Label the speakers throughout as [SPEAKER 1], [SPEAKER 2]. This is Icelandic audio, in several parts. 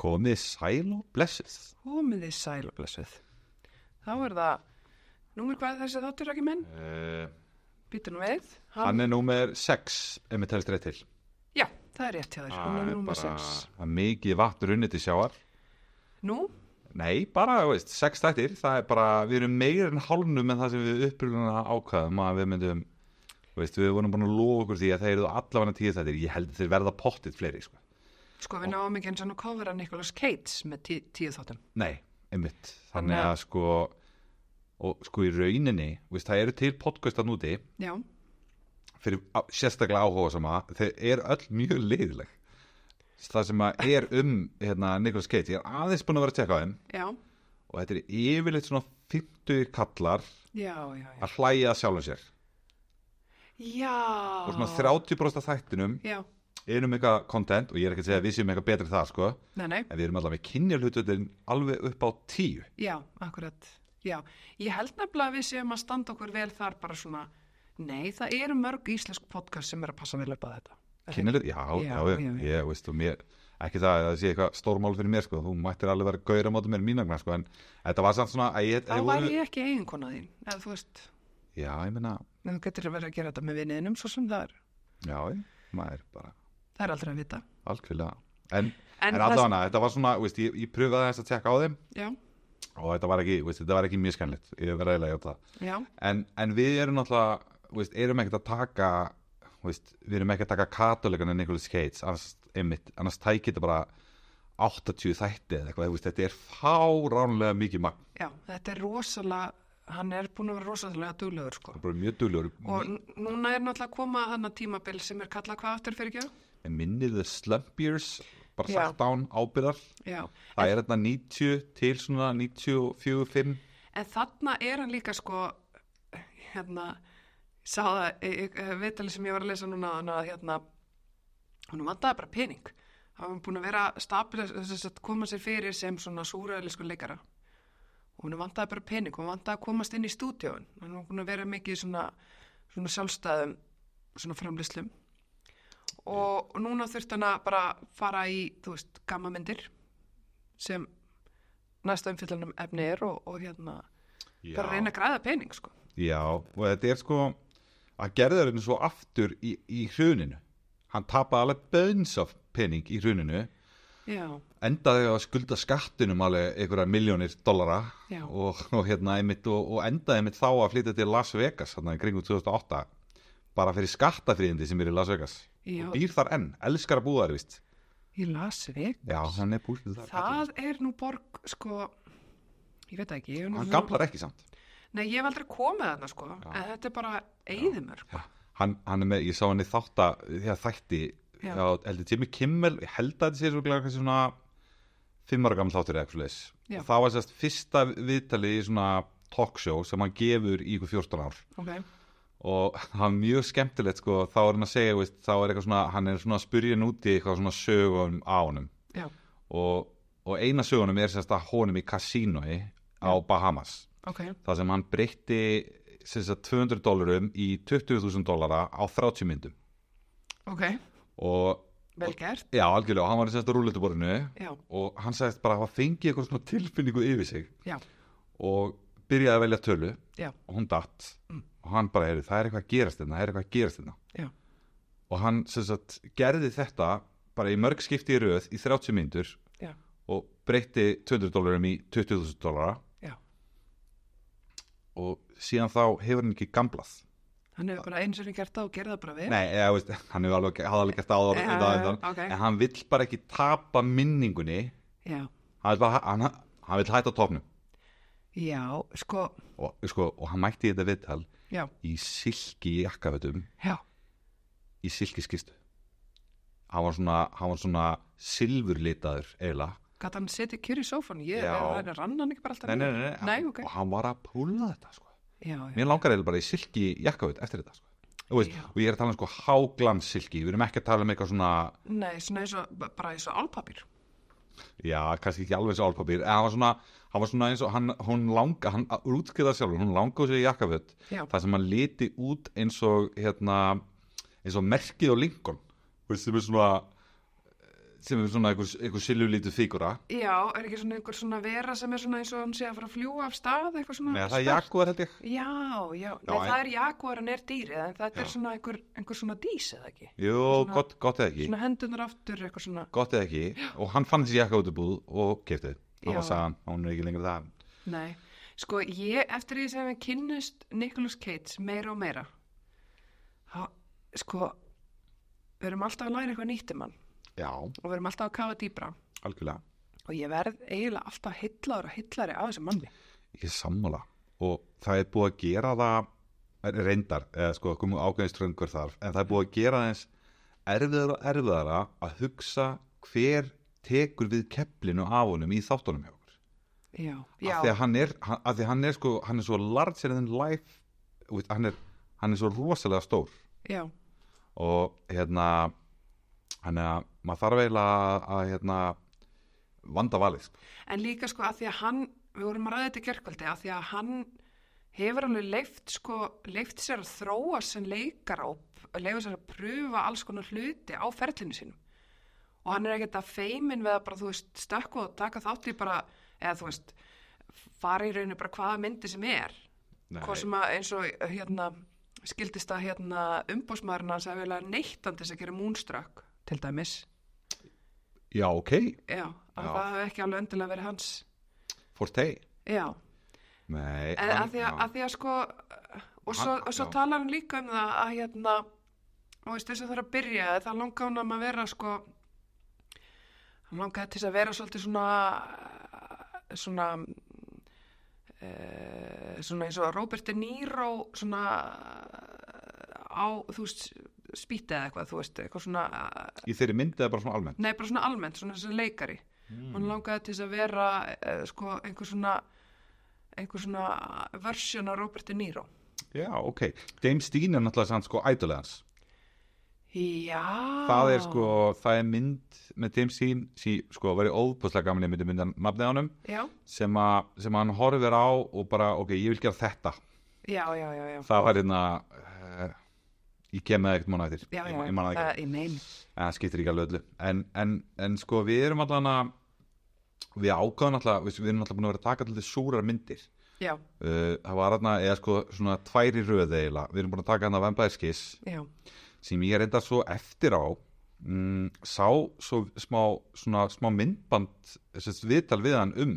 [SPEAKER 1] Komið þið sæl og blessuð.
[SPEAKER 2] Komið þið sæl og blessuð. Þá er það, númer hvað þessi þáttur ekki menn?
[SPEAKER 1] Uh,
[SPEAKER 2] Býtur nú við.
[SPEAKER 1] hann er númer 6, ef mér telst rétt til.
[SPEAKER 2] Já, það er rétt hjá þér. Hún er númer 6.
[SPEAKER 1] það er mikið vatn runnið til sjáar.
[SPEAKER 2] Nú,
[SPEAKER 1] Nei, bara, þú veist, 6 þættir, það er bara, við erum meira en hálnum en það sem við upprýðuna ákvaðum að við myndum, þú veist, við vorum búin að lofa okkur því að þeir eru allavega tíu þættir, ég held að þeir verða pottitt fleiri, sko.
[SPEAKER 2] sko við náum ekki eins og nú kofra Nicholas Cates með tí, tíu þáttum.
[SPEAKER 1] Nei, einmitt. Þannig
[SPEAKER 2] Þannig
[SPEAKER 1] að
[SPEAKER 2] að-
[SPEAKER 1] sko, og sko í rauninni, veist, það eru til podcastan úti
[SPEAKER 2] Já,
[SPEAKER 1] fyrir á- sérstaklega áhuga sama, þeir eru öll mjög leiðileg. Það sem að er um hérna, Nicholas Cage, ég er aðeins búin að vera að tjekka á þeim
[SPEAKER 2] já,
[SPEAKER 1] og þetta er yfirleitt svona 50 kallar
[SPEAKER 2] já, já. Já,
[SPEAKER 1] að hlæja að sjálfum sér.
[SPEAKER 2] já.
[SPEAKER 1] Og svona 30% af þættinum
[SPEAKER 2] Já,
[SPEAKER 1] er um eitthvað content og ég er ekki að segja að við séum eitthvað betri en það sko,
[SPEAKER 2] nei, nei,
[SPEAKER 1] en við erum allavega með kynjarhlututin alveg upp á 10.
[SPEAKER 2] já, akkurat. Já, ég held nefnilega að við séum að standa okkur vel þar bara svona, nei, það eru mörg íslensk podcast sem er að passa vel upp að þetta.
[SPEAKER 1] Kynnileg, já, já,
[SPEAKER 2] Já,
[SPEAKER 1] já,
[SPEAKER 2] já, já.
[SPEAKER 1] ég veist og mér, ekki það að það sé eitthvað stórmál fyrir mér sko, þú mættir alveg vera gauður á móti mér mínagna sko, en þetta var samt svona, að ég,
[SPEAKER 2] Þá
[SPEAKER 1] ég
[SPEAKER 2] væri ég ekki eiginkona þín, eða þú veist,
[SPEAKER 1] já, ég meina,
[SPEAKER 2] en þú getur verið að gera þetta með viniðinum svo sem það er,
[SPEAKER 1] já, ég- maður bara,
[SPEAKER 2] það er aldrei að vita.
[SPEAKER 1] algjörlega, en,
[SPEAKER 2] En
[SPEAKER 1] en, en
[SPEAKER 2] það-
[SPEAKER 1] allavega, þetta var svona, veist, ég, ég pröfaði þess að tjekka á þeim
[SPEAKER 2] Já,
[SPEAKER 1] og þetta var ekki, veist, þetta var ekki mjög skænlegt, ég verði eiginlega að hjáta það,
[SPEAKER 2] já,
[SPEAKER 1] en, en við erum náttúrulega, veist, erum ekkert að taka, veist, við erum ekkert að taka katolikana Nicholas Cates, annars, einmitt, annars tækir þetta bara 80 þætti eða eitthvað, þú veist, þetta er fáránlega mikið magn
[SPEAKER 2] já, þetta er rosalega, hann er búin að vera rosalega duglegur sko.
[SPEAKER 1] bara mjög duglegur
[SPEAKER 2] Og nú- núna er náttúrulega að koma hann að tímabil sem er kallað hvað aftur fyrir ekki?
[SPEAKER 1] Mér minnir the slump years bara
[SPEAKER 2] Já.
[SPEAKER 1] sagt án ábyrðar
[SPEAKER 2] Já,
[SPEAKER 1] það er þetta 90 til svona 94-5
[SPEAKER 2] en þarna er hann líka sko, hérna, ég sá það, í- í- eh, viðtalið sem ég var að lesa núna, áðan að hérna, hún vantaði bara pening. Það var búin að vera stabil að koma sér fyrir sem svona súræðilisku leikara. og hún vantaði bara pening, hún vantaði að komast inn í stúdíón hún var búin að vera mikið í svona, svona sjálfstæðum svona framlýslum og núna þurfti hann að bara fara í þú veist, gammamyndir sem næsta umfyllanum efni er og, og hérna bara reyna að græða pening sko
[SPEAKER 1] Já, og þetta er sko að gerðarinn svo aftur í, í hruninu hann tapaði alveg bönns af pening í hruninu
[SPEAKER 2] já,
[SPEAKER 1] endaði á að skulda skattinum alveg einhverja miljónir dollara
[SPEAKER 2] Já.
[SPEAKER 1] og, og, hérna, einmitt, og, og endaði einmitt þá að flytja til Las Vegas hérna, í kringum 2008 bara fyrir skattafríðindi sem er í Las Vegas
[SPEAKER 2] Já.
[SPEAKER 1] og býr þar enn, elskar að búa þar víst
[SPEAKER 2] í Las Vegas
[SPEAKER 1] Já, hann er búin þar allan.
[SPEAKER 2] það er nú borg sko ég veit það ekki ég, hef nú
[SPEAKER 1] Hann
[SPEAKER 2] svona-
[SPEAKER 1] gamlar ekki samt
[SPEAKER 2] nei, ég hef aldrei komið þarna sko en þetta er bara eigðumör
[SPEAKER 1] hann, hann er með, ég sá hann í þátta þegar þætti
[SPEAKER 2] Já.
[SPEAKER 1] á eldi Jimmy Kimmel, ég held að þetta sé svo kannski svona fimm ára gammal þáttur eða eitthvað leis
[SPEAKER 2] Já.
[SPEAKER 1] og það var sérst fyrsta viðtalið í svona talkshow sem hann gefur í ykkur 14 ár
[SPEAKER 2] okay.
[SPEAKER 1] og það var mjög skemmtilegt sko, þá er hann að segja, veist, þá er eitthvað svona hann er svona að spyrja hann úti eitthvað svona sögum á honum
[SPEAKER 2] já,
[SPEAKER 1] og, og eina sögunum er sérst að honum í kasínoi á Bahamas
[SPEAKER 2] ok,
[SPEAKER 1] þar sem hann breytti sem sagt, 200 dólarum í 20.000 dólara á 30 myndum
[SPEAKER 2] ok
[SPEAKER 1] og
[SPEAKER 2] Vel gert,
[SPEAKER 1] já, algjörlega, og hann var í sérstu rúletuborinu
[SPEAKER 2] já,
[SPEAKER 1] og hann sagðist bara að hafa fengið eitthvað svona tilfinningu yfir sig
[SPEAKER 2] já,
[SPEAKER 1] og byrjaði að velja tölu
[SPEAKER 2] já,
[SPEAKER 1] og hún datt
[SPEAKER 2] Mm.
[SPEAKER 1] og hann bara, heyrðu, það er eitthvað að gerast þetta, það er eitthvað að gerast þetta
[SPEAKER 2] já,
[SPEAKER 1] og hann sem sagt, gerði þetta bara í mörg skipti í röð í 30 myndur
[SPEAKER 2] já,
[SPEAKER 1] og breytti 200 dólarum í 20.000 dólara
[SPEAKER 2] já.
[SPEAKER 1] og síðan þá hefur hann ekki gamblað
[SPEAKER 2] Hann hefur bara eins og hann gert það og gerði það bara vel.
[SPEAKER 1] Nei, eða, veist, hann hefur alveg, hafði alveg gert áður
[SPEAKER 2] Já,
[SPEAKER 1] ja, ja,
[SPEAKER 2] ok.
[SPEAKER 1] en hann vill bara ekki tapa minningunni
[SPEAKER 2] Já,
[SPEAKER 1] hann vill, bara, hann, hann vill hætta topnum
[SPEAKER 2] já, sko,
[SPEAKER 1] og, sko, og hann mætti í þetta viðtal
[SPEAKER 2] já,
[SPEAKER 1] í silki jakkafötum
[SPEAKER 2] já,
[SPEAKER 1] í silki skistu hann var svona, hann var svona silfurlitaður eiginlega
[SPEAKER 2] gæti hann setið kjur í sófan, ég,
[SPEAKER 1] Já.
[SPEAKER 2] er hann rann hann ekki bara alltaf
[SPEAKER 1] nei, nei,
[SPEAKER 2] niður?
[SPEAKER 1] nei,
[SPEAKER 2] Nei, ok.
[SPEAKER 1] og hann var að púla þetta sko.
[SPEAKER 2] Já, já,
[SPEAKER 1] mér langar eiginlega bara í silki jakkaföt eftir þetta sko. og, veist,
[SPEAKER 2] Já.
[SPEAKER 1] og ég er að tala um sko, háglans silki við erum ekki að tala um eitthvað svona
[SPEAKER 2] nei, svona eins og, bara eins og álpapir.
[SPEAKER 1] Já, kannski ekki alveg svo álpapír en hann var svona, hann var svona eins og hann, hún langa, hann útskriða sjálfur hún langaði sér í jakkaföt
[SPEAKER 2] Já.
[SPEAKER 1] þar sem hann liti út eins og hérna, eins og merkið á Lincoln Þú veist, sem er svona eh, sem er svona einhver, einhver silulítu fígura
[SPEAKER 2] Já, er ekki svona einhver svona vera sem er svona eins og hann sé að fara að fljúa af stað eitthvað svona
[SPEAKER 1] Nei, það er
[SPEAKER 2] stökk?
[SPEAKER 1] jaguar held ég
[SPEAKER 2] Já, já, Nei,
[SPEAKER 1] en-
[SPEAKER 2] það er jaguar en er dýrið en þetta er
[SPEAKER 1] Já.
[SPEAKER 2] svona einhver, einhver svona dís eða ekki
[SPEAKER 1] Jú,
[SPEAKER 2] Svona-
[SPEAKER 1] gott, gott eða ekki
[SPEAKER 2] Svona hendunar aftur eitthvað svona
[SPEAKER 1] Gott eða ekki Og hann fann þessi jakka út í búð og kefti Það
[SPEAKER 2] Já.
[SPEAKER 1] var sagan, hún er ekki lengur það
[SPEAKER 2] Nei, sko ég eftir því sem við kynnust Nicolas Cage meira og meira þá, sko við erum alltaf að læra eitthvað nýtt um hann
[SPEAKER 1] Já,
[SPEAKER 2] og við erum alltaf að kafa dýbra
[SPEAKER 1] algjörlega
[SPEAKER 2] og ég verð eiginlega alltaf hillar og hillari af þessum manni
[SPEAKER 1] Ég er sammála Og það er búið að gera það Reyndar, eða sko, komum ágæðiströngur þarf En það er búið að gera það eins Erfiðara og erfiðara að hugsa Hver tekur við keflinu af honum í þáttunum hjá okkur
[SPEAKER 2] Já, já,
[SPEAKER 1] af því að hann er, hann, af því að hann er sko, hann er svo larger than life þú veit, hann er, hann er svo rosalega stór
[SPEAKER 2] já,
[SPEAKER 1] og hérna hann er að, maður þarf eiginlega að, að hérna, vanda valið sko.
[SPEAKER 2] en líka sko að því að hann við vorum að ræða þetta í gerkvöldi að því að hann hefur alveg leift sko leift sér að þróa sem leikar og leifa sér að pröfa alls konar hluti á ferlinu sínum og hann er ekkert að feimin við að bara þú veist stökku og taka þátt í bara eða þú veist fara í rauninu bara hvaða myndi sem er
[SPEAKER 1] Nei.
[SPEAKER 2] hvað sem að eins og hérna skildist að hérna umbósmaðurinn hans að vilja neittandi þess að gera múnstrakk til dæmis
[SPEAKER 1] já ok,
[SPEAKER 2] já, að
[SPEAKER 1] Já.
[SPEAKER 2] það hefði ekki alveg öndilega verið hans
[SPEAKER 1] forte
[SPEAKER 2] já
[SPEAKER 1] Nei,
[SPEAKER 2] En
[SPEAKER 1] hann-
[SPEAKER 2] að Eh, því að,
[SPEAKER 1] já.
[SPEAKER 2] að því að sko og svo,
[SPEAKER 1] Hann-
[SPEAKER 2] og svo
[SPEAKER 1] já.
[SPEAKER 2] talar hann líka um það að hérna og veist þess að það er að byrja að það langa hann um að vera sko hann langaði til þess að vera svolítið svona svona uh, svona eins og Robert De Niro svona eh, á þú veist spýta eða eitthvað þú veist eitthvað svona eh,
[SPEAKER 1] í þeirri myndið er bara svona almennt
[SPEAKER 2] nei bara svona almennt svona þessi leikari
[SPEAKER 1] Hmm.
[SPEAKER 2] mm. hann langaði til þess að vera uh, sko einhver svona einhver svona versjón af Robert De Niro
[SPEAKER 1] já ok, James Dean er náttúrulega sann sko ædulegans
[SPEAKER 2] já
[SPEAKER 1] það er sko,
[SPEAKER 2] Ah.
[SPEAKER 1] það er mynd með James Dean, sí, sko, verið óðpúslega gaman ég myndi mynda nafnið á honum
[SPEAKER 2] já,
[SPEAKER 1] sem, a, sem hann horfir á og bara, ok, ég vil gera þetta
[SPEAKER 2] já, já, já, já.
[SPEAKER 1] það var hérna uh, ég kem með eitthvað mánu eftir
[SPEAKER 2] Já,
[SPEAKER 1] ég,
[SPEAKER 2] já,
[SPEAKER 1] ég manna ekki,
[SPEAKER 2] uh, ég meina
[SPEAKER 1] en það skiptir ekki alveg öllu en, en, en sko við erum allan að við ákvæðum alltaf við, við erum alltaf búin að vera að taka til þess súrar myndir
[SPEAKER 2] Já,
[SPEAKER 1] uh, það var hérna, eða sko svona tværi röð eiginlega, við erum búin að taka hérna vembæðiskis
[SPEAKER 2] já,
[SPEAKER 1] sem ég reynda svo eftir á mm, sá svo smá svona smá myndband þess að viðtal við hann um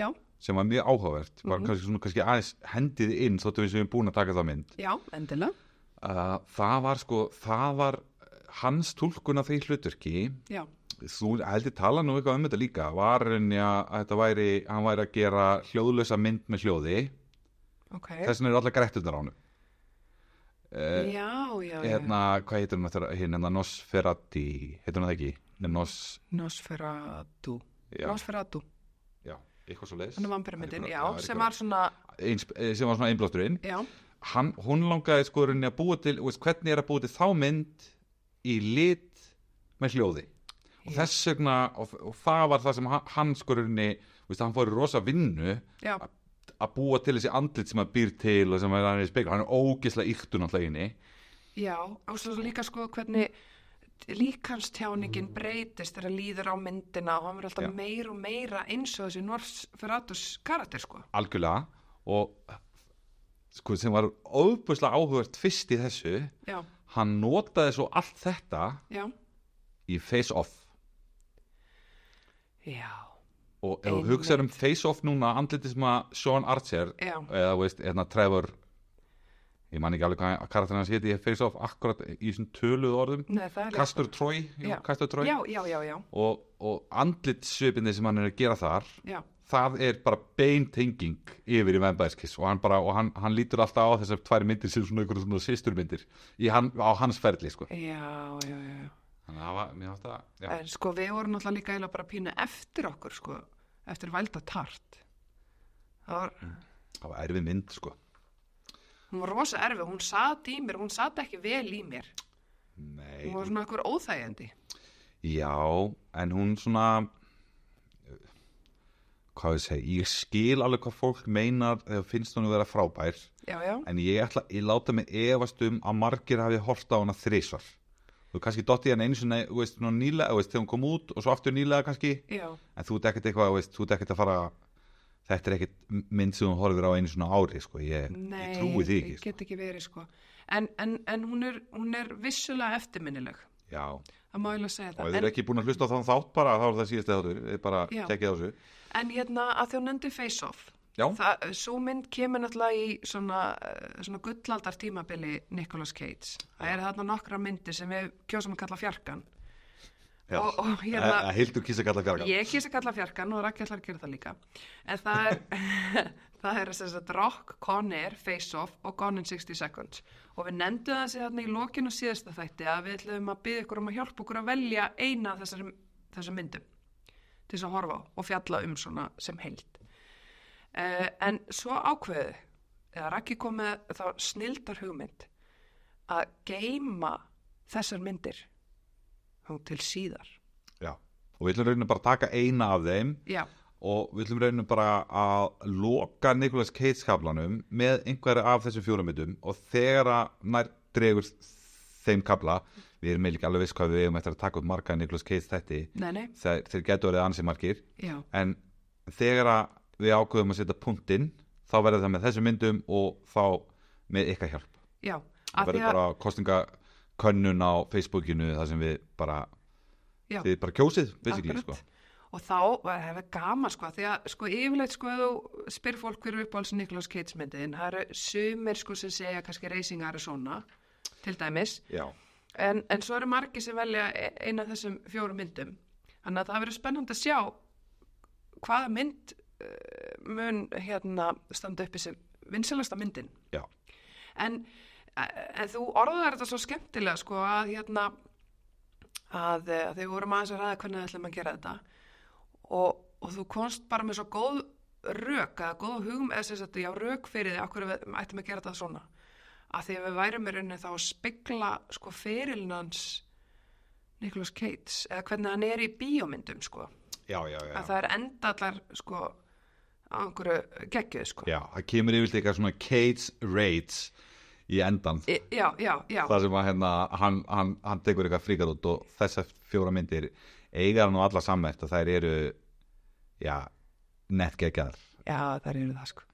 [SPEAKER 2] já,
[SPEAKER 1] sem var mjög áhugavert, var kannski, svona, kannski aðeins hendið inn þóttum við sem við erum búin að taka það mynd
[SPEAKER 2] já, endilega
[SPEAKER 1] Uh, það var sko, það var eh, hans tólkun af því hluturki
[SPEAKER 2] Já,
[SPEAKER 1] þú heldur tala nú eitthvað um þetta líka var henni að að þetta væri hann væri að gera hljóðlösa mynd með hljóði
[SPEAKER 2] ok
[SPEAKER 1] þess vegna eru allar grættunar á Eh, hann
[SPEAKER 2] Já, já, já, já.
[SPEAKER 1] hérna, hvað heitir hann aftur- hérna Nosferati, heitir hann það ekki Nei, Nos,
[SPEAKER 2] Nosferatu
[SPEAKER 1] Já.
[SPEAKER 2] Nosferatu,
[SPEAKER 1] já, eitthvað svo leis
[SPEAKER 2] hann er vampirmyndin Já, sem var svona,
[SPEAKER 1] sem var svona einblásturinn
[SPEAKER 2] já,
[SPEAKER 1] hann, hún langaði sko rauninni að búa til, þú veist, hvernig er að búa til þá mynd í lit með hljóði og
[SPEAKER 2] Já.
[SPEAKER 1] þess vegna, og, og það var það sem hann, hann sko rauninni, þú veist, hann fór í rosa vinnu
[SPEAKER 2] já,
[SPEAKER 1] að búa til þessi andlit sem hann býr til og sem er hann er í spekla, hann er ógislega yktur náttúrulega inni,
[SPEAKER 2] já og svo líka sko hvernig líkanstjáningin breytist þegar líður á myndina og hann verður alltaf
[SPEAKER 1] Mm. Já.
[SPEAKER 2] meira og meira eins og þessi Nosferatus karakter sko
[SPEAKER 1] algjörlega og sko sem var óbúslega áhugert fyrst í þessu
[SPEAKER 2] Já,
[SPEAKER 1] hann notaði svo allt þetta
[SPEAKER 2] já,
[SPEAKER 1] í Face Off
[SPEAKER 2] já
[SPEAKER 1] og ef þú hugsaður um Face Off núna andlitið sem að Sean Archer
[SPEAKER 2] Já.
[SPEAKER 1] eða þú veist, hérna Trevor ég man ekki alveg hvað karakterinn hans héti ég Face Off akkurat í þessum töluð orðum
[SPEAKER 2] Nei, það er
[SPEAKER 1] Kastur Troy, jú,
[SPEAKER 2] Já.
[SPEAKER 1] Kastur Troy.
[SPEAKER 2] Já, já, já, já,
[SPEAKER 1] og, og andlitsvipinni sem hann er að gera þar
[SPEAKER 2] já,
[SPEAKER 1] það er bara beintenging yfir í Vampire-Kiss og hann bara, og hann, hann lítur alltaf á þessar tvær myndir sem svona ykkur svona sýsturmyndir í hann, á hans ferli sko.
[SPEAKER 2] já, já, já, já.
[SPEAKER 1] þannig að það var, mér átt að já.
[SPEAKER 2] En sko, við vorum náttúrulega líka eiginlega bara pínu eftir okkur, sko, eftir Valda Tart. Það var,
[SPEAKER 1] Mm. það var erfið mynd sko.
[SPEAKER 2] hún var rosa erfið, hún sat í mér, hún sat ekki vel í mér.
[SPEAKER 1] nei,
[SPEAKER 2] Hún var svona eitthvað óþægjandi.
[SPEAKER 1] Já, en hún svona hvað ég segi, ég skil alveg hvað fólk meinar þegar finnst hún að vera frábær
[SPEAKER 2] Já, já,
[SPEAKER 1] en ég ætla, ég láta mig efast um að margir hafi hort á hana þrisvar þú þú kannski dotti hann einu sinni þú veist, nú nýlega, þú veist, þegar hún kom út og svo aftur nýlega kannski,
[SPEAKER 2] já,
[SPEAKER 1] en þú ert ekkert eitthvað þú veist, þú ert ekkert að fara þetta er ekkert mynd sem hún horfir á einu svona ári sko, ég,
[SPEAKER 2] nei,
[SPEAKER 1] ég trúi því ekki sko.
[SPEAKER 2] get ekki verið sko. En, en, en hún, er, hún er vissulega eftirminnileg,
[SPEAKER 1] já,
[SPEAKER 2] það má ég alveg segja
[SPEAKER 1] og
[SPEAKER 2] það.
[SPEAKER 1] ef þið er
[SPEAKER 2] En,
[SPEAKER 1] ekki búin að hlusta á þann þátt bara þá er það síðast eða þáttur, þið bara
[SPEAKER 2] Já.
[SPEAKER 1] tekið á þessu
[SPEAKER 2] en hérna að þjó nefndi face-off,
[SPEAKER 1] já,
[SPEAKER 2] Svo mynd kemur náttúrulega í svona, eh, svona gullaldar tímabili Nicolas Cage. Það er þarna nokkra myndir sem við kjósum að kalla fjarkan.
[SPEAKER 1] já, Eh,
[SPEAKER 2] og- og
[SPEAKER 1] Að-
[SPEAKER 2] hérna-
[SPEAKER 1] að hildur kýsa kalla fjarga
[SPEAKER 2] Ég kýrst að kalla fjarkan og Raggi ætlar að gera það líka. En það er, það er þess að Rock, Con Air, Face Off og Gone in 60 Seconds. Og við nefndum það sér þarna í lokinu síðasta þætti að við ætlum að byggja ykkur um að hjálpa okkur að velja eina af þessar, þessar myndum til þess að horfa á og fjalla um svona sem heild. Uh, en svo ákveðu, eða Raggi kom með þá snildar hugmynd að geima þessar myndir þá til síðar.
[SPEAKER 1] já. og við ætlum rauninu bara að taka eina af þeim
[SPEAKER 2] Já,
[SPEAKER 1] og við ætlum rauninu bara að loka Nicolas Cage kablanum með einhverja af þessum fjóramyndum og þegar að nær dregur þeim kabla, við erum eiginlega ekki alveg viss hvað við eigum eftir að taka upp marga Nicolas Cage þætti
[SPEAKER 2] nei, nei,
[SPEAKER 1] þeir, þeir getur verið ansið margir
[SPEAKER 2] já.
[SPEAKER 1] en þegar að við ákveðum að setja punktinn þá verður það með þessum myndum og þá með ykkar hjálp
[SPEAKER 2] Já,
[SPEAKER 1] það
[SPEAKER 2] að því
[SPEAKER 1] verður
[SPEAKER 2] að,
[SPEAKER 1] bara kostingakönnun á Facebookinu þar sem við bara
[SPEAKER 2] Já.
[SPEAKER 1] þið bara kjósið basically, sko.
[SPEAKER 2] akkurat. og þá var það gaman sko, því að sko yfirleitt sko ef þú spyr fólk hver er uppáhalds Niklaus Cage myndin, það eru sumir sko sem segja kannski Racing Arizona til dæmis,
[SPEAKER 1] já,
[SPEAKER 2] en, en svo eru margir sem velja e- eina af þessum fjórum myndum, þannig að það verður spennandi að sjá hvaða mynd uh, mun hérna standa uppi sem vinsalasta myndin
[SPEAKER 1] já,
[SPEAKER 2] en, eh, en þú orðar þetta svo skemmtilega sko að hérna að, eh, að þau vorum aðeins að ræða hvernig við ætlum að gera þetta og, og þú komst bara með svo góð rök að góð hugum eða sem sagt já rök fyrir því okkur við ættum að gera þetta svona að því að við værum í rauninni þá að spegla sko fyrirlinans Nicholas Cates eða hvernig hann er í bíómyndum sko
[SPEAKER 1] já, já, já.
[SPEAKER 2] að það er endallar sko á einhverju geggjöð sko
[SPEAKER 1] já, það kemur yfirleitt eitthvað svona Cage's Raids í endan
[SPEAKER 2] Í- já, já, já.
[SPEAKER 1] það sem að hérna, hann, hann, hann tekur eitthvað fríkar út og þessar fjóra myndir eiga hann og alla sammert að þær eru já, nettgeggjar
[SPEAKER 2] Já, það eru það sko.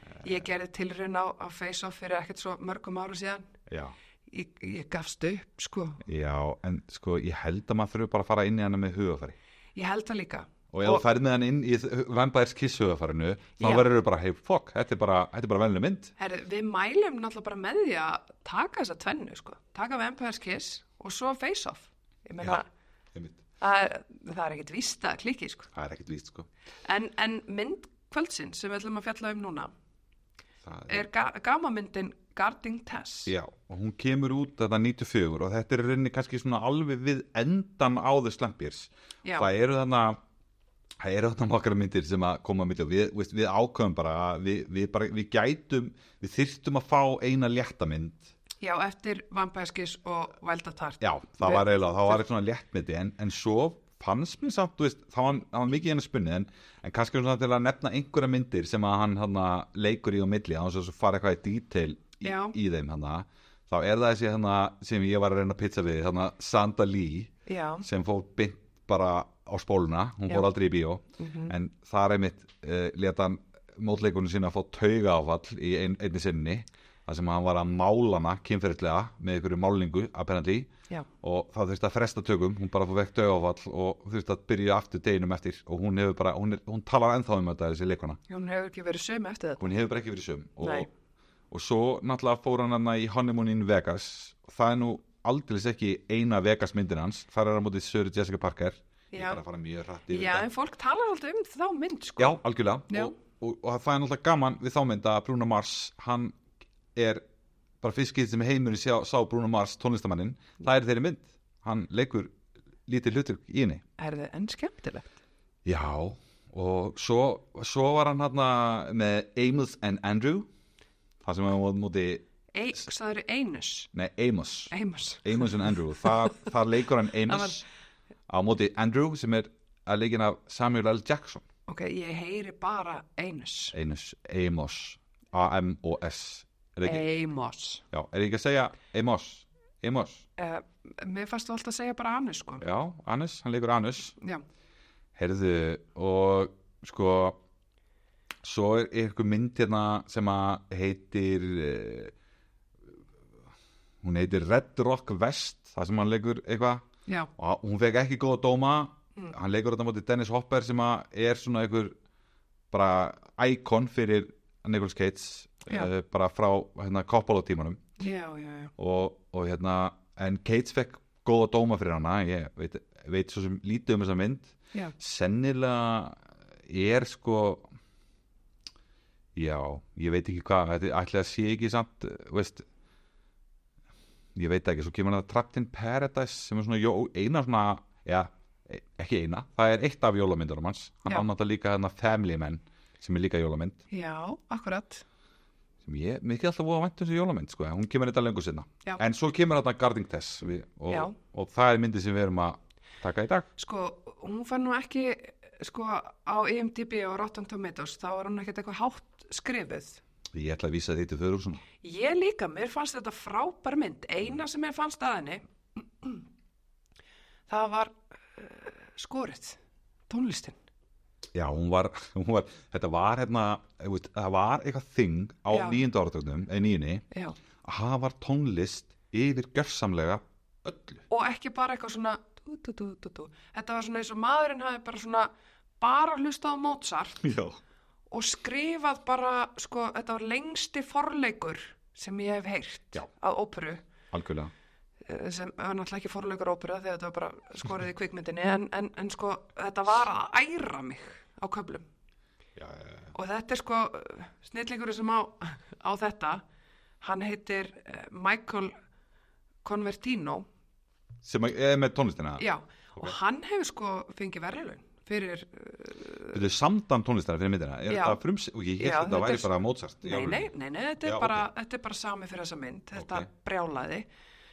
[SPEAKER 1] Eh.
[SPEAKER 2] Ég gerði tilraun á, á face-off fyrir ekkert svo mörgum áru síðan.
[SPEAKER 1] já,
[SPEAKER 2] Ég, ég gafst upp, sko.
[SPEAKER 1] já, en sko ég held að maður þurfi bara að fara inn í hana með hugafæri
[SPEAKER 2] Ég held það líka.
[SPEAKER 1] og ef þú ferð með hann inn í Vampires Kiss hugafærinu þá
[SPEAKER 2] Já.
[SPEAKER 1] verður þau bara, hey, fuck, þetta er bara, þetta er bara velinu mynd
[SPEAKER 2] Herri, við mælum náttúrulega bara með því að taka þessa tvennu, sko. Taka Vampire's Kiss og svo face-off. Ég meina,
[SPEAKER 1] Einmitt.
[SPEAKER 2] það, er- það er ekkert víst að klikki, sko.
[SPEAKER 1] það er ekkert víst sko
[SPEAKER 2] En, en mynd kvöldsinn sem við ætlum að fjalla um núna
[SPEAKER 1] Það
[SPEAKER 2] er ga gamamyndin Guarding Tess.
[SPEAKER 1] Já, og hún kemur út þetta 94 og þetta er í rauninni kannski svona alveg við endan á The Slampiers.
[SPEAKER 2] Já.
[SPEAKER 1] Það eru þarna, það eru þarna nokkra myndir sem að koma að milli og við, við, við ákveðum bara að við, við bara, við gætum, við þyrftum að fá eina léttamynd.
[SPEAKER 2] Já, eftir Vampire's Kiss og Wild at Heart.
[SPEAKER 1] Já, það
[SPEAKER 2] Við-
[SPEAKER 1] var eiginlega, það var eitthvað svona léttmyndi en, en svo fannst mér samt, þú veist, það var, það var mikið einu spunnið en, en kannski svona til að nefna einhverja myndir sem að hann hana, leikur í og milli án svo að fara eitthvað í detail í,
[SPEAKER 2] Já.
[SPEAKER 1] í þeim hana þá er það þessi hana sem ég var að reyna að pizza við hana Sanda Lee
[SPEAKER 2] Já,
[SPEAKER 1] sem fór bynd bara á spóluna hún
[SPEAKER 2] Já. Mhm.
[SPEAKER 1] fór aldrei í bíó en þar einmitt uh, leta hann mótleikunum sína að fá tauga áfall í ein, einni sinni þar sem hann var að mála hana kynferðislega með einhverju málingu apparently
[SPEAKER 2] já.
[SPEAKER 1] og það þurfti að fresta tökum hún bara fór vekk dögafall og þurfti að byrja aftur deginum eftir og hún hefur bara, hún, er, hún talar ennþá um þetta þessi leikona,
[SPEAKER 2] Hún hefur ekki verið sömu eftir þetta.
[SPEAKER 1] hún hefur bara ekki verið sum
[SPEAKER 2] Nei.
[SPEAKER 1] og, og svo náttúrulega fór hann hann í Honeymoon in Vegas það er nú aldrei ekki eina Vegas myndin hans, þar er hann mútið Sir Jessica Parker ég
[SPEAKER 2] Já.
[SPEAKER 1] er bara að fara mjög rætt yfir
[SPEAKER 2] Já,
[SPEAKER 1] þetta
[SPEAKER 2] en fólk talar alltaf um þá mynd, sko.
[SPEAKER 1] já, algjörlega
[SPEAKER 2] Já.
[SPEAKER 1] Og, og, og það er náttúrulega gaman við þá mynd að Bruno Mars hann er bara fiskið sem heimurinn sá, sá Bruno Mars tónlistamannin það er þeirri mynd, hann leikur lítið hlutur í henni
[SPEAKER 2] Er það enn skemmtilegt?
[SPEAKER 1] Já, og svo, svo var hann hérna með Amos and Andrew það sem hann var múti,
[SPEAKER 2] Ei, það eru einus.
[SPEAKER 1] nei Amos
[SPEAKER 2] Eimus.
[SPEAKER 1] Amos and Andrew, það, það leikur hann Amos á móti Andrew sem er að leikin af Samuel L. Jackson
[SPEAKER 2] Ok, ég heyri bara einus.
[SPEAKER 1] Einus, Amos A-M-O-S er, ekki-
[SPEAKER 2] Eimus.
[SPEAKER 1] já, er ekki að segja Amos Emos,
[SPEAKER 2] uh, mér fannst þú alltaf að segja bara Anus sko
[SPEAKER 1] já, Anus, hann leikur Anus
[SPEAKER 2] já,
[SPEAKER 1] Herðu, og sko svo er eitthvað mynd hérna sem að heitir uh, hún heitir Red Rock West, það sem hann leikur eitthvað
[SPEAKER 2] já,
[SPEAKER 1] og hún fekk ekki góða dóma hann leikur þetta móti Dennis Hopper sem að er svona einhver bara íkon fyrir Nicolas Cates
[SPEAKER 2] Já.
[SPEAKER 1] uh, bara frá hérna Coppola tímanum
[SPEAKER 2] já, já, já.
[SPEAKER 1] og, og hérna en Cates fekk góða dóma fyrir hana ég veit, veit svo sem lítið um þessa mynd
[SPEAKER 2] já.
[SPEAKER 1] sennilega er sko já, ég veit ekki hvað þetta ætli að sé ekki samt þú veist ég veit ekki, svo kemur það Trapped in Paradise sem er svona jó, eina svona já, e- ekki eina, það er eitt af jólamyndunum hans, hann
[SPEAKER 2] Já.
[SPEAKER 1] ánátt að líka þarna Family Man sem er líka jólamynd
[SPEAKER 2] Já, akkurat
[SPEAKER 1] sem ég, mér ekki alltaf voða vænt um þessi jólamynd sko, en hún kemur þetta lengur sinna
[SPEAKER 2] Já.
[SPEAKER 1] en svo kemur þarna Gardening Tess við,
[SPEAKER 2] Já.
[SPEAKER 1] og, og það er myndið sem við erum að taka í dag
[SPEAKER 2] Sko, hún fann nú ekki sko, á IMDb og Rotten Tomatoes þá var hún ekkert eitthvað hátt skrifuð
[SPEAKER 1] ég ætla að vísa því til þau
[SPEAKER 2] Ég líka, mér fannst þetta frábær mynd eina sem mér fannst að henni það var uh, skorið tónlistin
[SPEAKER 1] Já, hún var, hún var þetta var hérna, þú veist, það var eitthvað þing á
[SPEAKER 2] Já.
[SPEAKER 1] nýjöndu áratögnum, eða nýjunni,
[SPEAKER 2] Já.
[SPEAKER 1] að hafa var tónlist yfir gjörsamlega öllu.
[SPEAKER 2] og ekki bara eitthvað svona tú, tú, tú, tú, tú. þetta var svona eins og maðurinn hafi bara svona bara hlustað á Mozart
[SPEAKER 1] Já.
[SPEAKER 2] og skrifað bara, sko, þetta var lengsti forleikur sem ég hef heyrt
[SPEAKER 1] Já.
[SPEAKER 2] að óperu
[SPEAKER 1] Algjörlega.
[SPEAKER 2] eh, sem var náttúrulega ekki forleikur óperu af því að þetta var bara skorið í kvikmyndinni en, en, en sko, þetta var að æra mig á köflum
[SPEAKER 1] Já, já, já.
[SPEAKER 2] og þetta er sko eh, snillingurinn sem á, á þetta hann heitir eh, Michael Convertino
[SPEAKER 1] Sem að- eh, með tónlistina.
[SPEAKER 2] já, og hann hefur sko fengið verðlaun fyrir, eh,
[SPEAKER 1] Þetta er samdan tónlistina fyrir myndina. Er
[SPEAKER 2] Já.
[SPEAKER 1] þetta frums... Og ég held
[SPEAKER 2] Já,
[SPEAKER 1] að þetta
[SPEAKER 2] þetta
[SPEAKER 1] væri
[SPEAKER 2] er-
[SPEAKER 1] bara Mozart. í
[SPEAKER 2] nei,
[SPEAKER 1] alvöru.
[SPEAKER 2] nei, nei, nei þetta, er
[SPEAKER 1] Já,
[SPEAKER 2] bara, þetta er bara sami fyrir þessa mynd þetta
[SPEAKER 1] Ok.
[SPEAKER 2] brjálaði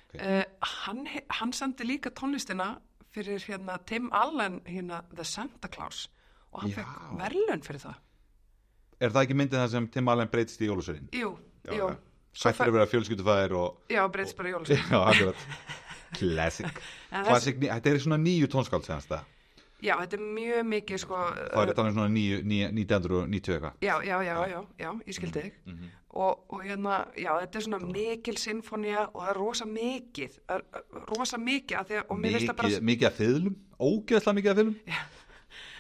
[SPEAKER 1] Ok.
[SPEAKER 2] okay. hann, he- hann sendi líka tónlistina fyrir hérna Tim Allen hérna The Santa Claus og hann
[SPEAKER 1] Já.
[SPEAKER 2] fekk verðlaun fyrir það
[SPEAKER 1] Er það ekki myndið það sem Tim Allen breytist í jólusurinn?
[SPEAKER 2] jú,
[SPEAKER 1] Já,
[SPEAKER 2] jú,
[SPEAKER 1] já. Sættir að vera fjölskyldufæðir og...
[SPEAKER 2] já, breyts bara jólusvein
[SPEAKER 1] Já, akkurat. Classic.
[SPEAKER 2] En þessi-
[SPEAKER 1] Classic, ný- þetta er svona nýju tónskáld segjast það.
[SPEAKER 2] já, þetta er mjög mikið sko
[SPEAKER 1] Það er þannig um svona nýju- níu- 1990 eitthvað.
[SPEAKER 2] Já, já, já, já, já, ég
[SPEAKER 1] Mhm,
[SPEAKER 2] skildi þig. og, og hérna, já, þetta er svona mikil sinfonía og það er rosa mikið, það er rosa mikið að því að, og mér finnst það bara,
[SPEAKER 1] mikið, mikið að fiðlum, ógeðslega mikið að fiðlum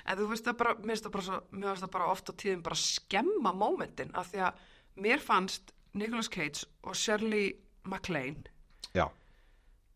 [SPEAKER 2] en þú finnst það bara, mér finnst það bara, svo, mér finnst það bara oft á tíðum bara skemma mómentin að því að mér fannst Nicolas Cage og Shirley MacLaine
[SPEAKER 1] já,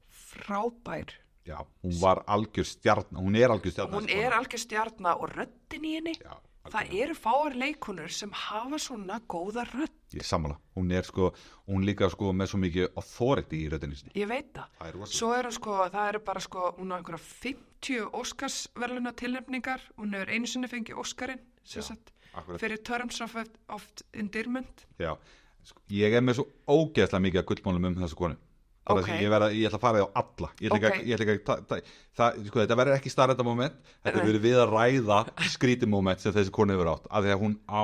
[SPEAKER 2] frábær.
[SPEAKER 1] já, hún var algjör stjarn hún er algjör stjarn
[SPEAKER 2] Hún er algjör stjarnar og röddin í henni,
[SPEAKER 1] já,
[SPEAKER 2] það eru fáar leikunur sem hafa svona góða rödd,
[SPEAKER 1] ég er sammála, hún er sko hún líka sko með svo mikið authority í röddinni sinni
[SPEAKER 2] ég veit það.
[SPEAKER 1] það er rosa,
[SPEAKER 2] Svo eru sko, það eru bara sko, hún á einhverja 50 Óskarsverluna tilnefningar, hún hefur einu sinni fengið Óskarinn, sem
[SPEAKER 1] Já,
[SPEAKER 2] sagt,
[SPEAKER 1] akkurat
[SPEAKER 2] fyrir Terms of, of Endearment.
[SPEAKER 1] já, sko, ég er með svo ógeðslega mikið að gullmálum um þessu konu bara
[SPEAKER 2] Ok.
[SPEAKER 1] okay. ég, verða, ég ætla að fara því á alla ég ætla ekki,
[SPEAKER 2] Ok.
[SPEAKER 1] okay. ég ætla ekki, að ta- ta- það, sko, þetta verður ekki starrenda moment þetta
[SPEAKER 2] Nei.
[SPEAKER 1] verður við að ræða skrítið moment sem þessi konu hefur átt af því að hún á,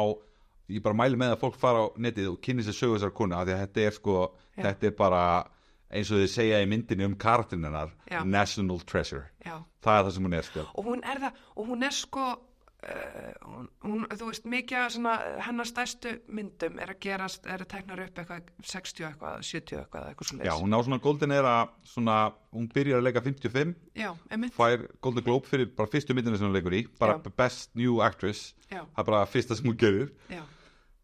[SPEAKER 1] ég bara mæli með að fólk fara á netið og kynni sér sögu þessar konu af því að þetta er sko,
[SPEAKER 2] Já.
[SPEAKER 1] þetta er bara eins og þið segja í myndinni um kartinennar
[SPEAKER 2] Já.
[SPEAKER 1] National Treasure
[SPEAKER 2] Já,
[SPEAKER 1] það er það sem hún er sko
[SPEAKER 2] og hún er það, og hún er sko, uh, hún, hún, þú veist, mikið af svona, eh, hennar stærstu myndum er að gerast, er að tekna upp eitthvað 60 eitthvað, 70 eitthvað, eitthvað svona.
[SPEAKER 1] Já, hún á svona Golden Era svona, hún byrjar að leika 55
[SPEAKER 2] Já, einmitt,
[SPEAKER 1] fær Golden Globe fyrir bara fyrstu myndina sem hún leikur í bara
[SPEAKER 2] Já.
[SPEAKER 1] Best New Actress
[SPEAKER 2] já,
[SPEAKER 1] það er bara fyrsta sem hún gerir
[SPEAKER 2] já.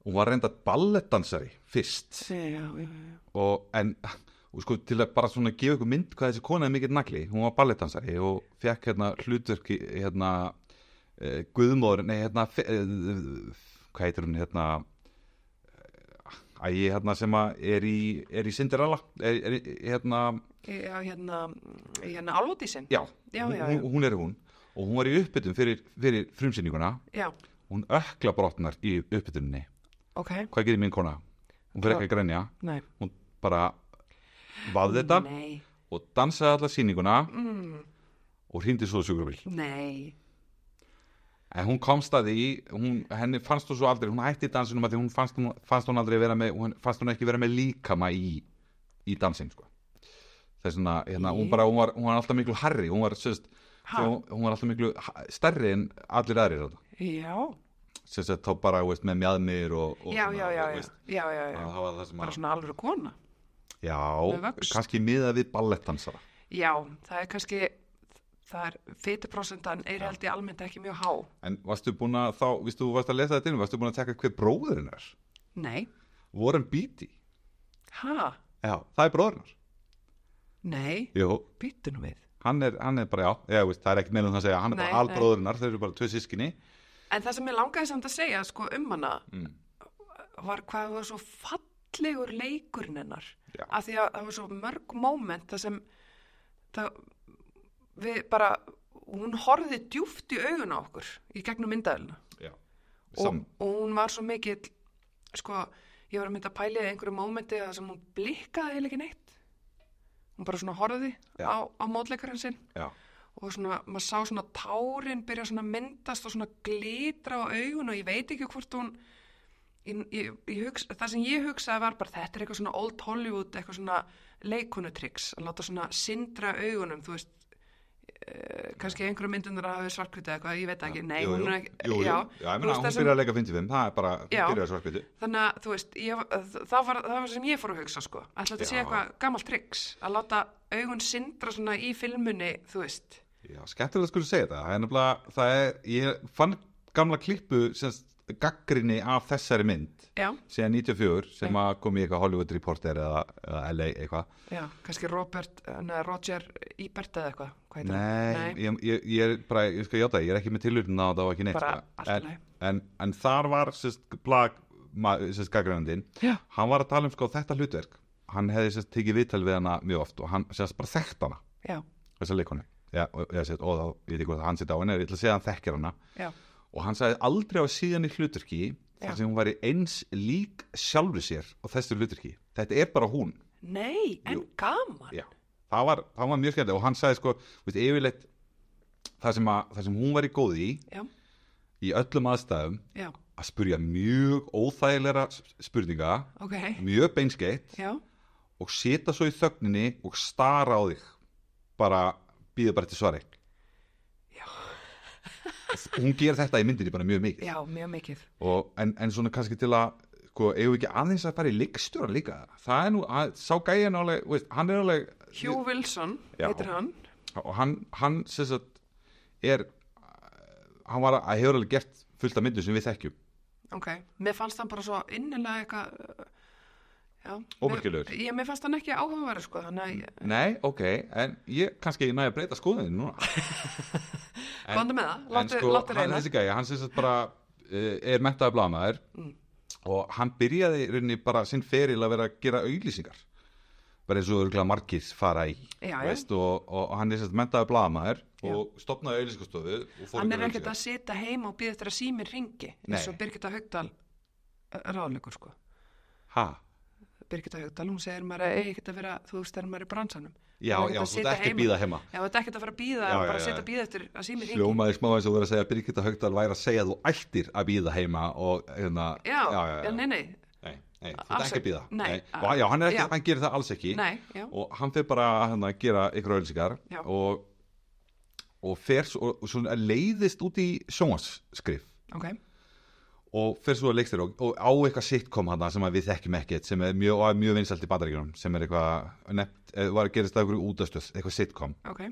[SPEAKER 1] hún var reynda ballettdansari fyrst
[SPEAKER 2] Sí, já, já, já.
[SPEAKER 1] og, en, og sko, til að bara svona gefa ykkur mynd hvað þessi kona er mikill nagli hún var ballettdansari og fekk hérna hlutverki hérna uh, guðmóður, nei hérna uh, hvað heitir hún hérna ægi hérna sem að er í, er í Cinderella er, er, í- hérna,
[SPEAKER 2] Já, hérna, hérna Álfótísin.
[SPEAKER 1] já,
[SPEAKER 2] Já,
[SPEAKER 1] hún,
[SPEAKER 2] já, já.
[SPEAKER 1] hún, hún er hún og hún var í uppbytun fyrir, fyrir frumsýninguna
[SPEAKER 2] Já,
[SPEAKER 1] hún ökla brotnar í uppbytuninni
[SPEAKER 2] ok,
[SPEAKER 1] hvað gerir mín kona? hún fyrir ekki að grenja
[SPEAKER 2] nei.
[SPEAKER 1] hún bara vafði þetta
[SPEAKER 2] Nei,
[SPEAKER 1] og dansaði alla sýninguna
[SPEAKER 2] mm,
[SPEAKER 1] og hrýndi svo sjúkrabíl
[SPEAKER 2] nei.
[SPEAKER 1] en hún komst að því, hún, henni fannst þú svo aldrei hún hætti dansinum að því hún fannst hún, fannst hún aldrei vera með, hún fannst hún ekki vera með líkama í, í dansin sko. það er svona, hérna, hún
[SPEAKER 2] Í.
[SPEAKER 1] bara, hún var, hún var alltaf miklu harri, hún var, sérst,
[SPEAKER 2] Ha?
[SPEAKER 1] hún, hún var alltaf miklu ha- stærri en allir aðrir þarna.
[SPEAKER 2] já,
[SPEAKER 1] sérst, þá bara, þú veist, með mjadmir og, og
[SPEAKER 2] já,
[SPEAKER 1] svona,
[SPEAKER 2] já, já,
[SPEAKER 1] þú
[SPEAKER 2] já,
[SPEAKER 1] veist,
[SPEAKER 2] já, já,
[SPEAKER 1] að
[SPEAKER 2] já.
[SPEAKER 1] það var það sem
[SPEAKER 2] bara
[SPEAKER 1] að,
[SPEAKER 2] svona alveg kona með
[SPEAKER 1] já,
[SPEAKER 2] vöxt.
[SPEAKER 1] kannski miða við ballettansara,
[SPEAKER 2] já, það er kannski það er fytuprosentan er held ég almennt ekki mjög há
[SPEAKER 1] en varstu búin að þá, vistu, þú varst að lesa þetta inn, varstu búin að tekka hver bróðurinn er,
[SPEAKER 2] nei,
[SPEAKER 1] Warren Beatty,
[SPEAKER 2] ha,
[SPEAKER 1] já, það er bróðurinn,
[SPEAKER 2] nei
[SPEAKER 1] jú,
[SPEAKER 2] býttu nú við
[SPEAKER 1] hann er, hann er bara, já, ég, veist, það er ekkert meðlum það að segja, hann er
[SPEAKER 2] Nei,
[SPEAKER 1] bara albróðurinnar, þeir eru bara tvö sískinni.
[SPEAKER 2] en það sem ég langaði samt að segja sko um hana
[SPEAKER 1] Mm.
[SPEAKER 2] var hvað það var svo fallegur leikurinn hennar
[SPEAKER 1] Já.
[SPEAKER 2] af því að það var svo mörg moment það sem það, við bara hún horfði djúft í augun á okkur í gegnum myndaðilina
[SPEAKER 1] Já,
[SPEAKER 2] og,
[SPEAKER 1] Sam,
[SPEAKER 2] og hún var svo mikill sko, ég var að mynda að pæli einhverju mómenti það sem hún blikkaði heil ekki neitt hún bara svona horfði
[SPEAKER 1] Já.
[SPEAKER 2] á, á mótleikarinn sinn
[SPEAKER 1] já,
[SPEAKER 2] og svona, maður sá svona tárin byrja svona að myndast og svona glitra á augun og ég veit ekki hvort hún ég, ég, ég hugsa, það sem ég hugsaði var bara þetta er eitthvað svona old Hollywood eitthvað svona leikunutryggs að láta svona sindra augunum þú veist Uh, kannski einhverjum myndunar að hafa svartkvita eða eitthvað, ég veit það ekki, nei,
[SPEAKER 1] jú, jú,
[SPEAKER 2] hún er ekki
[SPEAKER 1] jú, jú.
[SPEAKER 2] já,
[SPEAKER 1] já, ég
[SPEAKER 2] þú
[SPEAKER 1] meina,
[SPEAKER 2] veist,
[SPEAKER 1] hún
[SPEAKER 2] það sem-
[SPEAKER 1] byrjar að leika 55, það er bara,
[SPEAKER 2] Já.
[SPEAKER 1] hún byrjar að svarkviti.
[SPEAKER 2] þannig að, þú veist, ég, það, var, það var sem ég fór að hugsa, sko ætla þetta sé
[SPEAKER 1] Já.
[SPEAKER 2] eitthvað gamalt tryggs að láta augun sindra svona í filmunni, þú veist
[SPEAKER 1] Já, skemmtilega skulum segja þetta, það er nefnilega, það er, ég fann gamla klippu, semst, gaggrinni af þessari mynd,
[SPEAKER 2] já,
[SPEAKER 1] síðan 94, sem að kom í eitthvað Hollywood Reporter eða, eða LA eitthvað.
[SPEAKER 2] já, kannski Robert, neða Roger Ebert eða eitthvað, hvað heitir
[SPEAKER 1] Nei,
[SPEAKER 2] hann?
[SPEAKER 1] ég, ég, ég er bara, ég skal játa, ég er ekki með tilhjörnum á þetta og ekki neitt.
[SPEAKER 2] Bara
[SPEAKER 1] sko.
[SPEAKER 2] allt í
[SPEAKER 1] En-
[SPEAKER 2] lagi.
[SPEAKER 1] En, en þar var, sérst, plag, ma- sérst, gaggrinandinn,
[SPEAKER 2] Já,
[SPEAKER 1] hann var að tala um sko þetta hlutverk hann hefði sérst tekið viðtal við hana mjög oft og hann sérst bara þekkt hana
[SPEAKER 2] já,
[SPEAKER 1] þessa leikonu ja, og, og, sérst, og þá, ég veit ekki hvað hann setja á henni ég ætla að segja að hann þekkir hana
[SPEAKER 2] já,
[SPEAKER 1] og hann sagði aldrei á síðan í hlutverki
[SPEAKER 2] Já.
[SPEAKER 1] þar sem hún væri eins lík sjálfri sér og þessu hlutverki þetta er bara hún
[SPEAKER 2] nei, en gaman
[SPEAKER 1] Já, það var, það var mjög skemmt og hann sagði sko, veist, yfirleitt það sem, að, það sem hún væri góð í
[SPEAKER 2] já,
[SPEAKER 1] í öllum aðstæðum
[SPEAKER 2] já,
[SPEAKER 1] að spurja mjög óþægilega spurninga
[SPEAKER 2] ok
[SPEAKER 1] mjög beinskeitt
[SPEAKER 2] já,
[SPEAKER 1] og setja svo í þögninni og stara á þig bara býða bara til svari
[SPEAKER 2] Já.
[SPEAKER 1] hún ger þetta í myndinni bara mjög mikið
[SPEAKER 2] já, mjög mikið
[SPEAKER 1] og, en, en svona kannski til að sko, eigum við ekki aðeins að fara í leikstjóra líka það er nú, að, sá gæjan alveg veist, hann er alveg
[SPEAKER 2] Hugh Wilson,
[SPEAKER 1] Já.
[SPEAKER 2] heitir hann
[SPEAKER 1] og hann, hann sem sagt er hann var að hefur alveg gert fullt af myndum sem við þekkjum
[SPEAKER 2] ok, mér fannst hann bara svo innilega eitthvað uh, já,
[SPEAKER 1] Ómerkilegur.
[SPEAKER 2] Mér- já, mér fannst hann ekki áhugaverð, sko þannig að, ég-
[SPEAKER 1] nei, ok, en ég kannski næði að breyta skoðinni núna En-
[SPEAKER 2] komdu með það,
[SPEAKER 1] en
[SPEAKER 2] láttu
[SPEAKER 1] sko,
[SPEAKER 2] láttu
[SPEAKER 1] hann,
[SPEAKER 2] reyna
[SPEAKER 1] þessi gæja, hann sem sagt bara uh, er mentaði blamaður
[SPEAKER 2] Mm.
[SPEAKER 1] og hann byrjaði í rauninni bara sinn feril að vera að gera auglýsingar bara eins og örgulega margir fara í
[SPEAKER 2] Já, já.
[SPEAKER 1] veist, og, og, og hann er sem sagt mentaði blamaður
[SPEAKER 2] Já.
[SPEAKER 1] og stopnaði auglýsingastofu og fór
[SPEAKER 2] hann
[SPEAKER 1] að
[SPEAKER 2] er
[SPEAKER 1] gera
[SPEAKER 2] ekkert
[SPEAKER 1] auglýsingar.
[SPEAKER 2] að sita heima og býða eftir að síminn ringi eins
[SPEAKER 1] Nei.
[SPEAKER 2] og Birgitta Haugdal ráðleikur sko
[SPEAKER 1] ha,
[SPEAKER 2] Birgitta Haugdal, hún segir maður að ekkert að vera þú veist þegar maður er í bransanum
[SPEAKER 1] já, já,
[SPEAKER 2] Hann er ekkert að
[SPEAKER 1] þú
[SPEAKER 2] sitja
[SPEAKER 1] ert ekki að
[SPEAKER 2] heima.
[SPEAKER 1] býða heima
[SPEAKER 2] Já, þetta er ekkert að fara að býða,
[SPEAKER 1] Já,
[SPEAKER 2] já, bara
[SPEAKER 1] já,
[SPEAKER 2] að
[SPEAKER 1] já,
[SPEAKER 2] sita
[SPEAKER 1] já.
[SPEAKER 2] að býða eftir að síminn ringi
[SPEAKER 1] hljómaði smá eins og verið að segja að Birgitta Haugdal væri að segja að þú ættir að býða heima og hérna,
[SPEAKER 2] já, já, nei, nei,
[SPEAKER 1] Nei, nei, þú ert
[SPEAKER 2] Alls
[SPEAKER 1] ekki að
[SPEAKER 2] ekki.
[SPEAKER 1] býða
[SPEAKER 2] Nei,
[SPEAKER 1] Og, já, hann, er ekki,
[SPEAKER 2] já.
[SPEAKER 1] hann gerir það alls ekki
[SPEAKER 2] nei, já,
[SPEAKER 1] og hann fer bara að hérna, gera ykkur auðlýsingar
[SPEAKER 2] Já.
[SPEAKER 1] og, og fer svo, og svona leiðist út í sjónvarsskrif
[SPEAKER 2] ok,
[SPEAKER 1] og fer svo að leikstir og, og á eitthvað sitcom hann sem að við þekkjum ekkert sem er mjög, og er mjög vinsælt í bandaríkjunum sem er eitthvað nefnt, eh, var að gerast að ykkur útastöð eitthvað sitcom,
[SPEAKER 2] ok,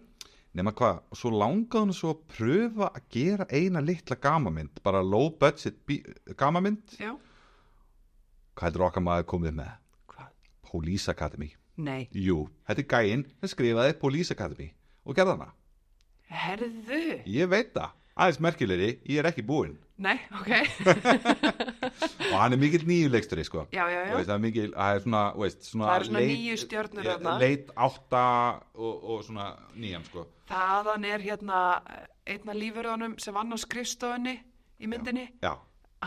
[SPEAKER 1] nema hvað og svo langaði hann svo að pröfa að gera eina litla gamamynd, bara low budget bí- gamamynd,
[SPEAKER 2] já,
[SPEAKER 1] hvað heldur okkar maður komið með
[SPEAKER 2] hvað,
[SPEAKER 1] Police Academy,
[SPEAKER 2] nei,
[SPEAKER 1] jú, þetta er gæinn sem skrifaði Police Academy og gerði hana
[SPEAKER 2] herðu,
[SPEAKER 1] Ég veit það, aðeins merkilegri, ég er ekki búinn
[SPEAKER 2] nei, ok,
[SPEAKER 1] og hann er mikill nýjuleiksturi sko
[SPEAKER 2] já, já,
[SPEAKER 1] Þú
[SPEAKER 2] já,
[SPEAKER 1] veist, það er mikill, það er svona, þú veist, svona
[SPEAKER 2] Það eru svona níu stjörnur
[SPEAKER 1] eh,
[SPEAKER 2] þarna.
[SPEAKER 1] leit átta og, og svona nýjan sko
[SPEAKER 2] þaðan er hérna einna lífurðunum sem vann á skrifstofunni í myndinni,
[SPEAKER 1] já,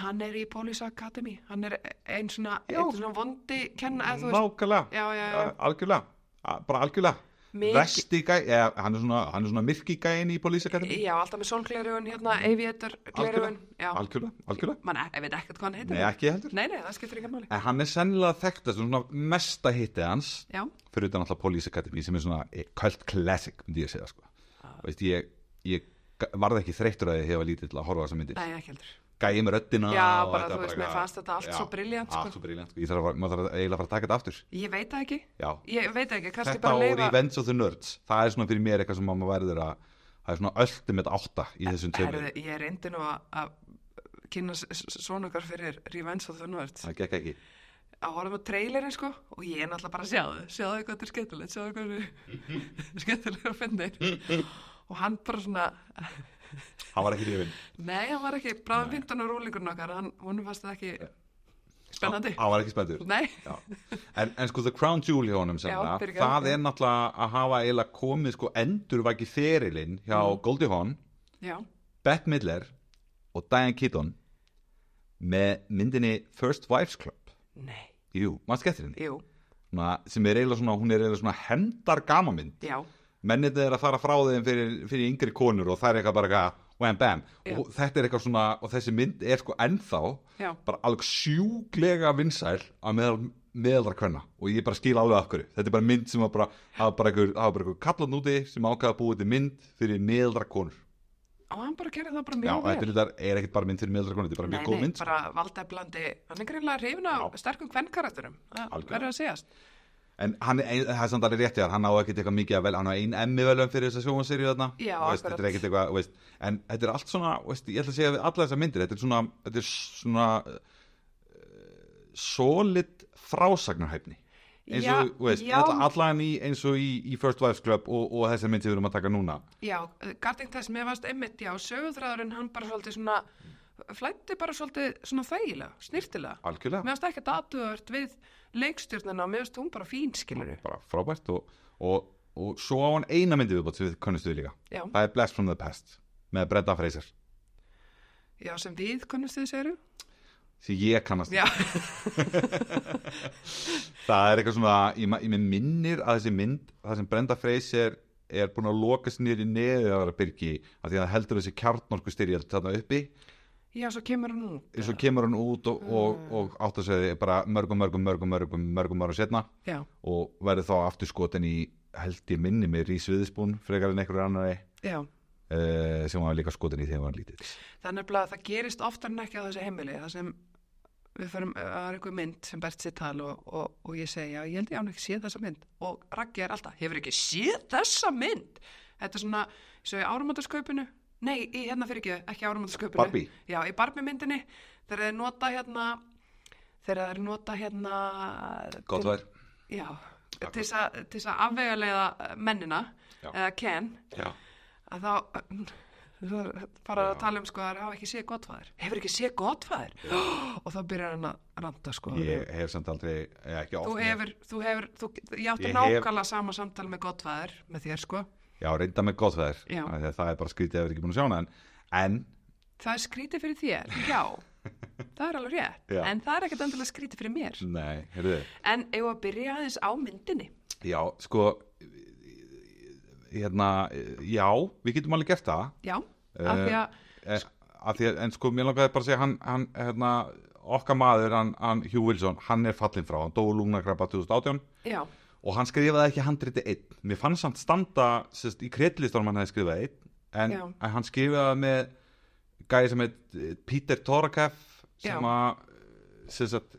[SPEAKER 2] hann er í Police Academy, hann er einn svona,
[SPEAKER 1] Já.
[SPEAKER 2] einn svona vondi kenna, eða þú veist,
[SPEAKER 1] nákvæmlega
[SPEAKER 2] já, já, já,
[SPEAKER 1] algjörlega, A- bara algjörlega
[SPEAKER 2] mikið
[SPEAKER 1] vesti gæ, eða, hann er svona, hann er svona myrki gæin í polísakademi
[SPEAKER 2] já, alltaf með sólglerugun, hérna, aviator glerugun, já,
[SPEAKER 1] algjörlega, algjörlega
[SPEAKER 2] mann, ég veit ekkert hvað hann heitir
[SPEAKER 1] nei ekki heldur
[SPEAKER 2] nei, nei, það skiptir ekki máli
[SPEAKER 1] en hann er sennilega þekktast um svona mesta hitti hans
[SPEAKER 2] já,
[SPEAKER 1] fyrir utan alltaf Police Academy sem er svona eh, cult classic myndi ég segja sko Veist, ég, ég g- varð ekki þreyttur að ég hefa lítið til að horfa á þessar myndir
[SPEAKER 2] nei, ekki heldur
[SPEAKER 1] gæði með röddina
[SPEAKER 2] Já,
[SPEAKER 1] og
[SPEAKER 2] bara,
[SPEAKER 1] þetta
[SPEAKER 2] þú veist, mér fannst þetta allt
[SPEAKER 1] já,
[SPEAKER 2] svo brilliant, sko.
[SPEAKER 1] allt svo briljant sko. ég þarf að, maður þarf að eiginlega að fara að taka þetta aftur
[SPEAKER 2] ég veit það ekki,
[SPEAKER 1] já,
[SPEAKER 2] ég veit það ekki kannski
[SPEAKER 1] þetta
[SPEAKER 2] bara
[SPEAKER 1] og
[SPEAKER 2] leifa
[SPEAKER 1] Revenge of the Nerds það er svona fyrir mér eitthvað sem maður verður að það er svona ultimate átta í þessum tveimur
[SPEAKER 2] Herðu, ég reyndi nú að- að kynna svonungar fyrir Revenge of the Nerds
[SPEAKER 1] það gekk ekki
[SPEAKER 2] að horfa á trailerin sko og ég er náttúrulega bara að sjá þau sjá þau hvað þetta er skemmtilegt sjá þau hvað þetta er skemmtilega að finna og hann bara svona
[SPEAKER 1] hann var ekki lífin
[SPEAKER 2] nei, hann var ekki bráðum 15 og rúlingurinn okkar hann, hún fannst það ekki spennandi
[SPEAKER 1] hann var ekki spenntur
[SPEAKER 2] nei,
[SPEAKER 1] Já. en, en sko The Crown Jewel hjá honum sem
[SPEAKER 2] Já,
[SPEAKER 1] það,
[SPEAKER 2] fyrirgefðu.
[SPEAKER 1] það er náttúrulega að hafa eiginlega komið sko endurvæki ferilinn hjá
[SPEAKER 2] Mm.
[SPEAKER 1] Goldie Hawn,
[SPEAKER 2] já,
[SPEAKER 1] Bette Midler og Diane Keaton með myndinni First Wives Club
[SPEAKER 2] nei,
[SPEAKER 1] jú, maður skettir henni
[SPEAKER 2] jú,
[SPEAKER 1] svona, sem er eiginlega svona, hún er eiginlega svona hendar gamamynd,
[SPEAKER 2] já
[SPEAKER 1] mennið er að fara frá þeim fyrir, fyrir yngri konur og það er eitthvað bara eitthvað wham bam
[SPEAKER 2] Já.
[SPEAKER 1] og þetta er eitthvað svona, og þessi mynd er sko ennþá
[SPEAKER 2] Já.
[SPEAKER 1] bara alveg sjúklega vinsæl að meðal, meðalra kvenna og ég bara skil alveg af hverju, þetta er bara mynd sem var bara, það var bara einhver, það var bara einhver kallan úti sem ákvaða að búið til mynd fyrir meðalra konur
[SPEAKER 2] og hann bara gerði það bara
[SPEAKER 1] Já,
[SPEAKER 2] mjög
[SPEAKER 1] og þetta
[SPEAKER 2] vel
[SPEAKER 1] er, þetta er ekkert bara mynd fyrir meðalra konur, þetta er bara mjög góð mynd sko.
[SPEAKER 2] bara valdeflandi, hann er greinlega hrifin af
[SPEAKER 1] Já.
[SPEAKER 2] sterkum kvennkarakterum, það
[SPEAKER 1] Algjörlega.
[SPEAKER 2] verður að segjast
[SPEAKER 1] en hann, er ein- það er samt alveg rétt hjá þér, hann á ekkert eitthvað mikið að vel, hann á ein emmi velum fyrir þessa sjómanseríu þarna
[SPEAKER 2] Já,
[SPEAKER 1] Og veist,
[SPEAKER 2] akkurat.
[SPEAKER 1] þetta er ekkert eitthvað, þú veist, en þetta er allt svona þú veist, ég ætla að segja við alla þessar myndir þetta er svona, þetta er svona uh, solid frásagnarhæfni eins og,
[SPEAKER 2] Já,
[SPEAKER 1] þú veist,
[SPEAKER 2] já.
[SPEAKER 1] alla, allan í eins og í, í First Wives Club og, og þessar mynd sem við erum að taka núna
[SPEAKER 2] Já, Garding þess mér varst einmitt, já, sögurþræðurinn hann bara svolítið svona, flætti bara svolítið svona þægilega, snýrtilega.
[SPEAKER 1] algjörlega,
[SPEAKER 2] Mér varst ekki aðtöðvert við leikstjórnina og mér varst hún bara fín, skilur við.
[SPEAKER 1] bara frábært og, og, og svo á hann eina myndi viðbótt sem við konnustu við líka,
[SPEAKER 2] Já,
[SPEAKER 1] það er Blast from the Past með Brenda Fraser,
[SPEAKER 2] já, sem við kunnumst þið segiru.
[SPEAKER 1] sem ég kannast
[SPEAKER 2] Já,
[SPEAKER 1] það er eitthvað svona, ég, ma- ég mig minnir að þessi mynd, það sem Brenda Fraser er búin að loka sér niður í neðu að vera byrgi, af því að það heldur þessi kjarnorku styrjöld þarna uppi,
[SPEAKER 2] já, svo kemur hún út.
[SPEAKER 1] eins og kemur hann út og, og,
[SPEAKER 2] Mm.
[SPEAKER 1] og átt að segja bara mörgum, mörgum, mörgum, mörgum, mörgum ára setna
[SPEAKER 2] Já,
[SPEAKER 1] og verður þá aftur skotin í held ég minni með Rís Viðspún frekar en einhverju annari
[SPEAKER 2] já.
[SPEAKER 1] uh, sem var líka skotin í þegar hann lítill
[SPEAKER 2] Það er nefnilega að það gerist oftar en ekki á þessu heimili, það sem við förum, eh, það er einhver mynd sem bært sér tal og, og, og ég segi, já, ég held ég án ekki séð þessa mynd og Raggi er alltaf, hefur ekki séð þessa mynd? Þetta er svona, svo í árumandarskaupinu, nei, í hérna fyrir ekki, ekki árumandarskaupinu.
[SPEAKER 1] Barbie?
[SPEAKER 2] Já, í Barbie myndinni, þegar þeir nota hérna, þegar þeir nota hérna...
[SPEAKER 1] gott var
[SPEAKER 2] Til, já, til þess að- til þess að afvegulega mennina,
[SPEAKER 1] Já.
[SPEAKER 2] eða Ken,
[SPEAKER 1] já.
[SPEAKER 2] að þá þú bara að tala um sko að hafa ekki séð gottfæðir hefur ekki séð gottfæðir og þá byrjar hann að ranta sko
[SPEAKER 1] ég hef samt aldrei, eh, ekki
[SPEAKER 2] þú
[SPEAKER 1] oft
[SPEAKER 2] hefur, þú hefur þú, ég átti
[SPEAKER 1] Ég hef-
[SPEAKER 2] nákvæmlega sama samtal með gottfæðir með þér sko,
[SPEAKER 1] já, reynda með gott veður
[SPEAKER 2] Já.
[SPEAKER 1] Af því að það er bara skrítið að vera ekki búin að sjá hana en, en
[SPEAKER 2] það er skrítið fyrir þér já, það er alveg rétt
[SPEAKER 1] Já.
[SPEAKER 2] en það er ekkert endilega skrítið fyrir mér
[SPEAKER 1] nei, heyrðu
[SPEAKER 2] en eigum við að byrja aðeins á myndinni
[SPEAKER 1] já, sko hérna, eh, já við getum alveg gert það
[SPEAKER 2] já, af því að
[SPEAKER 1] Eh, af því að, en sko, mér langaði bara að segja hann, hann hérna, okkar maður, hann, hann Hugh Wilson, hann er fallin frá, hann dói lungnakrabba 2018
[SPEAKER 2] já,
[SPEAKER 1] og hann skrifaði ekki handriti einn mér fannst samt standa sérst, í kredlistanum hann hefði skrifað einn en,
[SPEAKER 2] Já.
[SPEAKER 1] en hann skrifaði með gæði sem heit eh, Peter Torakef
[SPEAKER 2] Já.
[SPEAKER 1] sem að eh, sérst, að,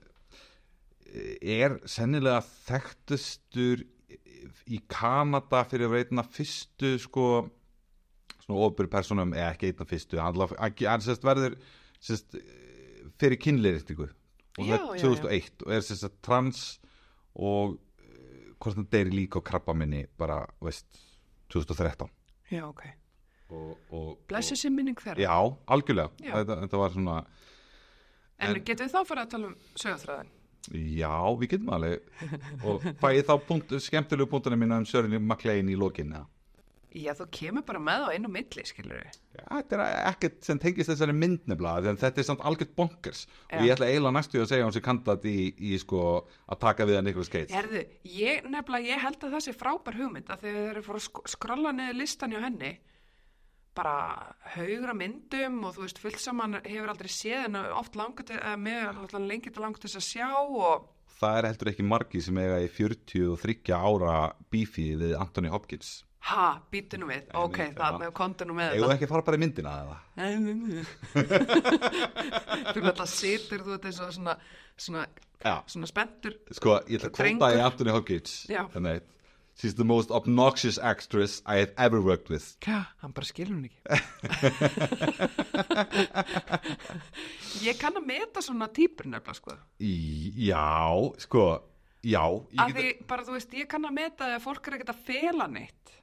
[SPEAKER 1] er sennilega þekktustur í Kanada fyrir að vera einn af fyrstu sko svona ofur personum eða ekki einn af fyrstu hann, hann, hann sérst, verður sérst, eh, fyrir kynleiriktingu og það
[SPEAKER 2] Já,
[SPEAKER 1] er
[SPEAKER 2] já, já.
[SPEAKER 1] 2001 og er sérst, að trans og eh, hvort hann deyri líka á krabba minni bara, veist, 2013
[SPEAKER 2] já, ok
[SPEAKER 1] og, og,
[SPEAKER 2] blessu sér minning
[SPEAKER 1] og
[SPEAKER 2] þeirra
[SPEAKER 1] já, algjörlega
[SPEAKER 2] Já.
[SPEAKER 1] Þetta, þetta var svona,
[SPEAKER 2] en getum við þá fyrir að tala um sögurþræðin
[SPEAKER 1] já, við getum alveg og fæ ég þá punkt, skemmtilegu punktana mína um Sörni McLean í lokinna
[SPEAKER 2] Já, þú kemur bara með þá inn á milli, skilur við.
[SPEAKER 1] Já, þetta er ekkert sem tengist þessari mynd nefnilega en þetta er samt algjört bonkers
[SPEAKER 2] Já.
[SPEAKER 1] og ég ætla eiginlega næstu að segja hún sem kandat í, í sko að taka við að Nicholas Cage
[SPEAKER 2] Herðu, ég nefnilega, ég held að það sé frábær hugmynd að þegar þeir eru fór að sk- skrolla niður listan hjá henni, bara haugra myndum og þú veist, fullt sem hann hefur aldrei séð en oft langar til, eh, eða mig er alltaf lengi til langar til þess að sjá og
[SPEAKER 1] það er heldur ekki margi sem eiga í 43 ára bífi við Anthony Hopkins
[SPEAKER 2] ha, býtu nú við, ok,
[SPEAKER 1] nei,
[SPEAKER 2] það
[SPEAKER 1] það-
[SPEAKER 2] með kontu nú með
[SPEAKER 1] eigum við ekki að fara bara í myndina eða
[SPEAKER 2] þetta. Þú náttúrulega situr, þú veit, eins og svona, svona,
[SPEAKER 1] Já.
[SPEAKER 2] svona spenntur.
[SPEAKER 1] sko, ég ætla að kvota
[SPEAKER 2] Drengur.
[SPEAKER 1] í Anthony Hopkins
[SPEAKER 2] Já.
[SPEAKER 1] Þannig, she's the most obnoxious actress I have ever worked with
[SPEAKER 2] Hva? Hann bara skilur hún ekki. ég kann að meta svona típur nefnilega, sko.
[SPEAKER 1] í, já, sko já, ég
[SPEAKER 2] Af því, bara þú veist, ég kann að meta að fólk er ekkert að fela neitt.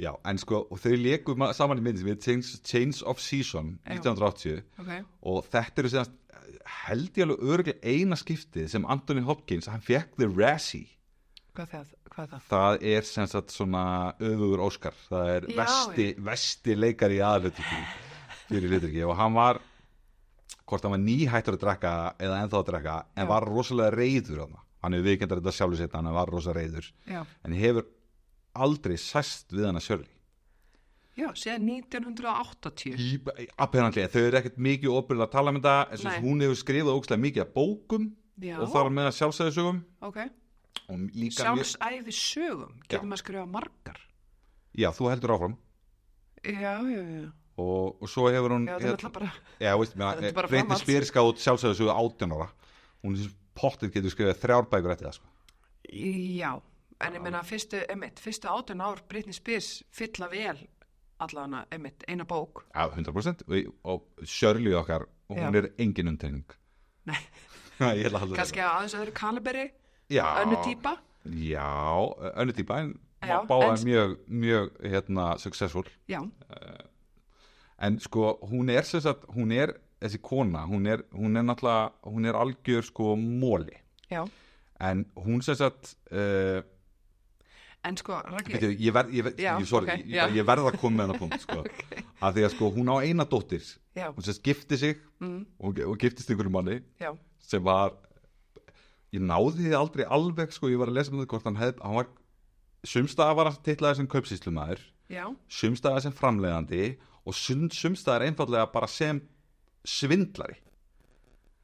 [SPEAKER 1] já, en sko og þau leku saman í mynd sem við Change, Change of Season
[SPEAKER 2] Já.
[SPEAKER 1] 1980
[SPEAKER 2] Ok.
[SPEAKER 1] og þetta eru síðan held ég alveg öruglega eina skiptið sem Anthony Hopkins, hann fekk The Razzie
[SPEAKER 2] Hvað það? Hvað það?
[SPEAKER 1] það er sem sagt svona öfugur Óskar, það er
[SPEAKER 2] Já,
[SPEAKER 1] vesti, vesti leikari í aðlutryggi fyrir hlutryggi og hann var hvort hann var nýhættur að drekka eða ennþá að drekka, en
[SPEAKER 2] Já.
[SPEAKER 1] var rosalega reyður hann, hann hefur viðkendar þetta sjálfur sétt hann var rosalega reyður,
[SPEAKER 2] Já.
[SPEAKER 1] en hefur aldrei sæst við hann að sjörli
[SPEAKER 2] Já, séðan 1980.
[SPEAKER 1] appenanlega, þau eru ekkert mikið opurlega að tala um þetta, en sem
[SPEAKER 2] Nei.
[SPEAKER 1] sagt, hún hefur skrifað ógstlega mikið af bókum
[SPEAKER 2] Já.
[SPEAKER 1] og þar með að sjálfsæðisögum
[SPEAKER 2] Ok.
[SPEAKER 1] og líka mjög-
[SPEAKER 2] Sjálfsæði sögum.
[SPEAKER 1] Já.
[SPEAKER 2] Getur maður að skrifa margar.
[SPEAKER 1] já, þú heldur áfram
[SPEAKER 2] Já, já, já.
[SPEAKER 1] og, og svo hefur hún
[SPEAKER 2] Já, það er
[SPEAKER 1] hérna-
[SPEAKER 2] alltaf bara...
[SPEAKER 1] Já, veist,
[SPEAKER 2] Þetta er
[SPEAKER 1] meina,
[SPEAKER 2] bara
[SPEAKER 1] Britney
[SPEAKER 2] framhalds.
[SPEAKER 1] Spears gáð sjálfsögðsögðu 18 ára hún sem pottið getur skrifað þrjár bækur eftir það sko.
[SPEAKER 2] Já. En ég meina, fyrstu, emitt, fyrstu átun ár Britney Spears fylla vel allavega, emitt, eina bók.
[SPEAKER 1] Já, 100% og, og Shirley okkar, hún
[SPEAKER 2] Já.
[SPEAKER 1] er engin undtegning
[SPEAKER 2] Nei.
[SPEAKER 1] Ég ætla að halda
[SPEAKER 2] Kannski að aðeins öðru kaliberi,
[SPEAKER 1] Já.
[SPEAKER 2] önnu típa.
[SPEAKER 1] Já, önnu típa en
[SPEAKER 2] Já,
[SPEAKER 1] báða
[SPEAKER 2] en-
[SPEAKER 1] mjög, mjög hérna, successful
[SPEAKER 2] Já.
[SPEAKER 1] en sko, hún er sem sagt, hún er þessi kona, hún er, hún er náttúrulega, hún er algjör sko móli
[SPEAKER 2] Já.
[SPEAKER 1] en hún sem sagt uh,
[SPEAKER 2] En sko, Raggi...
[SPEAKER 1] Bíddu, ég, verð, ég, verð,
[SPEAKER 2] Já,
[SPEAKER 1] ég, sorry,
[SPEAKER 2] ok,
[SPEAKER 1] ég,
[SPEAKER 2] já.
[SPEAKER 1] bara- ég verð að koma með hennar punkt sko. að því að sko, hún á eina dóttir
[SPEAKER 2] Já,
[SPEAKER 1] hún sérst gifti sig
[SPEAKER 2] mm,
[SPEAKER 1] og, og giftist einhverjum manni
[SPEAKER 2] já.
[SPEAKER 1] sem var ég náði því aldrei alveg sko, ég var að lesa um það hvort hann hefði hann var, sumstaða var hann titlaði sem kaupsýslumæður
[SPEAKER 2] Já,
[SPEAKER 1] sumstaða sem framleiðandi og sum, sumstaða er einfallega bara sem svindlari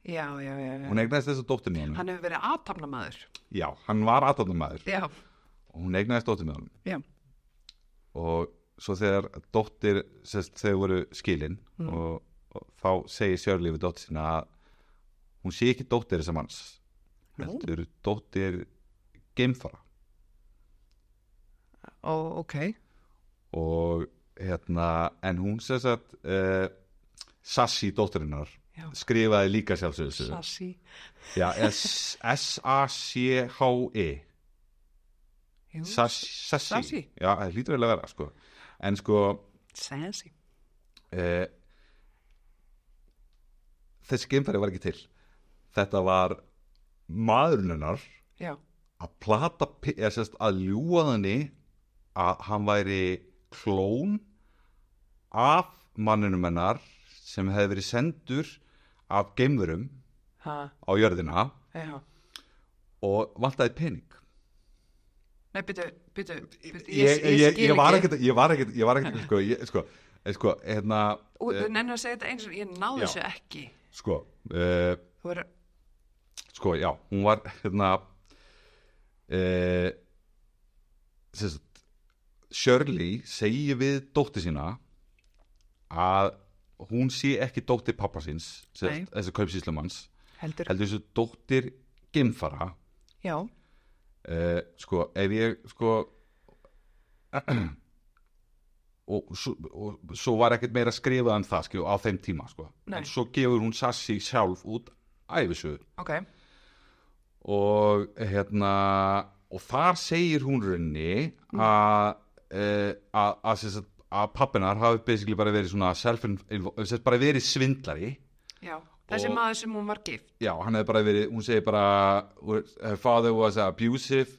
[SPEAKER 2] já, já, já, já.
[SPEAKER 1] hún eignaðist þessa dóttir með honum
[SPEAKER 2] Hann hefur verið aðtapnamaður.
[SPEAKER 1] já, hann var aðtöndumæður
[SPEAKER 2] Já,
[SPEAKER 1] og hún eignaðist dóttir með honum
[SPEAKER 2] já,
[SPEAKER 1] og svo þegar dóttir sest, þau voru skilin
[SPEAKER 2] Mm.
[SPEAKER 1] og, og þá segir Sjörli við dóttir sína að hún sé ekki dóttir þessa manns
[SPEAKER 2] Nú.
[SPEAKER 1] heldur dóttir geimfara
[SPEAKER 2] ó, ok.
[SPEAKER 1] og hérna en hún sess að uh, Sassi dóttirinnar
[SPEAKER 2] Já.
[SPEAKER 1] skrifaði líka sjálfsögðu
[SPEAKER 2] Sassi.
[SPEAKER 1] Já, S- S-A-C-H-I
[SPEAKER 2] Jú,
[SPEAKER 1] E. Sassi Sassi.
[SPEAKER 2] Sassi.
[SPEAKER 1] Já, það lítur vel að vera sko. en sko
[SPEAKER 2] Sassi.
[SPEAKER 1] uh, þessi geimfæri var ekki til þetta var maðurinn hennar
[SPEAKER 2] Já,
[SPEAKER 1] að plata pi- eða sérst að ljúga þenni að hann væri klón af manninum hennar sem hefði verið sendur af geimverum
[SPEAKER 2] ha,
[SPEAKER 1] á jörðina
[SPEAKER 2] já.
[SPEAKER 1] og vantaði pening
[SPEAKER 2] Nei, byttu, byttu, byttu.
[SPEAKER 1] ég, ég, ég var ekkert ég var ekkert, ég var ekkert sko, ég, sko, eh, sko, hérna
[SPEAKER 2] Ú, þú nennir að segja þetta eins og ég náði
[SPEAKER 1] Já.
[SPEAKER 2] þessu ekki.
[SPEAKER 1] sko uh,
[SPEAKER 2] Þú verður,
[SPEAKER 1] sko, já, hún var hérna e, sérst, Shirley segir við dóttir sína að hún sé ekki dóttir pappa síns
[SPEAKER 2] Nei.
[SPEAKER 1] sérst, þessi kaupsýslumanns
[SPEAKER 2] heldur.
[SPEAKER 1] heldur þessu dóttir geimfara
[SPEAKER 2] Já,
[SPEAKER 1] e, sko, ef ég sko og svo, og svo var ekkert meira skrifað um það skjó, á þeim tíma sko.
[SPEAKER 2] Nei.
[SPEAKER 1] en svo gefur hún Sassi sjálf út æfisöðu
[SPEAKER 2] ok.
[SPEAKER 1] og hérna og þar segir hún runni að eh, að að sem sagt, að pappinar hafi basically bara verið svona self sagt, bara verið svindlari
[SPEAKER 2] Já, þessi
[SPEAKER 1] Og-
[SPEAKER 2] maður sem hún var gift.
[SPEAKER 1] já, hann hefði bara verið, hún segir bara eh, her father was an abusive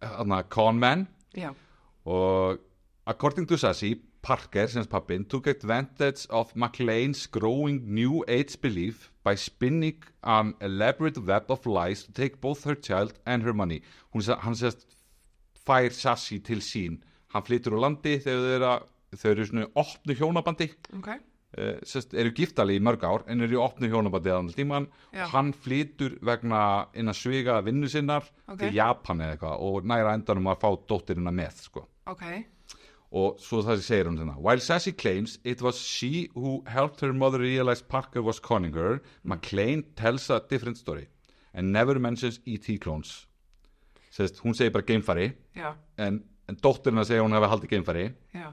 [SPEAKER 1] hana, con man
[SPEAKER 2] Já,
[SPEAKER 1] og According to Sassy, Parker, sem pappin, took advantage of McLean's growing new age belief by spinning an elaborate web of lies to take both her child and her money. Hún, sa- hann sérst fær Sassy til sín. Hann flytur úr landi þegar þau eru, að- þau eru í svona opnu hjónabandi
[SPEAKER 2] ok,
[SPEAKER 1] uh, sest, eru giftali í mörg ár en eru í opnu hjónabandi þannig tíman
[SPEAKER 2] Já.
[SPEAKER 1] og hann flytur vegna innan sviga vinnu sinnar
[SPEAKER 2] Ok.
[SPEAKER 1] til Japan eða eitthvað og næra endanum að fá dóttirina með sko.
[SPEAKER 2] ok,
[SPEAKER 1] og svo það segir hún þarna While Sassy claims it was she who helped her mother realize Parker was conning her McLean tells a different story and never mentions E.T. clones sest, hún segir bara geimfari
[SPEAKER 2] já,
[SPEAKER 1] en, en dóttirina segir að hún hefði haldið geimfari
[SPEAKER 2] já,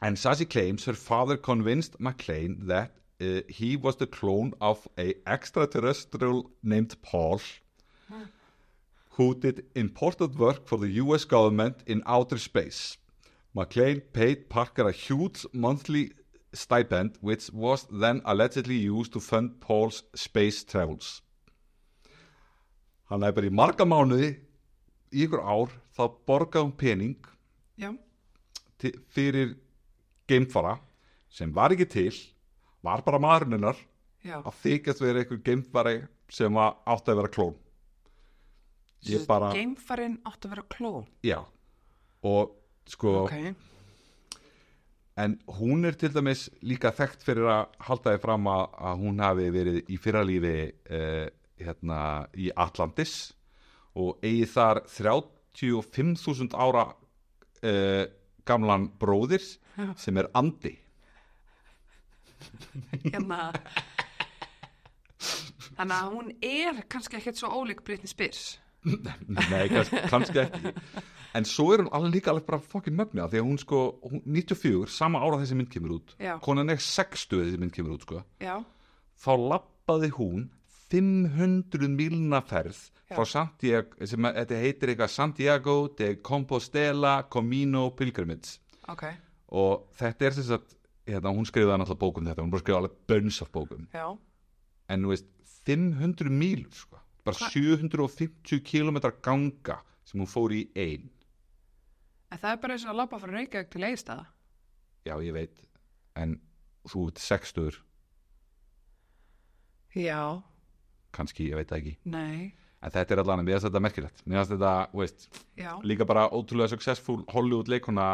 [SPEAKER 1] And Sassy claims her father convinced McLean that uh, he was the clone of a extraterrestrial named Paul who did important work for the US government in outer space. McLean paid Parker a huge monthly stipend which was then allegedly used to fund Paul's space travels. Hann er bara í marga mánuði í ykkur ár þá borgaði hún pening
[SPEAKER 2] já,
[SPEAKER 1] til, fyrir geimfara sem var ekki til var bara maðurinnar
[SPEAKER 2] já.
[SPEAKER 1] að þykjast vera einhver geimfari sem að átti að vera klón ég bara,
[SPEAKER 2] Geimfarin átt að vera klón.
[SPEAKER 1] já og sko,
[SPEAKER 2] Ok,
[SPEAKER 1] en hún er til dæmis líka þekkt fyrir að halda þið fram að, að hún hafi verið í fyrralífi uh, hérna í Atlantis og eigi þar 35.000 ára uh, gamlan bróðir sem er andi
[SPEAKER 2] hérna... Þannig að hún er kannski ekkert svo ólík Britney Spears.
[SPEAKER 1] Nei, kannski, kannski ekki En svo er hún alveg líka alveg bara fokkin mögna Því að hún sko, hún, 94, sama ára þessi mynd kemur út
[SPEAKER 2] Já.
[SPEAKER 1] Konan er 60 þessi mynd kemur út sko
[SPEAKER 2] Já,
[SPEAKER 1] Þá lappaði hún 500 mílna ferð
[SPEAKER 2] Já.
[SPEAKER 1] frá Santiago, sem að, þetta heitir eitthvað Santiago de Compostela Comino Pilgrimage
[SPEAKER 2] ok,
[SPEAKER 1] og þetta er sem sagt hérna, hún skrifaði náttúrulega bókum þetta hún bara skrifaði alveg bönns af bókum
[SPEAKER 2] já,
[SPEAKER 1] en nú veist 500 mílur sko bara 750 kilometra ganga sem hún fór í ein
[SPEAKER 2] en það er bara eins og að labba frá Reykjavík til Egilstaða.
[SPEAKER 1] já ég veit en þú ert sextur
[SPEAKER 2] Já,
[SPEAKER 1] kannski, ég veit það ekki
[SPEAKER 2] nei,
[SPEAKER 1] en þetta er allan, mér finnst þetta merkilegt mér finnst þetta, þú veist,
[SPEAKER 2] já.
[SPEAKER 1] líka bara ótrúlega successful Hollywood leikona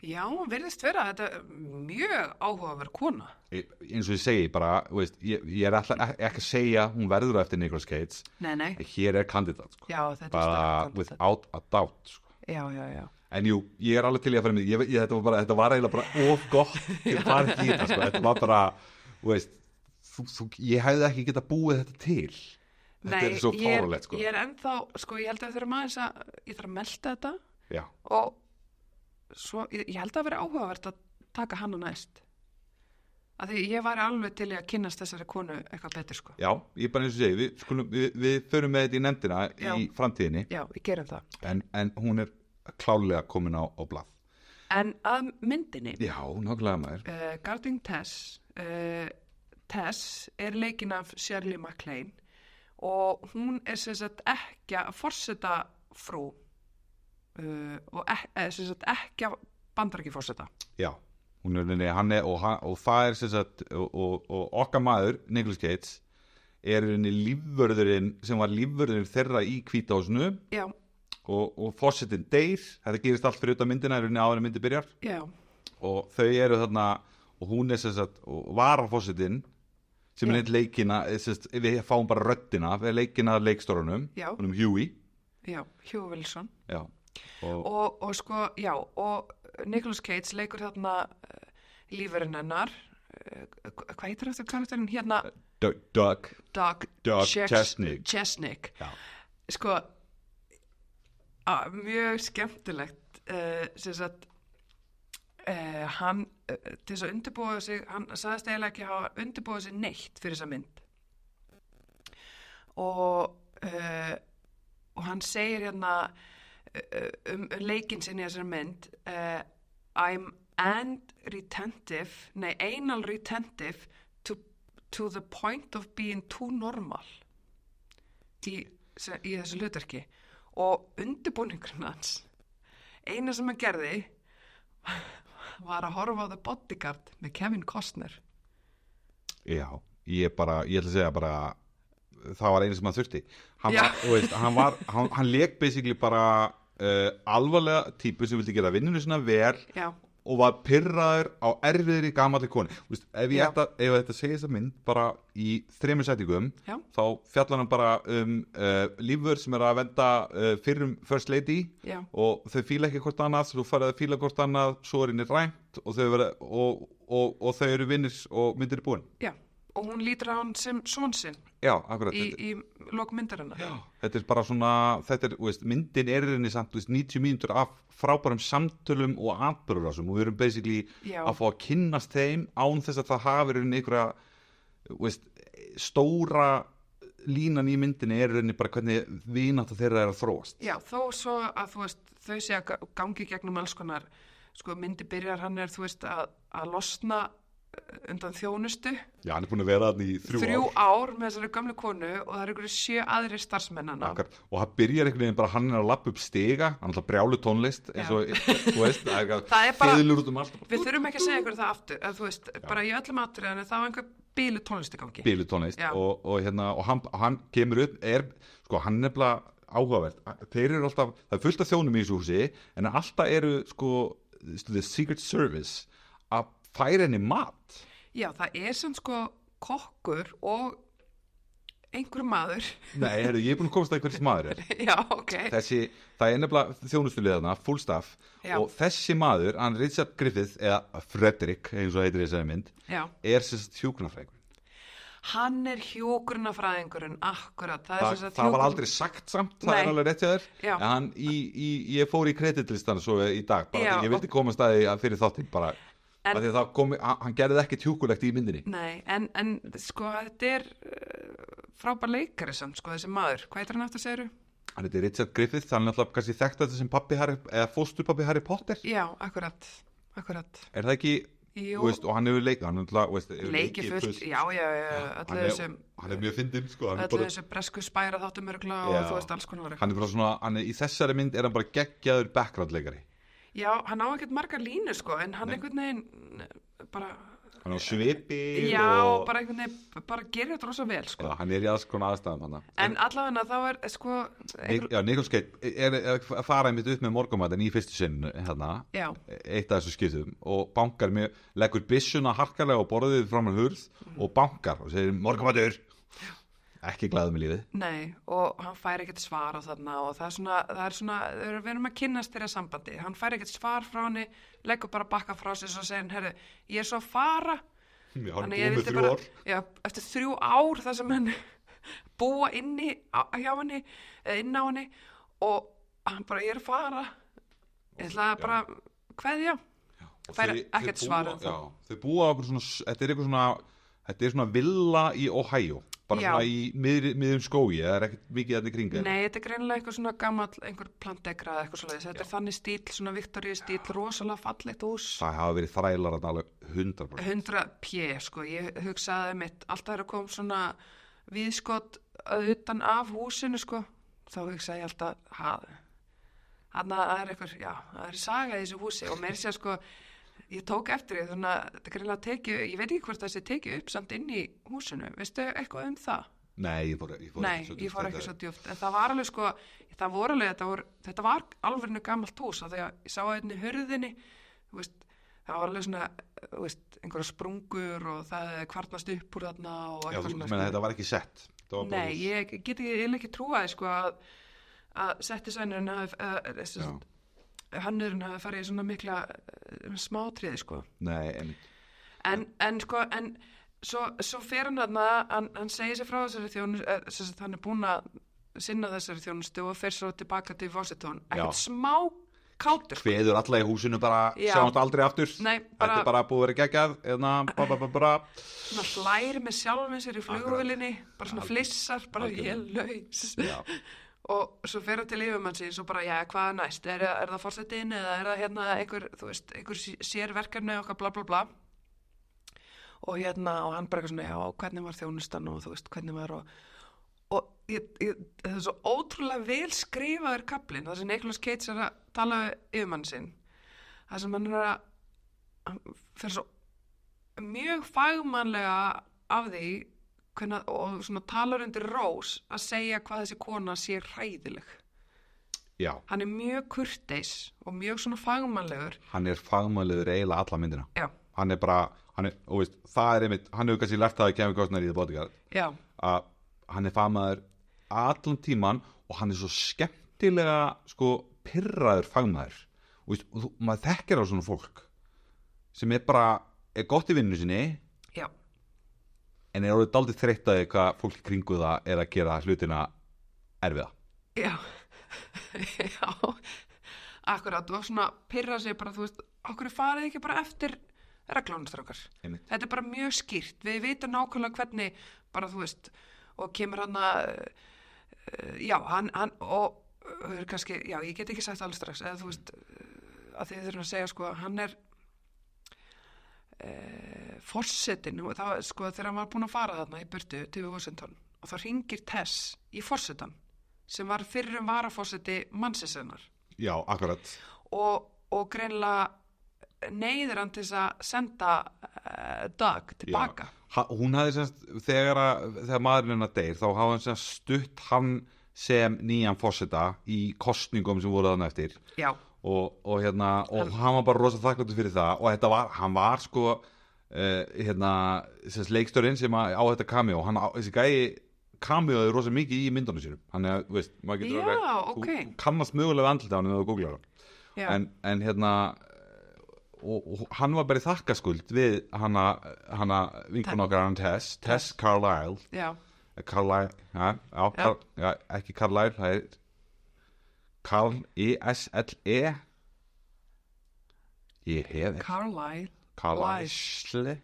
[SPEAKER 2] Já, hún virðist vera þetta er mjög áhugaverð kona.
[SPEAKER 1] e, eins og ég segi bara, þú veist, ég, ég er alltaf e, ekki að segja hún verður á eftir Nicolas Cage
[SPEAKER 2] Nei, nei,
[SPEAKER 1] en hér er kandidat sko.
[SPEAKER 2] já, þetta
[SPEAKER 1] bara
[SPEAKER 2] er sterkt.
[SPEAKER 1] without a doubt sko.
[SPEAKER 2] Já, já, já.
[SPEAKER 1] En jú, ég er alveg til í að fara með ég, ég, þetta, var bara, þetta var eiginlega bara of gott til að fara ekki í þetta, sko. þetta var bara þú veist, þú, þú, ég hefði ekki geta búið þetta til þetta
[SPEAKER 2] Nei,
[SPEAKER 1] er svo
[SPEAKER 2] ég
[SPEAKER 1] fáralegt sko.
[SPEAKER 2] Ég er ennþá, sko, ég held að þurfum aðeins að, ég þarf að melta þetta
[SPEAKER 1] Já,
[SPEAKER 2] og svo, ég, ég held að vera áhugavert að taka hana næst. Af því ég var alveg til í að kynnast þessari konu eitthvað betur, sko.
[SPEAKER 1] já, ég bara eins og segi við, skulum, við, við förum með þetta í nefndina
[SPEAKER 2] Já.
[SPEAKER 1] í framtíðinni
[SPEAKER 2] Já, við gerum það.
[SPEAKER 1] en, en hún er klálega komin á, á blað
[SPEAKER 2] En að myndinni,
[SPEAKER 1] Já, nákvæmlega maður
[SPEAKER 2] uh, Garding Tess uh, Tess er leikin af Shirley MacLaine og hún er sem sagt ekki að forseta frú uh, og ek, eh, sem sagt ekki að bandar ekki forseta
[SPEAKER 1] Já, hún er rauninni, hann er, og, hann, og það er sem sagt, og, og, og okkar maður, Nicholas Gates, er rauninni lífvörðurinn, sem var lífvörðurinn þeirra í kvításnu
[SPEAKER 2] já,
[SPEAKER 1] og, og fósettin deyr, þetta gerist allt fyrir utan myndina, er rauninni áður en myndi byrjar
[SPEAKER 2] já,
[SPEAKER 1] og þau eru þarna, og hún er sem sagt, og var fósettin, sem er
[SPEAKER 2] Já.
[SPEAKER 1] neitt leikina, eh, sem sagt, við fáum bara röddina, við leikina að leikstórunum,
[SPEAKER 2] Já.
[SPEAKER 1] honum Huey,
[SPEAKER 2] já, Hugh Wilson
[SPEAKER 1] já, og,
[SPEAKER 2] og, og sko, já, og Nicolas Cage leikur þarna uh, lífurinn hennar uh, hvað heitir þetta karakterinn hérna
[SPEAKER 1] D- Doug,
[SPEAKER 2] Doug,
[SPEAKER 1] Doug
[SPEAKER 2] Checks-
[SPEAKER 1] Chesnick.
[SPEAKER 2] Chesnick.
[SPEAKER 1] Já.
[SPEAKER 2] sko að, mjög skemmtilegt uh, sem sagt uh, hann uh, til þess að undirbúa sig hann sagðist eiginlega ekki hafa undirbúa sig neitt fyrir þessa mynd og uh, og hann segir hérna uh, um leikinn sinni í þessari mynd uh, I'm and retentive nei, anal retentive to, to the point of being too normal í, se- í þessu hlutverki og undirbúningurinn hans eina sem hann gerði var að horfa á The Bodyguard með Kevin Costner
[SPEAKER 1] Já, ég bara, ég ætla að segja bara það var einu sem hann þurfti hann,
[SPEAKER 2] Já.
[SPEAKER 1] var, þú veist, hann, var, hann, hann leik basically bara uh, alvarlega típu sem vildi gera vinnunni svona vel
[SPEAKER 2] Já,
[SPEAKER 1] og var pyrraður á erfiðri gamalli konu Þú veist, ef, ég
[SPEAKER 2] Já.
[SPEAKER 1] ætta, ef þetta segir þess að mynd bara í þremur settingum
[SPEAKER 2] Já.
[SPEAKER 1] þá fjallar hann bara um uh, lífur sem er að venda uh, fyrrum first lady
[SPEAKER 2] já,
[SPEAKER 1] og þau fíla ekki hvort annað svo farið að fíla hvort annað, svo er henni rænt og þau, vera, og, og, og þau eru vinnir og myndir er búin
[SPEAKER 2] já og hún lítur á hann sem svon sinn
[SPEAKER 1] Já, akkurat,
[SPEAKER 2] í,
[SPEAKER 1] þetta,
[SPEAKER 2] í lokmyndarinnar Já,
[SPEAKER 1] þetta er bara svona þetta er, þú veist, myndin er í rauninni samt þú veist, 90 mínútur af frábærum samtölum og atbyrðurásum og við erum basically
[SPEAKER 2] Já.
[SPEAKER 1] að fá að kynnast þeim án þess að það hafi í rauninni einhverja þú veist, stóra línan í myndinni er í rauninni bara hvernig vinátt þeirra er að þróast
[SPEAKER 2] Já, þó svo að þú veist, þau sé að ga- gangi gegnum alls konar, sko myndi byrjar hann er þú veist að, að losna eh, undan þjónustu
[SPEAKER 1] Já, hann er búin að vera þannig í þrjú, ár.
[SPEAKER 2] ár með þessari gamlu konu og það eru ykkur sjö aðri starfsmennana
[SPEAKER 1] Akkurat. og það byrjar einhvern veginn bara hann er að lappa upp stiga hann er alltaf brjálu tónlist eins og, þú veist, það er
[SPEAKER 2] Það er bara-
[SPEAKER 1] fiðlur út um allt
[SPEAKER 2] Við þurfum ekki að segja ykkur það aftur, að, þú veist, bara í öllum atriðan þá er einhver bílu tónlistigangi
[SPEAKER 1] bilu tónlist
[SPEAKER 2] Já.
[SPEAKER 1] og, og, hérna, og hann, hann kemur upp er, sko, hann er nefnilega áhugavert þeir eru alltaf, það er fullt af þjónum í þessu húsi en alltaf eru sko the secret service að færa henni mat
[SPEAKER 2] Já, það er sem sko kokkur og einhver maður,
[SPEAKER 1] nei, heru, ég er búin að komast að hverjum maður er
[SPEAKER 2] já, ok,
[SPEAKER 1] þessi, það er nefnilega þjónustuliðana full staff
[SPEAKER 2] Já.
[SPEAKER 1] og þessi maður, hann Richard Griffith eða Frederick, eins og heitir í þessari mynd
[SPEAKER 2] já.
[SPEAKER 1] er sérst hjúknarfrækur
[SPEAKER 2] Hann er hjúgrunafræðingurinn, akkurat, það er
[SPEAKER 1] Þa,
[SPEAKER 2] sem sagt
[SPEAKER 1] það var
[SPEAKER 2] hjúgrun-
[SPEAKER 1] aldrei sagt samt, það
[SPEAKER 2] Nei.
[SPEAKER 1] er alveg rétt hjá þér
[SPEAKER 2] Já.
[SPEAKER 1] En hann, í, í, ég fór í kreditlistan svo í dag, bara,
[SPEAKER 2] Já,
[SPEAKER 1] því ég vildi koma staði fyrir þáttinn bara,
[SPEAKER 2] En-
[SPEAKER 1] en, það kom, hann hann gerði ekki tjúkulegt í myndinni
[SPEAKER 2] Nei, en, en sko þetta er uh, frábær leikari samt sko þessi maður, hvað heitir hann aftur segiru?
[SPEAKER 1] hann heiti Richard Griffith, hann er alltaf kannski þekkt þetta sem pappi Harry, eða fóstupappi Harry Potter
[SPEAKER 2] Já, akkurat, akkurat
[SPEAKER 1] er það ekki,
[SPEAKER 2] Jú,
[SPEAKER 1] þú veist, og hann hefur leik hann er alltaf, þú veist, hefur
[SPEAKER 2] leiki
[SPEAKER 1] leikið
[SPEAKER 2] fullt, já, já, já,
[SPEAKER 1] hann,
[SPEAKER 2] öllu þessu
[SPEAKER 1] er, hann er mjög fyndin sko, hann, er
[SPEAKER 2] öllu
[SPEAKER 1] bara,
[SPEAKER 2] þessu bresku spæra þáttum örgla
[SPEAKER 1] Já.
[SPEAKER 2] og þú veist alls konar hann,
[SPEAKER 1] hann er bara svona hann er, í þessari mynd er hann bara geggjaður background leikari
[SPEAKER 2] Já, hann á ekkert margar línu sko en hann einhvern veginn eh, bara,
[SPEAKER 1] hann er á svipi
[SPEAKER 2] já,
[SPEAKER 1] og,
[SPEAKER 2] bara einhvern veginn bara gerir þetta rosa vel sko
[SPEAKER 1] Já, hann er í alls konar aðstæðum hann
[SPEAKER 2] En allavega þá er eh, sko einhver,
[SPEAKER 1] Nik- Já, Nikol Skeitt er, er að fara einmitt upp með morgumatinn í fyrstu sinnu hérna,
[SPEAKER 2] Já,
[SPEAKER 1] eitt af þessu skiptum og bankar mjög, leggur byssuna harkalega og borðið fram að hurð og bankar og segir morgumatur ekki glæðum í lífið
[SPEAKER 2] Nei, og hann fær ekkert svar á þarna og það er svona, það er svona, þau eru- við erum að kynnast þeirra sambandi, hann fær ekkert svar frá henni, leggur bara bakka frá sér og segir, herru, ég er svo að fara,
[SPEAKER 1] Já, hann
[SPEAKER 2] ég
[SPEAKER 1] er búið með
[SPEAKER 2] vildi
[SPEAKER 1] þrjú ár
[SPEAKER 2] já, eftir þrjú ár þar sem hann búa inni á, hjá henni, eða inn á henni og hann bara, ég er að fara, ég ætla að bara, kveðja,
[SPEAKER 1] Og
[SPEAKER 2] fær
[SPEAKER 1] þau- þau
[SPEAKER 2] ekkert svar
[SPEAKER 1] búa-
[SPEAKER 2] um það.
[SPEAKER 1] já, Þau búa á einhver svona, þetta er eitthvað svona þetta er svona villa í Ohio bara
[SPEAKER 2] Já.
[SPEAKER 1] svona í miðri- miðjum skói það er ekkert mikið þarna í kringa
[SPEAKER 2] Nei, þetta er greinilega eitthvað svona gamall, einhver plantegra eða eitthvað svoleiðis, þetta er þannig stíl, svona Viktoríu stíl, rosalega fallegt hús.
[SPEAKER 1] það hafa verið þrælar þarna alveg 100%
[SPEAKER 2] 100 p, sko, ég hugsaði mitt, alltaf er að koma svona viðskot að utan af húsinu, sko, þá hugsaði ég alltaf, ha, hann að það er eitthvað, já, það er saga í þessu húsi og mér sé að, sko, ég tók eftir því, þannig að þetta er greinlega tekið, ég veit ekki hvort þessi tekið upp samt inn í húsinu, veistu eitthvað um það?
[SPEAKER 1] Nei, ég fór, ég fór
[SPEAKER 2] Nei,
[SPEAKER 1] ekki svo
[SPEAKER 2] ég
[SPEAKER 1] djúpt,
[SPEAKER 2] fór ekki
[SPEAKER 1] þetta-
[SPEAKER 2] svo djúft, en það var alveg, sko, það voru alveg, þetta, voru, þetta var alveg gammalt hús, af því að ég sá að einni hurðinni, þú veist, það var alveg svona, þú veist, einhverja sprungur og það kvarnast upp úr þarna og
[SPEAKER 1] Já, þú
[SPEAKER 2] eitthvað sko.
[SPEAKER 1] meina þetta var ekki sett Það var bara
[SPEAKER 2] Nei,
[SPEAKER 1] hús.
[SPEAKER 2] ég get ekki, ég vil ekki trúa því, sko, að, að setti sænurinn hafi, að,
[SPEAKER 1] Já,
[SPEAKER 2] að, hannurinn hafi farið í svona mikla eh, smátriði, sko.
[SPEAKER 1] Nei, einmitt
[SPEAKER 2] En, en sko, en svo, svo fer hann þarna, hann, hann segir sér frá þessari þjónustu, þess að hann er búinn að sinna þessari þjónustu og fer svo tilbaka til Vossetón. Ekkert
[SPEAKER 1] Já.
[SPEAKER 2] smá kátur. sko.
[SPEAKER 1] Hveður alla í húsinu bara,
[SPEAKER 2] Já.
[SPEAKER 1] sjáum þetta aldrei aftur
[SPEAKER 2] Nei,
[SPEAKER 1] Þetta
[SPEAKER 2] bara-
[SPEAKER 1] er bara búið að vera geggjað hérna, eðna, ba, ba, ba, ba.
[SPEAKER 2] Svona hlæri með sjálfum sér í flugvölinni, bara svona flissar, bara ég er laus.
[SPEAKER 1] Já.
[SPEAKER 2] Og svo fer hann til yfirmann sín, svo bara, já, hvað er næst? Er, er það fórsetin eða er það hérna einhver, þú veist, einhver sí- sérverkefni okkar, bla, bla, bla. Og hérna, og hann bara eitthvað svona, já, og hvernig var þjónustan og þú veist, hvernig var og... Og ég, ég, það er svo ótrúlega vel skrifaður kaplinn, þar sem Nicholas Cage er að tala við yfirmann sinn það sem hann er að hann fer svo mjög fagmannlega af því hvernig, og svona talar undir rós að segja hvað þessi kona sé hræðileg
[SPEAKER 1] já,
[SPEAKER 2] hann er mjög kurteis og mjög svona fagmannlegur
[SPEAKER 1] hann er fagmæliður eiginlega alla myndina
[SPEAKER 2] já,
[SPEAKER 1] hann er bara, hann er, og veist, það er einmitt hann hefur kannski lært það að kemur kostnar í það bótikar
[SPEAKER 2] já,
[SPEAKER 1] að hann er fagmaður allan tíman og hann er svo skemmtilega sko pyrraður fagmaður og, veist, og þú, maður þekkir á svona fólk sem er bara er gott í vinnu sinni
[SPEAKER 2] já
[SPEAKER 1] en er orðið daldið þreytt að því hvað fólk í kringu það er að gera hlutina erfiða
[SPEAKER 2] já já akkurat og svona pyrra sig bara þú veist, okkur farið þið ekki bara eftir reglónustrákar
[SPEAKER 1] Einmitt.
[SPEAKER 2] þetta er bara mjög skýrt, við vitum nákvæmlega hvernig bara þú veist og kemur hann að eh, já, hann, hann og uh, kannski, já, ég get ekki sagt það alveg strax eða þú veist, uh, að þið þurfum að segja sko, hann er uh, forsetin og það, sko, þegar hann var búin að fara þarna í burtu til Washington og þá ringir Tess í forsetan sem var fyrrum varaforseti mannsinsennar
[SPEAKER 1] já, akkurat
[SPEAKER 2] og, og greinlega neyður hann til þess að senda uh, Doug tilbaka
[SPEAKER 1] Já. Ha, hún hafði semst, þegar, að, þegar maðurinn hennar deyr þá hafði hann semst stutt hann sem nýjan fósita í kostningum sem voru þannig eftir
[SPEAKER 2] já,
[SPEAKER 1] og, og hérna og hann, var bara rosa þakkláttur fyrir það og þetta var, hann var sko uh, hérna, þess leikstörinn sem að- á þetta cameo, hann á, þessi gæi cameoði rosa mikið í myndunum sínum hann er, þú veist, maður getur
[SPEAKER 2] Já,
[SPEAKER 1] alveg-
[SPEAKER 2] ok.
[SPEAKER 1] þú, þú kannast mögulega andlita hann eða þú googlar hann
[SPEAKER 2] já,
[SPEAKER 1] en, en hérna og, og hann var bara í þakkaskuld við hana, hana vinkun okkar hann Tess, Tess Carlisle
[SPEAKER 2] já.
[SPEAKER 1] Carlisle, já, já, Car, já ekki Carlisle, það er E Carl-I-S-L-E Ég hef ekki
[SPEAKER 2] Carlisle
[SPEAKER 1] Carlisle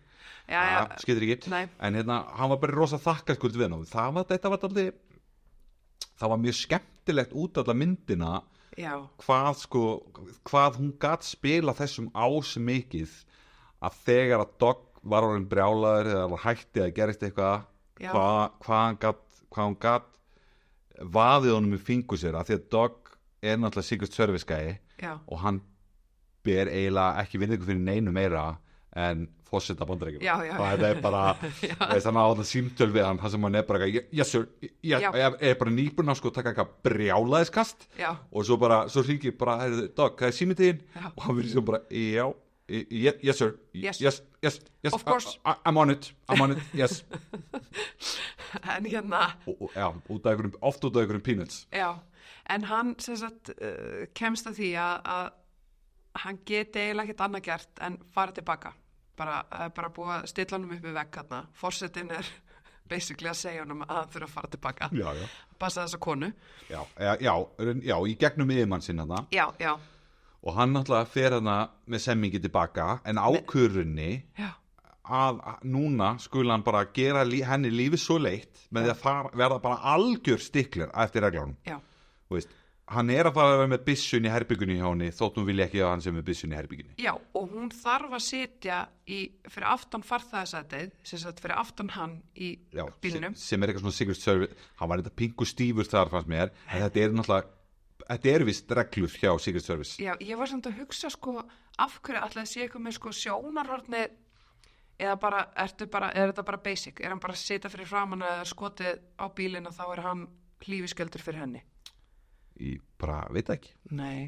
[SPEAKER 2] já, já,
[SPEAKER 1] skýtur ekki
[SPEAKER 2] Nei.
[SPEAKER 1] en hérna, hann var bara rosa þakka skuld við hann og það var, þetta var aldrei það var mjög skemmtilegt út alla myndina
[SPEAKER 2] já,
[SPEAKER 1] hvað sko, hvað hún gat spila þessum ás mikið að þegar að Dogg var orðin brjálaður eða var hætti að gerist eitthvað
[SPEAKER 2] Já.
[SPEAKER 1] hvað, hvað hann gat hvað hann gat vaðið honum í fingur sér að því að Dogg er náttúrulega Sigurd Sörviskæi
[SPEAKER 2] já
[SPEAKER 1] og hann ber eiginlega ekki vinningu fyrir neinu meira en fósetta bandarækjum
[SPEAKER 2] Já, já.
[SPEAKER 1] það er bara, veist, hann á þetta símtöl við hann, það sem hann er bara eitthvað, yes sir, ég,
[SPEAKER 2] Já.
[SPEAKER 1] ég er bara nýbun að sko taka eitthvað brjálaðiskast
[SPEAKER 2] Já.
[SPEAKER 1] og svo bara, svo hringir bara, heyrðu, dog, það er símitíðin
[SPEAKER 2] Já.
[SPEAKER 1] og hann verður sem bara, já, y- y- yes sir,
[SPEAKER 2] Yes.
[SPEAKER 1] yes, yes, yes
[SPEAKER 2] Of course.
[SPEAKER 1] I, I, I'm on it, I'm on it, yes
[SPEAKER 2] en hérna
[SPEAKER 1] og, og, já, út af einhverjum, oft út af einhverjum peanuts
[SPEAKER 2] Já, en hann sem sagt uh, kemst að því að, að hann geti eiginlega ekkert annað gert en fara tilbaka bara, uh, bara búið að stilla hann upp við vegg hérna forsetin er basically að segja honum að hann þurfa að fara tilbaka
[SPEAKER 1] já, já,
[SPEAKER 2] passa þessa konu
[SPEAKER 1] já, já, já, já í gegnum yfirmann sinna þarna
[SPEAKER 2] já, já,
[SPEAKER 1] og hann náttúrulega fer hana með semmingi tilbaka en ákvörunni
[SPEAKER 2] já,
[SPEAKER 1] að að núna skul hann bara gera lí, henni lífið svo leitt með því að fara, verða bara algjör stiklur eftir reglunum
[SPEAKER 2] já,
[SPEAKER 1] Þú veist, hann er að fara að vera með byssun í herbyggunni hjá henni þótt hún vilja ekki að hann sem með byssun í herbyggunni
[SPEAKER 2] já og hún þarf að sitja í, fyrir aftan farþæðasætið sem sagt fyrir aftan hann í
[SPEAKER 1] Já, sem,
[SPEAKER 2] bílnum
[SPEAKER 1] sem er eitthvað svona Sigurd Service hann var eitthvað pingu stífur þar fannst mér en þetta er náttúrulega þetta er vist reglur hjá Sigurd Service
[SPEAKER 2] Já, ég var samt að hugsa sko af hverju alltaf sé eitthvað með sko sjónarhorni eða bara, ertu bara, er þetta bara basic? Er hann bara að sita fyrir framann eða er skotið á bílinn og þá er hann lífiskjöldur fyrir henni?
[SPEAKER 1] ég bara veit það ekki
[SPEAKER 2] Nei,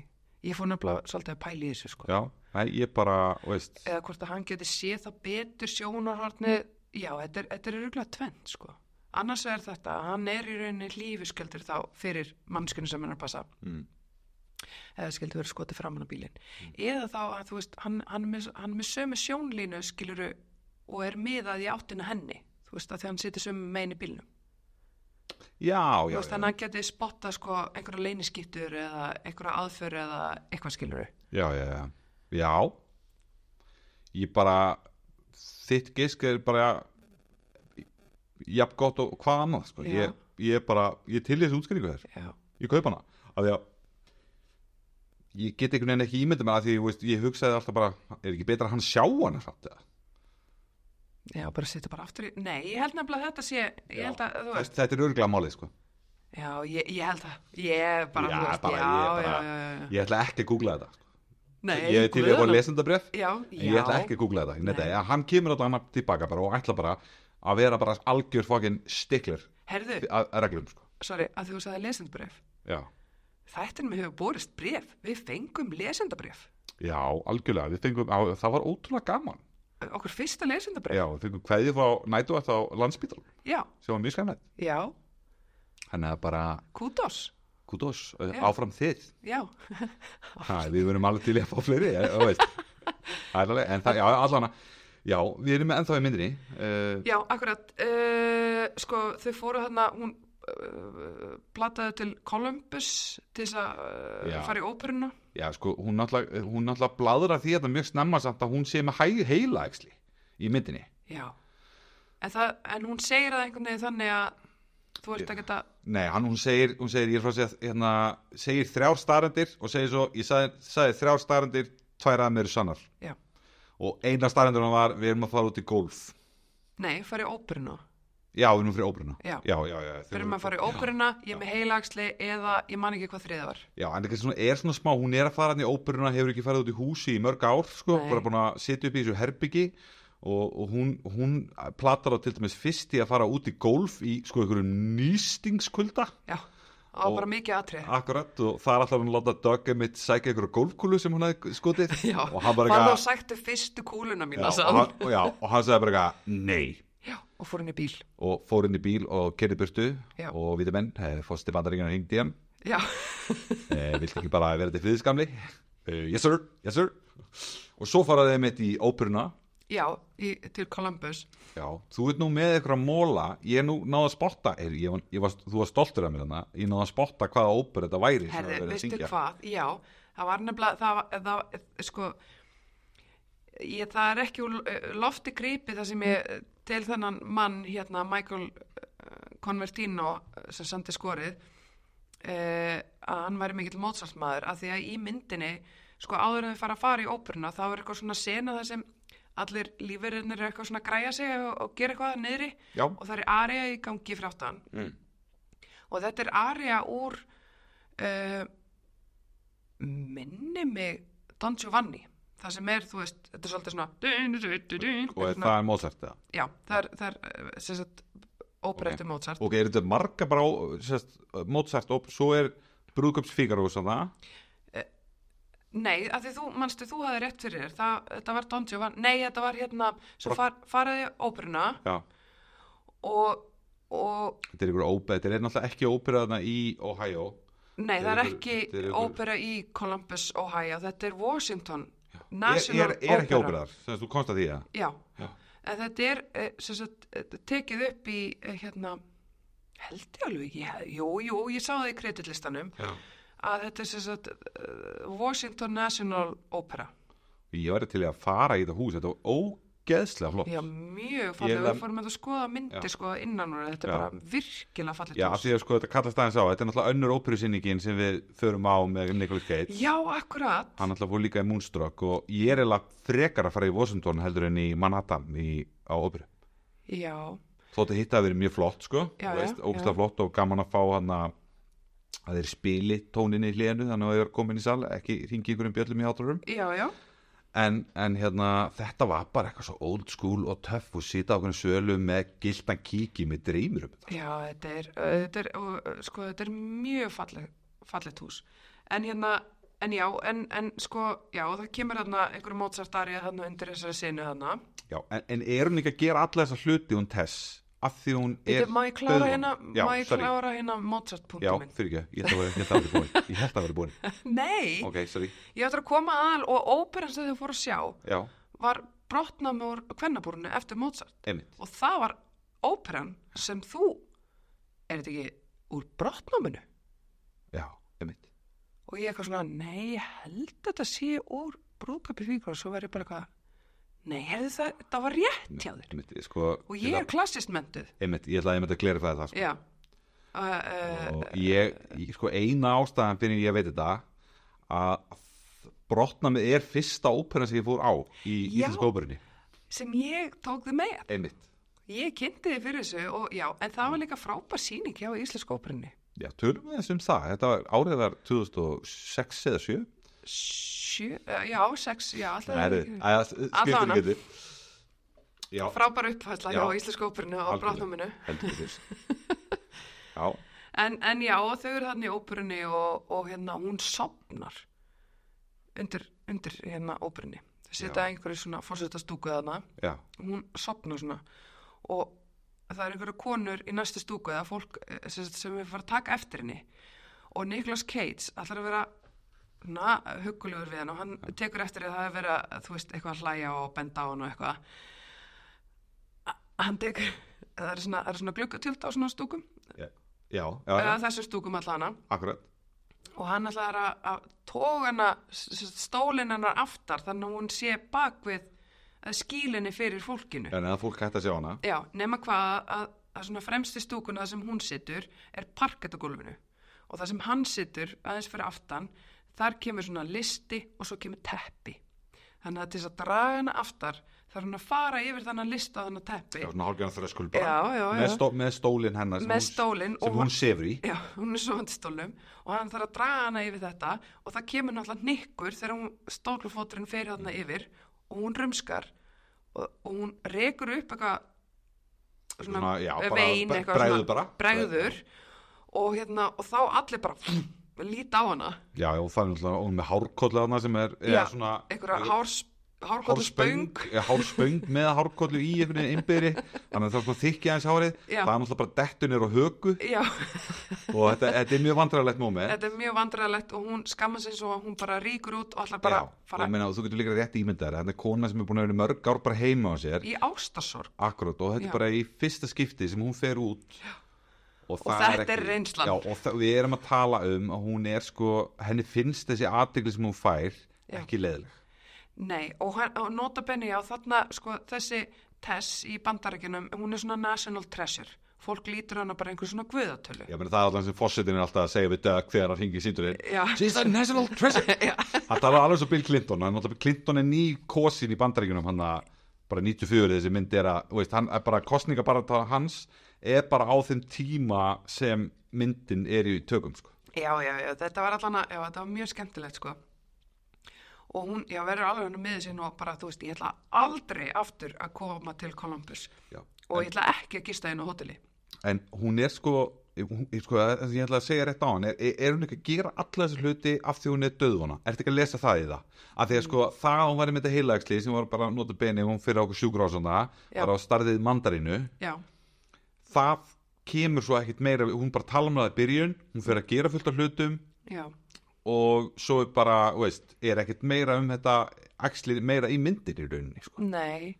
[SPEAKER 2] ég fór nefnilega svolítið að pæla í þessu sko.
[SPEAKER 1] já, nei, ég bara, veist
[SPEAKER 2] Eða hvort að hann geti séð það betur sjónarhorni, já, þetta er, þetta er rúglega tvent sko. Annars er þetta að hann er í rauninni lífiskjöldur þá fyrir mannskinu sem hann er að passa.
[SPEAKER 1] mm,
[SPEAKER 2] eða skildi verið skotið framan á bílinn eða þá að þú veist hann, hann, er með, hann er með sömu sjónlínu skiluru og er miðað í áttina henni þú veist að því hann situr sömu megin í bílnum
[SPEAKER 1] já,
[SPEAKER 2] þú
[SPEAKER 1] já,
[SPEAKER 2] veist
[SPEAKER 1] já,
[SPEAKER 2] þannig að hann geti spottað sko einhverja leyniskittur eða einhverja aðför eða eitthvað skiluru
[SPEAKER 1] Já, já, já. Já. Ég bara, þitt gisk er bara jafn gott og hvað annað, sko.
[SPEAKER 2] Já.
[SPEAKER 1] Ég, ég bara, ég til þessu útskýringu þér.
[SPEAKER 2] já,
[SPEAKER 1] Ég kaup hana. Af því að ég get einhvern veginn ekki ímyndið mér að því, þú veist, ég hugsaði alltaf bara, er ekki betra að hann sjá hana samt eða?
[SPEAKER 2] já bara situr bara aftur í nei, ég held nefnilega að þetta sé ég held að, þú veist,
[SPEAKER 1] Þess, þetta er örgulega málið, sko.
[SPEAKER 2] já, ég, ég held að ég bara,
[SPEAKER 1] Já,
[SPEAKER 2] þú veist,
[SPEAKER 1] bara,
[SPEAKER 2] já,
[SPEAKER 1] ég bara-
[SPEAKER 2] já, já, já
[SPEAKER 1] Ég ætla ekki að googla þetta, sko.
[SPEAKER 2] Nei,
[SPEAKER 1] ég er til í að fá
[SPEAKER 2] guðanna-
[SPEAKER 1] lesendabref
[SPEAKER 2] Já,
[SPEAKER 1] en
[SPEAKER 2] já
[SPEAKER 1] ég ætla ekki að googla þetta Nei. Nei,
[SPEAKER 2] Nei.
[SPEAKER 1] ja, hann kemur allan tilbaka bara og ætla bara að vera bara algjör fokin stiklir
[SPEAKER 2] Herðu,
[SPEAKER 1] að að reglum sko.
[SPEAKER 2] sorry, að þú sagði lesendbref
[SPEAKER 1] já.
[SPEAKER 2] Þættinum hefur borist bref Við fengum lesendabref
[SPEAKER 1] já, algjörlega, við fengum á, það var ótrúlega gaman
[SPEAKER 2] Okkur fyrsta lesendabref
[SPEAKER 1] já, við fengum kveðið frá nætu að þá landspítal
[SPEAKER 2] Já,
[SPEAKER 1] sem var mjög skemmlega
[SPEAKER 2] já,
[SPEAKER 1] hann er bara,
[SPEAKER 2] kúdós
[SPEAKER 1] kudos,
[SPEAKER 2] Já.
[SPEAKER 1] áfram þið
[SPEAKER 2] Já,
[SPEAKER 1] ha, við verum alveg til í að fá fleiri eh, þú veist. Það er alveg- en það, já, allan já, við erum ennþá í myndinni uh,
[SPEAKER 2] já, akkurat uh, Sko, þau fóru þarna Hún uh, plataði til Columbus Til þess að uh,
[SPEAKER 1] Já.
[SPEAKER 2] fara í óperuna
[SPEAKER 1] Já, sko, hún náttúrulega, hún náttúrulega bladra því að það mjög snemma samt að hún sé með hæ, heila æxli í myndinni.
[SPEAKER 2] Já En, það, en hún segir það einhvern veginn þannig að Þú ert ekki að
[SPEAKER 1] Nei, hann, hún segir, hún segir, ég er frá að segja, hérna, segir þrjár starendir og segir svo, ég sagði, sagði þrjár starendir, tvær að mér sannar.
[SPEAKER 2] Já,
[SPEAKER 1] Og eina starendur hann var, við erum að fara út í golf.
[SPEAKER 2] nei, fara í óperuna
[SPEAKER 1] Já, við erum fyrir óbruna.
[SPEAKER 2] Já.
[SPEAKER 1] já, já. já þau
[SPEAKER 2] Fyrir
[SPEAKER 1] eru-
[SPEAKER 2] maður að fara í óperuna, ég er með heilagsli Eða ég man ekki hvað þriða var
[SPEAKER 1] Já, en það kannski svona, er svona smá, hún er að fara hann í óperuna, hefur ekki farið út í húsi í mörg ár, sko,
[SPEAKER 2] Nei.
[SPEAKER 1] bara búin að sitja upp í þessu herbyggi og, og hún, hún platar á til dæmis fyrst í að fara út í golf í, sko, einhverjum nýstingskulda,
[SPEAKER 2] Já, það var
[SPEAKER 1] Og-
[SPEAKER 2] bara mikið atrið
[SPEAKER 1] akkurat, og það er alltaf hún að láta Doug mitt sækja einhverju golfkúlu sem hún hafði skotið
[SPEAKER 2] Já,
[SPEAKER 1] og hann bara
[SPEAKER 2] farðu og
[SPEAKER 1] eitthvað,
[SPEAKER 2] sæktu fyrstu kúluna
[SPEAKER 1] já,
[SPEAKER 2] mína
[SPEAKER 1] og
[SPEAKER 2] sagði hann.
[SPEAKER 1] hann- og já, og hann sagði bara eitthvað, nei,
[SPEAKER 2] Já, og fór henni bíl
[SPEAKER 1] og fór inn í bíl og kerði burtu
[SPEAKER 2] Já.
[SPEAKER 1] og viti menn, fórstu bandaríkina hringdi í hann
[SPEAKER 2] Já,
[SPEAKER 1] eh, viltu ekki bara vera til fyrirskamli eh, yes sir, yes sir og svo faraði þeim eitt í óperuna
[SPEAKER 2] já í, til Columbus
[SPEAKER 1] já, þú ert nú með eitthvað móla ég er nú náða að spotta er, ég, var- ég var, þú var stoltur af mér hana ég náða að spotta hvaða óper þetta væri sem var
[SPEAKER 2] Herði,
[SPEAKER 1] verið að
[SPEAKER 2] veistu
[SPEAKER 1] syngja.
[SPEAKER 2] hvað, já Það var nefnilega, það, var- það, sko ég, Það er ekki úr eh, lofti grípi það sem ég eh, til þennan mann hérna Michael eh, Convertino eh, sem sandi skorið eh, að hann væri mikill mótsaltmaður af því að í myndinni sko áður en þau fara að fara í óperuna þá er eitthvað svona sena þar sem allir lífverðinir er eitthvað svona að græja sig og, og gera eitthvað niðri
[SPEAKER 1] já,
[SPEAKER 2] og það er aria í gangi fráttan
[SPEAKER 1] Mm.
[SPEAKER 2] og þetta er aria úr uh, minni mig Don Giovanni það sem er, þú veist, þetta er svolítið svona
[SPEAKER 1] og
[SPEAKER 2] og
[SPEAKER 1] er, það er Mozart það.
[SPEAKER 2] já, það er, það er eh, sem sagt óbreyttu okay. Mozart
[SPEAKER 1] ok, er þetta marga bara ó- sérst, Mozart óper, svo er Brúðköps Fígaró já,
[SPEAKER 2] nei, af því þú, manstu, þú hafði rétt fyrir þér það, þetta var Don Giovanni, nei, þetta var hérna svo far, faraði óperuna og, og
[SPEAKER 1] þetta er einhver óper þetta er náttúrulega ekki ópera þarna í Ohio
[SPEAKER 2] nei,
[SPEAKER 1] Þetta
[SPEAKER 2] það er
[SPEAKER 1] er einhver-
[SPEAKER 2] ekki
[SPEAKER 1] þetta er einhver-
[SPEAKER 2] ópera í Columbus, Ohio, þetta er Washington
[SPEAKER 1] er, er,
[SPEAKER 2] National
[SPEAKER 1] er ekki
[SPEAKER 2] Opera.
[SPEAKER 1] ópera þar, sem sagt, þú komst að því að
[SPEAKER 2] Já,
[SPEAKER 1] Já.
[SPEAKER 2] en þetta er eh, sem sagt, eh, tekið upp í eh, hérna, held ég alveg ekki, ég- jú, jú, ég sá það í kreditlistanum
[SPEAKER 1] Já.
[SPEAKER 2] að þetta er sem sagt, eh, Washington National Opera.
[SPEAKER 1] Ég væri til í að fara í þetta hús, þetta var ógeðslega flott.
[SPEAKER 2] Já, mjög falleg,
[SPEAKER 1] Ég
[SPEAKER 2] við
[SPEAKER 1] lem-
[SPEAKER 2] fórum að skoða myndir sko innan og þetta er
[SPEAKER 1] Já.
[SPEAKER 2] bara virkilega falleg
[SPEAKER 1] Já, af því að sko þetta kallast aðeins á, þetta er náttúrulega önnur óperusynningin sem við förum á með Nicolas Cage.
[SPEAKER 2] Já, akkurat,
[SPEAKER 1] Hann náttúrulega fór líka í Moonstruck og ég er eiginlega frekar að fara í Washington heldur en í Manhattan í, á óperu.
[SPEAKER 2] já,
[SPEAKER 1] Þótt að hitta að vera mjög flott sko,
[SPEAKER 2] Já,
[SPEAKER 1] þú veist,
[SPEAKER 2] já,
[SPEAKER 1] ógeðslega flott og gaman að fá hann að að þeir spili tóninni í hlénu þannig að ég er komin í sal, ekki ringi ykkur um bjöllum í átrarum
[SPEAKER 2] já, já,
[SPEAKER 1] en, en hérna, þetta var bara eitthvað svo old school og töff og sita á okkur sölu með gildan kíki með dreymir um þetta
[SPEAKER 2] já, þetta er, eh, þetta er, og, eh, sko, þetta er mjög falleg, fallegt hús. En hérna, en já, en, en sko, já, það kemur þarna einhverjum Mozart-arið þarna undir þessari sinu þarna.
[SPEAKER 1] Já, en, en er hún ekki að gera alla þessa hluti hún Tess af því hún er
[SPEAKER 2] Þetta, má ég klára
[SPEAKER 1] dauðvon?
[SPEAKER 2] hérna,
[SPEAKER 1] já,
[SPEAKER 2] má ég
[SPEAKER 1] sorry.
[SPEAKER 2] klára hérna Mozart-punktum
[SPEAKER 1] Já,
[SPEAKER 2] minn?
[SPEAKER 1] fyrir ekki, ég held að vera- ég held að vera búin Ég held að vera búin,
[SPEAKER 2] Nei,
[SPEAKER 1] ok, sorry
[SPEAKER 2] ég ætla að koma aðal og óperan sem þau fóru að sjá
[SPEAKER 1] Já,
[SPEAKER 2] var brotnað úr kvennabúrinu eftir Mozart
[SPEAKER 1] einmitt
[SPEAKER 2] og það var óperan sem þú, er þetta ekki úr brotnáminu?
[SPEAKER 1] Já, einmitt
[SPEAKER 2] Og ég eitthvað svona, nei, ég held þetta sé úr brúðköpi fíkur og svo verið bara eitthvað, nei, hefði það, það var rétt hjá þér.
[SPEAKER 1] Einmitt, sko
[SPEAKER 2] Og ég er klassist mentuð,
[SPEAKER 1] Einmitt, ég ætla að ég með þetta að glera það sko.
[SPEAKER 2] já. Uh, uh,
[SPEAKER 1] Og ég, ég, sko, eina ástæðan fyrir ég veit þetta að brotnamið er fyrsta ópera sem ég fór á í
[SPEAKER 2] Já.
[SPEAKER 1] íslensku óperunni
[SPEAKER 2] sem ég tók þið með.
[SPEAKER 1] Einmitt
[SPEAKER 2] Ég kynnti þið fyrir þessu og já, en það var líka frábær síning hjá Íslensk óperinni.
[SPEAKER 1] um Já, tölum við þessum það, þetta var árið var 2006 eða 7
[SPEAKER 2] sjö, já, sex, já, alltaf
[SPEAKER 1] Það er
[SPEAKER 2] ekki- Allavega.
[SPEAKER 1] skiptir ekki Já,
[SPEAKER 2] frábæra uppfæðsla
[SPEAKER 1] Já.
[SPEAKER 2] hjá Íslensku óperinu á
[SPEAKER 1] Algjörlega.
[SPEAKER 2] brátnuminu
[SPEAKER 1] heldur við Já,
[SPEAKER 2] en, en já, og þau eru þannig í óperunni og, og hérna, hún sopnar undir, undir hérna óperunni þau setja
[SPEAKER 1] Já.
[SPEAKER 2] einhverju svona fórsetastúku þarna
[SPEAKER 1] já,
[SPEAKER 2] hún sopnar svona og það er einhverju konur í næstu stúku eða fólk eh, sem, sagt, sem er fara að taka eftir henni og Nicolas Cage ætlar að vera na, huggulegur við hann og hann tekur eftir því að það er verið að þú veist eitthvað að hlæja og benda á hann og eitthvað A- hann tekur það er svona, það er svona gluggatjöld á svona stúkum
[SPEAKER 1] já, já, já,
[SPEAKER 2] eða þessum stúkum allana
[SPEAKER 1] akkurat
[SPEAKER 2] og hann ætlar að, að tóga hana stólinn hennar aftar þannig að hún sé bak við eh, skílinni fyrir fólkinu
[SPEAKER 1] En að fólk hætti að sjá hana
[SPEAKER 2] Já, nema hvað að, að svona fremsti stúkuna það sem hún situr er parkett á gólfinu og það sem hann situr aðeins fyrir aftan þar kemur svona listi og svo kemur teppi þannig að til þess að draga hana aftar þarf hann að fara yfir þannan lista og þannig teppi
[SPEAKER 1] Já, svona hálfgjörn þröskul
[SPEAKER 2] já,
[SPEAKER 1] bara
[SPEAKER 2] já,
[SPEAKER 1] með,
[SPEAKER 2] já.
[SPEAKER 1] stó, með stólinn hennar sem
[SPEAKER 2] með
[SPEAKER 1] hún-
[SPEAKER 2] stólinn og
[SPEAKER 1] sem hún sefur í
[SPEAKER 2] já, hún er svo stólum og hann þarf að draga hana yfir þetta og það kemur náttúrulega nikkur þegar hún stólufóturinn fer hana yfir og hún rumskar og, og hún rekur upp eitthvað svona, eh,
[SPEAKER 1] já, bara
[SPEAKER 2] vein
[SPEAKER 1] bre-
[SPEAKER 2] eitthvað
[SPEAKER 1] bregður
[SPEAKER 2] svona-
[SPEAKER 1] bara
[SPEAKER 2] bregður og, hérna, og þá allir bara líta á hana
[SPEAKER 1] Já, og það er náttúrulega hún er með hárkollu hana sem er, er
[SPEAKER 2] Já,
[SPEAKER 1] svona
[SPEAKER 2] einhverja hárs, hárkóta spöng
[SPEAKER 1] ja, hárspöng með hárkollu í einhvern veginn innbyrði þannig að það er svona þykki aðeins hárið
[SPEAKER 2] Já.
[SPEAKER 1] það er náttúrulega bara dettunir og höku
[SPEAKER 2] já,
[SPEAKER 1] og þetta, þetta er mjög vandræðalegt moment
[SPEAKER 2] þetta er mjög vandræðalegt og hún skamma sig svo að hún bara ríkur út og allar bara
[SPEAKER 1] Já, og
[SPEAKER 2] fara
[SPEAKER 1] ég meina, þú getur líka rétt ímyndar þetta er kona sem er búin að vera í mörg ár bara heima á sér
[SPEAKER 2] í ástarsorg
[SPEAKER 1] akkurat og þetta
[SPEAKER 2] Já.
[SPEAKER 1] er bara í fyrsta skipti sem hún fer út og,
[SPEAKER 2] þetta er reynslan.
[SPEAKER 1] já, og það, við erum að tala um að hún er sko henni finnst þessi aðdegli sem hún fær
[SPEAKER 2] Já.
[SPEAKER 1] ekki leðileg
[SPEAKER 2] Nei, og, hann, og nota benni á þarna, sko, þessi Tess í bandarækjunum, hún er svona national treasure. Fólk lítur á hana bara einhver svona guðatölu.
[SPEAKER 1] Já, meni, það er alltaf sem fórsetin er alltaf að segja við Doug þegar hann hingir síndurinn
[SPEAKER 2] Já.
[SPEAKER 1] She's a national treasure Hann talar alveg svo Bill Clinton hann, náttúrulega- Clinton er ný kosin í bandaríkunum hann að bara 94 þessi mynd er að þú veist, hann er bara kostningabarata hans er bara á þeim tíma sem myndin er í tökum sko.
[SPEAKER 2] Já, já, já, þetta var allan að, já, þetta var mjög skemmtilegt, sko. Og hún, já, verður alveg henni með sín og bara, þú veist, ég ætla aldrei aftur að koma til Columbus.
[SPEAKER 1] Já.
[SPEAKER 2] Og ég ætla ekki að gista henni á hóteli.
[SPEAKER 1] en hún er sko hún, ég- sko, það sem ég ætla að segja rétt á hann er, er hún ekki að gera alla þessi hluti af því hún er döðvona, ertu ekki að lesa það í það af því að sko, það að hún var með þetta heilagsli sem var bara nota beni, hún fyrir á okkur sjúkurásana
[SPEAKER 2] Já.
[SPEAKER 1] bara á starðið mandarínu
[SPEAKER 2] Já,
[SPEAKER 1] það kemur svo ekkit meira hún bara tala um það í byrjun, hún fyrir að gera fullt af hlutum
[SPEAKER 2] já,
[SPEAKER 1] og svo er bara, þú veist, er ekkit meira um þetta axlir meira í myndir í rauninni sko.
[SPEAKER 2] nei,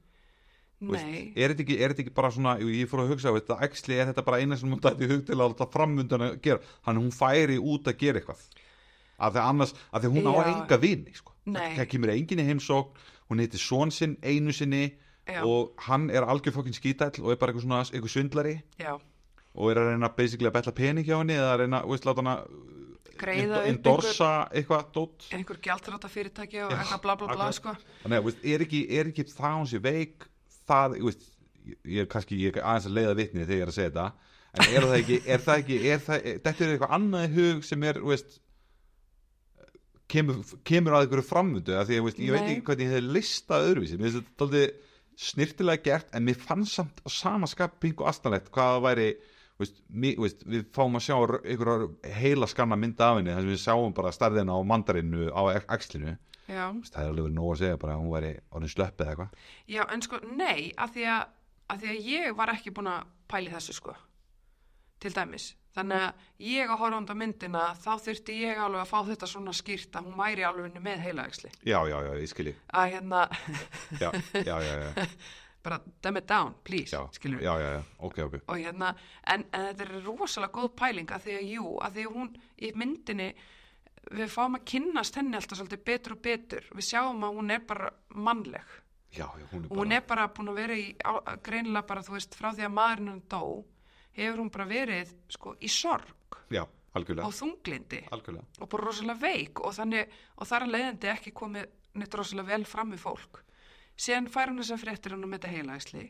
[SPEAKER 1] Þú veist,
[SPEAKER 2] nei.
[SPEAKER 1] er þetta ekki, er þetta ekki bara svona jú, ég fór að hugsa, veist, að axli er þetta bara eina sem hún dætti í hug til að alltaf framundan að gera hann hún færi út að gera eitthvað af því að annars, af því að hún á
[SPEAKER 2] Já.
[SPEAKER 1] enga vini sko.
[SPEAKER 2] Nei.
[SPEAKER 1] það kemur enginn í heimsókn hún heitir són sinn einu sinni
[SPEAKER 2] Já.
[SPEAKER 1] og hann er algjör fokkin skítæll og er bara eitthvað svona, eitthvað svindlari
[SPEAKER 2] Já,
[SPEAKER 1] og er að reyna basically að betla pening hjá henni eða að reyna, þú veist, láta hana
[SPEAKER 2] greiða upp einhver,
[SPEAKER 1] endorsa eitthvað dótt
[SPEAKER 2] einhver gjaldráta fyrirtæki og eitthvað bla bla bla,
[SPEAKER 1] akkurat.
[SPEAKER 2] sko.
[SPEAKER 1] Þannig að, veist, er ekki, er ekki það hún sé veik, það, ég veist, ég er kannski, ég er aðeins að leiða vitni þegar ég er að segja þetta, en er það ekki, er það ekki, er það, er, þetta er eitthvað annað í hug sem er, þú veist, kemur, kemur að einhverju framvöndu, af því að, þú veist, ég veit
[SPEAKER 2] Nei.
[SPEAKER 1] ekki hvernig ég hefði listað öðruvísi, mér finnst þetta aldrei snirtilega gert, en mér fannst samt á sama skap pingu astanlegt hvað það væri, þú veist, mi, þú veist, við fáum að sjá einhverjar heila skanna mynda af henni, þar sem við sjáum bara stærðina á mandarinu á axlinu,
[SPEAKER 2] Já.
[SPEAKER 1] Veist, það er alveg verið nóg að segja bara að hún væri orðin slöppið eða eitthvað
[SPEAKER 2] Já, en sko, nei, af því að, af því að ég var ekki búin að pæli þessu, sko, til dæmis. Þannig að ég að horfa undan myndina, þá þurfti ég alveg að fá þetta svona skýrt að hún væri alveg henni með heilaæksli.
[SPEAKER 1] já, já, já, ég skilji
[SPEAKER 2] Að hérna,
[SPEAKER 1] já, já, já, já,
[SPEAKER 2] bara dumb it down, please,
[SPEAKER 1] já,
[SPEAKER 2] skilur
[SPEAKER 1] já, já, já, ok, ok
[SPEAKER 2] Og hérna, en, en þetta er rosalega góð pæling að því að jú, að því að hún í myndinni, við fáum að kynnast henni alltaf svolítið betur og betur. Við sjáum að hún er bara mannleg.
[SPEAKER 1] já, já, hún er
[SPEAKER 2] og
[SPEAKER 1] bara
[SPEAKER 2] hún er bara búin að vera í á- greinilega bara þú veist frá því að maðurinn hann dó hefur hún bara verið sko í sorg
[SPEAKER 1] já, algjörlega,
[SPEAKER 2] og þunglindi
[SPEAKER 1] algjörlega
[SPEAKER 2] og bara rosalega veik og þannig og þar að leiðandi ekki komið neitt rosalega vel fram við fólk síðan fær hún þessar fréttir hann um þetta heilaæsli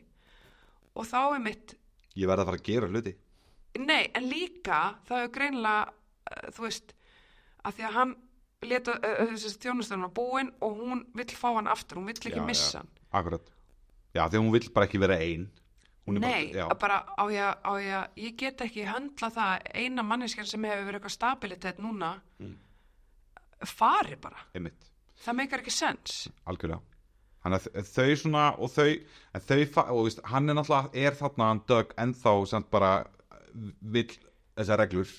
[SPEAKER 2] og þá er mitt
[SPEAKER 1] ég verð að fara að gera hluti
[SPEAKER 2] nei en líka það er greinilega eh, þú veist að því að hann leta uh, uh, þessi þjónustöðuna búin og hún vill fá hann aftur, hún vill ekki
[SPEAKER 1] Já,
[SPEAKER 2] missa hann
[SPEAKER 1] akkurat Já, því að hún vill bara ekki vera ein Hún er
[SPEAKER 2] Nei,
[SPEAKER 1] bara, já,
[SPEAKER 2] bara, bara á, ég, að- á ég, að- ég get ekki höndla það að eina manneskjar sem hefur verið eitthvað stabilitet núna
[SPEAKER 1] Mm.
[SPEAKER 2] fari bara,
[SPEAKER 1] einmitt,
[SPEAKER 2] það meikar ekki sens
[SPEAKER 1] algjörlega Þannig að þ- þau svona og þau, en þau fa- og veist, hann er náttúrulega, er þarna hann Doug ennþá sem bara eh, vill þessar reglur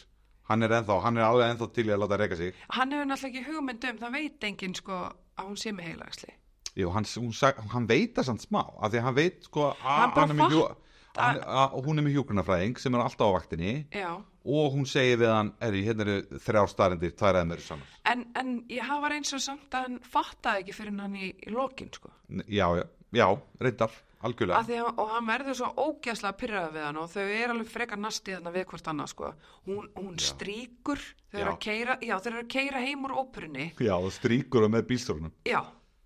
[SPEAKER 1] hann er ennþá, hann er alveg ennþá til í að láta reyka sig
[SPEAKER 2] Hann hefur náttúrulega ekki hugmynd um, það veit enginn sko að hún sé með heilagsli
[SPEAKER 1] Jú, hann, hún, sag- hann veit það samt smá af því að hann veit sko að
[SPEAKER 2] Hann bara
[SPEAKER 1] hann er með hjú-
[SPEAKER 2] fattar-
[SPEAKER 1] hann- að hún er með hjúkrunafræðing sem er alltaf á vaktinni
[SPEAKER 2] Já,
[SPEAKER 1] og hún segir við hann, herri, hérna eru þrjár starindir, tvær eða meður sannar
[SPEAKER 2] en, en ég hafa eins og samt að hann fattaði ekki fyrir hann í, í lokin sko
[SPEAKER 1] N- Já, já, já, reyndar, algjörlega
[SPEAKER 2] Af því að, og hann verður svo ógæslega pyrraða við hann og þau eru alveg frekar nasti þarna við hvort annað sko. Hún, hún stríkur, þau eru
[SPEAKER 1] Já.
[SPEAKER 2] að keira, já þau eru að keira heim úr óperunni,
[SPEAKER 1] Já, það strýkur það með bílstórunum
[SPEAKER 2] já,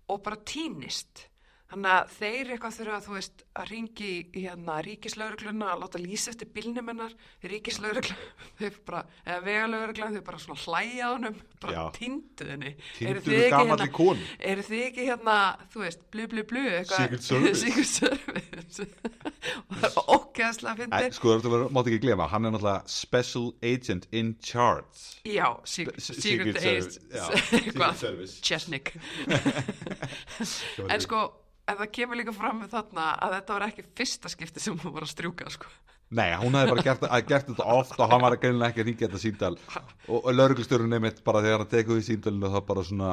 [SPEAKER 2] og bara týnist. Þannig að þeir eitthvað þurfa að þú veist að ringi í hérna ríkislaurugluna, að láta lýsa eftir bílnum hennar, ríkislauruglun, þau bara, eða vegalauruglun, þau bara svona hlæja að honum, bara
[SPEAKER 1] Já.
[SPEAKER 2] týndu henni.
[SPEAKER 1] Týndu
[SPEAKER 2] Eruð þið
[SPEAKER 1] við
[SPEAKER 2] ekki hérna?
[SPEAKER 1] gamalli konu.
[SPEAKER 2] Eru þið ekki hérna, þú veist, blu blu blu eitthvað?
[SPEAKER 1] Secret Service.
[SPEAKER 2] Secret Service. og það var ókæðslega
[SPEAKER 1] Nei,
[SPEAKER 2] fyndið.
[SPEAKER 1] sko, þetta var- máttu ekki glema, hann er náttúrulega Special Agent in Charge
[SPEAKER 2] Já, Secret,
[SPEAKER 1] S-
[SPEAKER 2] Secret,
[SPEAKER 1] Service, já, Secret
[SPEAKER 2] Service.
[SPEAKER 1] Service
[SPEAKER 2] Chesnik.
[SPEAKER 1] var
[SPEAKER 2] en sko, en það kemur líka fram með þarna að þetta var ekki fyrsta skipti sem hún var að strjúka, sko.
[SPEAKER 1] Nei, hún hefði bara gert, að- gert þetta oft og hann var greinilega ekki að ringja þetta síndal og, og lauruglustjórun nefnitt bara þegar hann tekur því síndalinu þá bara svona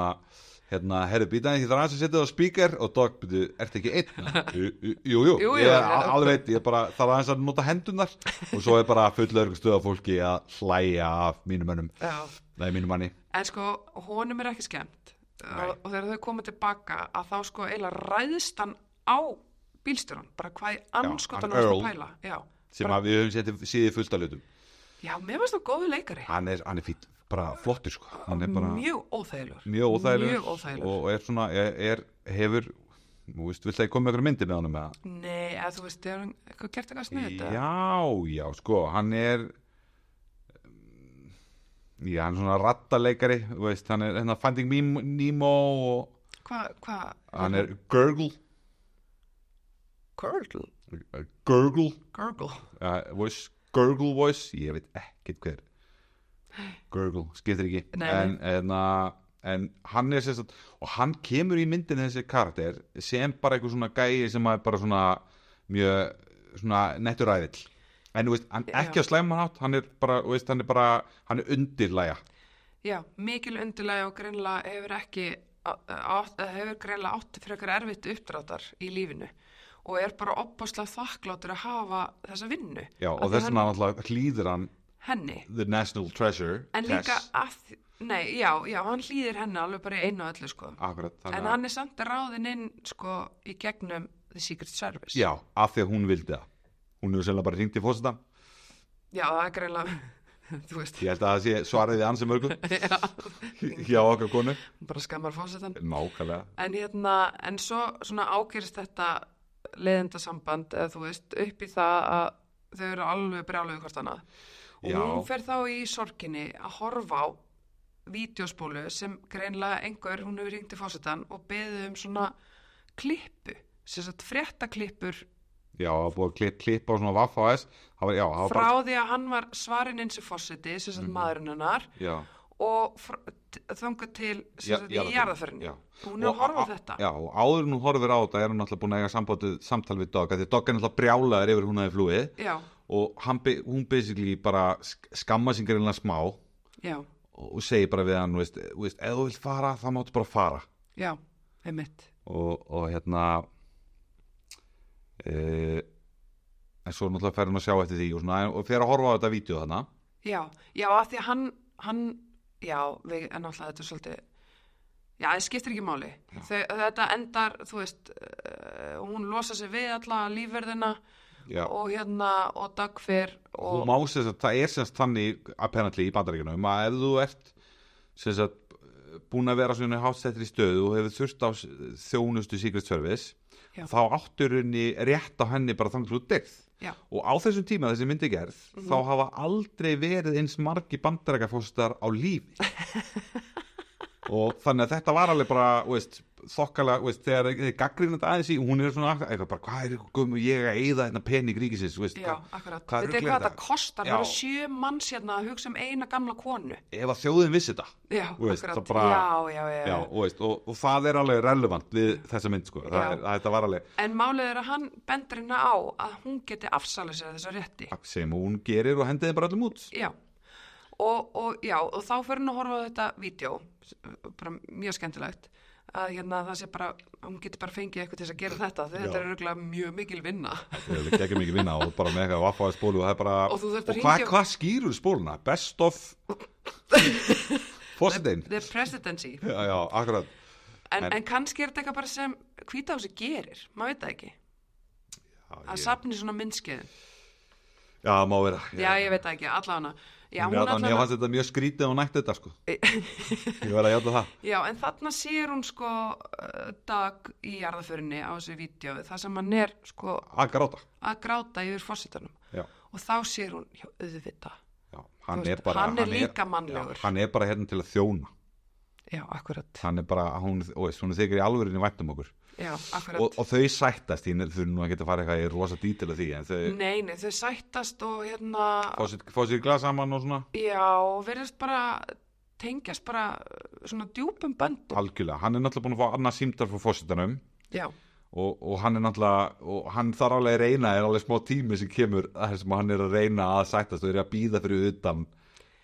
[SPEAKER 1] hérna, herri, býta ég þarf aðeins að setja það á spíker og dog, býtu, ertu ekki einn? Jú, jú, jú, jú,
[SPEAKER 2] Jú, jú,
[SPEAKER 1] ég er
[SPEAKER 2] já.
[SPEAKER 1] al- alveg einn, ég er bara þarf aðeins að nota hendunar og svo er bara full lauruglustöða fólki að hlæja af mínum mönnum,
[SPEAKER 2] Já.
[SPEAKER 1] nei, mínum manni
[SPEAKER 2] En sko, honum er ekki skemmt
[SPEAKER 1] Nei.
[SPEAKER 2] og, og þegar þau koma tilbaka að þá sko eiginlega ræðist hann á bílstjóran, bara hvað í
[SPEAKER 1] hann
[SPEAKER 2] anskotan varst
[SPEAKER 1] Earl.
[SPEAKER 2] að pæla. Já,
[SPEAKER 1] sem að við höfum setið síðið fullt af hlutum
[SPEAKER 2] já mér varst það góðu leikari,
[SPEAKER 1] hann er, hann er fýtt, bara flottur sko hann er bara
[SPEAKER 2] mjög óþægilegur.
[SPEAKER 1] mjög óþægilegur,
[SPEAKER 2] Mjög óþægilegur.
[SPEAKER 1] og er svona, er, er hefur Þú veist, vilt það koma með ykkur myndi með honum með það?
[SPEAKER 2] Nei, eða þú veist, þegar hann eitthvað gert eitthvað sniðið þetta.
[SPEAKER 1] Já, já, sko, hann er Já, hann er svona rattaleikari þú veist, hann er hérna Finding Mim- Nemo og
[SPEAKER 2] Hvað, hvað?
[SPEAKER 1] hann er Gurgle
[SPEAKER 2] Gurgle.
[SPEAKER 1] Gurgle,
[SPEAKER 2] Gurgle.
[SPEAKER 1] uh, voice, Gurgle voice ég veit ekkert hver Gurgle, skiptir ekki
[SPEAKER 2] Nei, nei.
[SPEAKER 1] en, en, að- en hann er sérst og hann kemur í myndin þessi karakter sem bara einhver svona gæi sem er bara svona mjög svona nettur æðill en þú veist, hann
[SPEAKER 2] Já.
[SPEAKER 1] ekki á slæman átt hann er bara, þú veist, hann er bara hann er undirlæja
[SPEAKER 2] Já, mikil undirlega og greinlega hefur ekki á- átt, eða hefur greinlega átt frekar erfitt uppdráttar í lífinu og er bara opbáslega þakklátur að hafa þessa vinnu.
[SPEAKER 1] Já,
[SPEAKER 2] Af
[SPEAKER 1] og
[SPEAKER 2] því
[SPEAKER 1] þess
[SPEAKER 2] hann-
[SPEAKER 1] vegna náttúrulega hlýðir hann
[SPEAKER 2] Henni.
[SPEAKER 1] The National Treasure
[SPEAKER 2] En líka að, nei, já, já, hann hlýðir henni alveg bara í einu og öllu, sko.
[SPEAKER 1] Akkurat,
[SPEAKER 2] En hann er samt ráðinn inn, sko, í gegnum The Secret Service.
[SPEAKER 1] Já, af því að hún vildi það Hún hefur sérlega bara hringt í fósita
[SPEAKER 2] Já, það er greinlega, þú veist,
[SPEAKER 1] Ég held að það sé svarið við ansið mörgum
[SPEAKER 2] já,
[SPEAKER 1] hjá okkar konu
[SPEAKER 2] bara skammar fósetan.
[SPEAKER 1] Nákvæmlega
[SPEAKER 2] En hérna, en svo svona ágerist þetta leðendasamband eða þú veist, upp í það að þau eru alveg brjálögu hvort annað. Og
[SPEAKER 1] Já.
[SPEAKER 2] hún fer þá í sorginni að horfa á vídeospólu sem greinlega einhver, hún hefur ringt í fósitann og beðið um svona klippu, sem sagt fréttaklippur
[SPEAKER 1] Já, það var búið að klipp, klippa á svona vaff á Mhm. S Það var, já, það var
[SPEAKER 2] frá
[SPEAKER 1] bara
[SPEAKER 2] því að hann var svarinn eins og fósiti, sem sagt maðurinn hennar
[SPEAKER 1] Já,
[SPEAKER 2] og þanga til
[SPEAKER 1] Já,
[SPEAKER 2] sem sagt í
[SPEAKER 1] jarðarförinni, já.
[SPEAKER 2] jarðaförinni. Hún er að horfa á þetta.
[SPEAKER 1] Já, og áður en hún horfir á þetta er hún alltaf búin að eiga sambandið samtal við Dog af Því að Dog er alltaf brjálaður yfir hún aðeins flúið
[SPEAKER 2] Já,
[SPEAKER 1] Og hann, bi- hún basically bara sk- skamma sig greinlega smá Og
[SPEAKER 2] já,
[SPEAKER 1] og segir bara við hann, þú veist, þú veist, ef þú vilt fara, það máttu bara fara
[SPEAKER 2] já, einmitt.
[SPEAKER 1] og, og hérna e, en svo náttúrulega fer hann að sjá eftir því og, svona, og fer að horfa á þetta vídeo þarna
[SPEAKER 2] Já, já, að því að hann, hann já, við, en alltaf þetta er svolítið já, það skiptir ekki máli Þau, þetta endar, þú veist uh, hún losa sig við alla lífverðina
[SPEAKER 1] Já.
[SPEAKER 2] og hérna og dagfer
[SPEAKER 1] hún
[SPEAKER 2] og
[SPEAKER 1] má sem sagt, það er sem sagt þannig apparently í bandaríkjunum að ef þú ert sem sagt búin að vera svona hátstættir í stöðu og hefur þurft á s- þjónustu Secret Service
[SPEAKER 2] Já.
[SPEAKER 1] þá áttur henni rétt á henni bara þannig hlútt degð
[SPEAKER 2] já,
[SPEAKER 1] og á þessum tíma þessi myndi er gerð
[SPEAKER 2] Mhm.
[SPEAKER 1] þá hafa aldrei verið eins margi bandarækjafóstar á lífi og þannig að þetta var alveg bara þú veist, þokkalega, þú veist, þegar þið gaggrinn þetta aðeins í, hún er svona eitthvað bara, hvað er ykkur gömur ég að eyða þetta pening ríkisins þú veist,
[SPEAKER 2] Já,
[SPEAKER 1] hvað-
[SPEAKER 2] akkurat.
[SPEAKER 1] hvað
[SPEAKER 2] Þetta er
[SPEAKER 1] rugl
[SPEAKER 2] hvað þetta kostar, það
[SPEAKER 1] Já.
[SPEAKER 2] eru sjö manns hérna að hugsa um eina gamla konu.
[SPEAKER 1] ef að þjóðin vissi þetta
[SPEAKER 2] Já,
[SPEAKER 1] Þú veist,
[SPEAKER 2] akkurat.
[SPEAKER 1] það bara-
[SPEAKER 2] já, já, já.
[SPEAKER 1] Já, og, veist, og, og það er alveg relevant við þessa mynd sko. það
[SPEAKER 2] Já.
[SPEAKER 1] er, að þetta var alveg
[SPEAKER 2] En málið er að hann bendur hérna á að hún geti afsalið sér þessu rétti.
[SPEAKER 1] sem hún gerir og hendiði bara öllum út
[SPEAKER 2] Já. Og, og já, og þá fyrir hann að horfa á þetta vídeo, s- bara mjög skemmtilegt, að hérna það sé bara, hún geti bara fengið eitthvað til þess að gera þetta, því
[SPEAKER 1] Já.
[SPEAKER 2] þetta er örgulega mjög mikil vinna.
[SPEAKER 1] það er ekki mikið vinna og bara með eitthvað vaffaði spólu og það er bara,
[SPEAKER 2] Og þú þarft að
[SPEAKER 1] hvað,
[SPEAKER 2] hringja-
[SPEAKER 1] hvað skýrur spóluna? Best of Fossetin
[SPEAKER 2] The presidency.
[SPEAKER 1] Já, já, akkurat
[SPEAKER 2] En,
[SPEAKER 1] En-
[SPEAKER 2] en kannski er þetta eitthvað bara sem hvítási gerir, maður veit það ekki,
[SPEAKER 1] Já,
[SPEAKER 2] að
[SPEAKER 1] ég,
[SPEAKER 2] safni svona myndskeiðin.
[SPEAKER 1] já má vera
[SPEAKER 2] Já, ég veit það ekki, allavega. Já,
[SPEAKER 1] Hún
[SPEAKER 2] hún
[SPEAKER 1] er allan, ég
[SPEAKER 2] allavega.
[SPEAKER 1] fannst þetta mjög skrítið og nætti þetta sko Ég verð að játa það
[SPEAKER 2] Já, en þarna sér hún sko uh, dag í jarðaförinni á þessu vídeo, það sem hann er sko
[SPEAKER 1] að gráta
[SPEAKER 2] að gráta yfir fórsetunum
[SPEAKER 1] Já,
[SPEAKER 2] og þá sér hún hjá auðvita.
[SPEAKER 1] já, hann,
[SPEAKER 2] Þú veist,
[SPEAKER 1] er bara,
[SPEAKER 2] hann er líka mannlegur.
[SPEAKER 1] já, Hann er bara hérna til að þjóna
[SPEAKER 2] Já, akkurat.
[SPEAKER 1] Hann er bara, hún, og veist, hún er þykir í alvörinni vænt um okkur
[SPEAKER 2] Já, akkurat.
[SPEAKER 1] og, og þau sættast, því þau nú að geta að fara eitthvað í rosa dítil að því En þau
[SPEAKER 2] Nei, nei, þau sættast og hérna,
[SPEAKER 1] fá sér- fá sér glas saman og svona
[SPEAKER 2] já, og verðist bara tengjast bara uh, svona djúpum böndum.
[SPEAKER 1] Algjörlega, hann er náttúrulega búin að fá annað símdar frá fórsetanum
[SPEAKER 2] Já,
[SPEAKER 1] og, og hann er náttúrulega, og hann þarf alveg að reyna, er alveg smá tími sem kemur þar sem hann er að reyna að sættast og er að býða fyrir utan,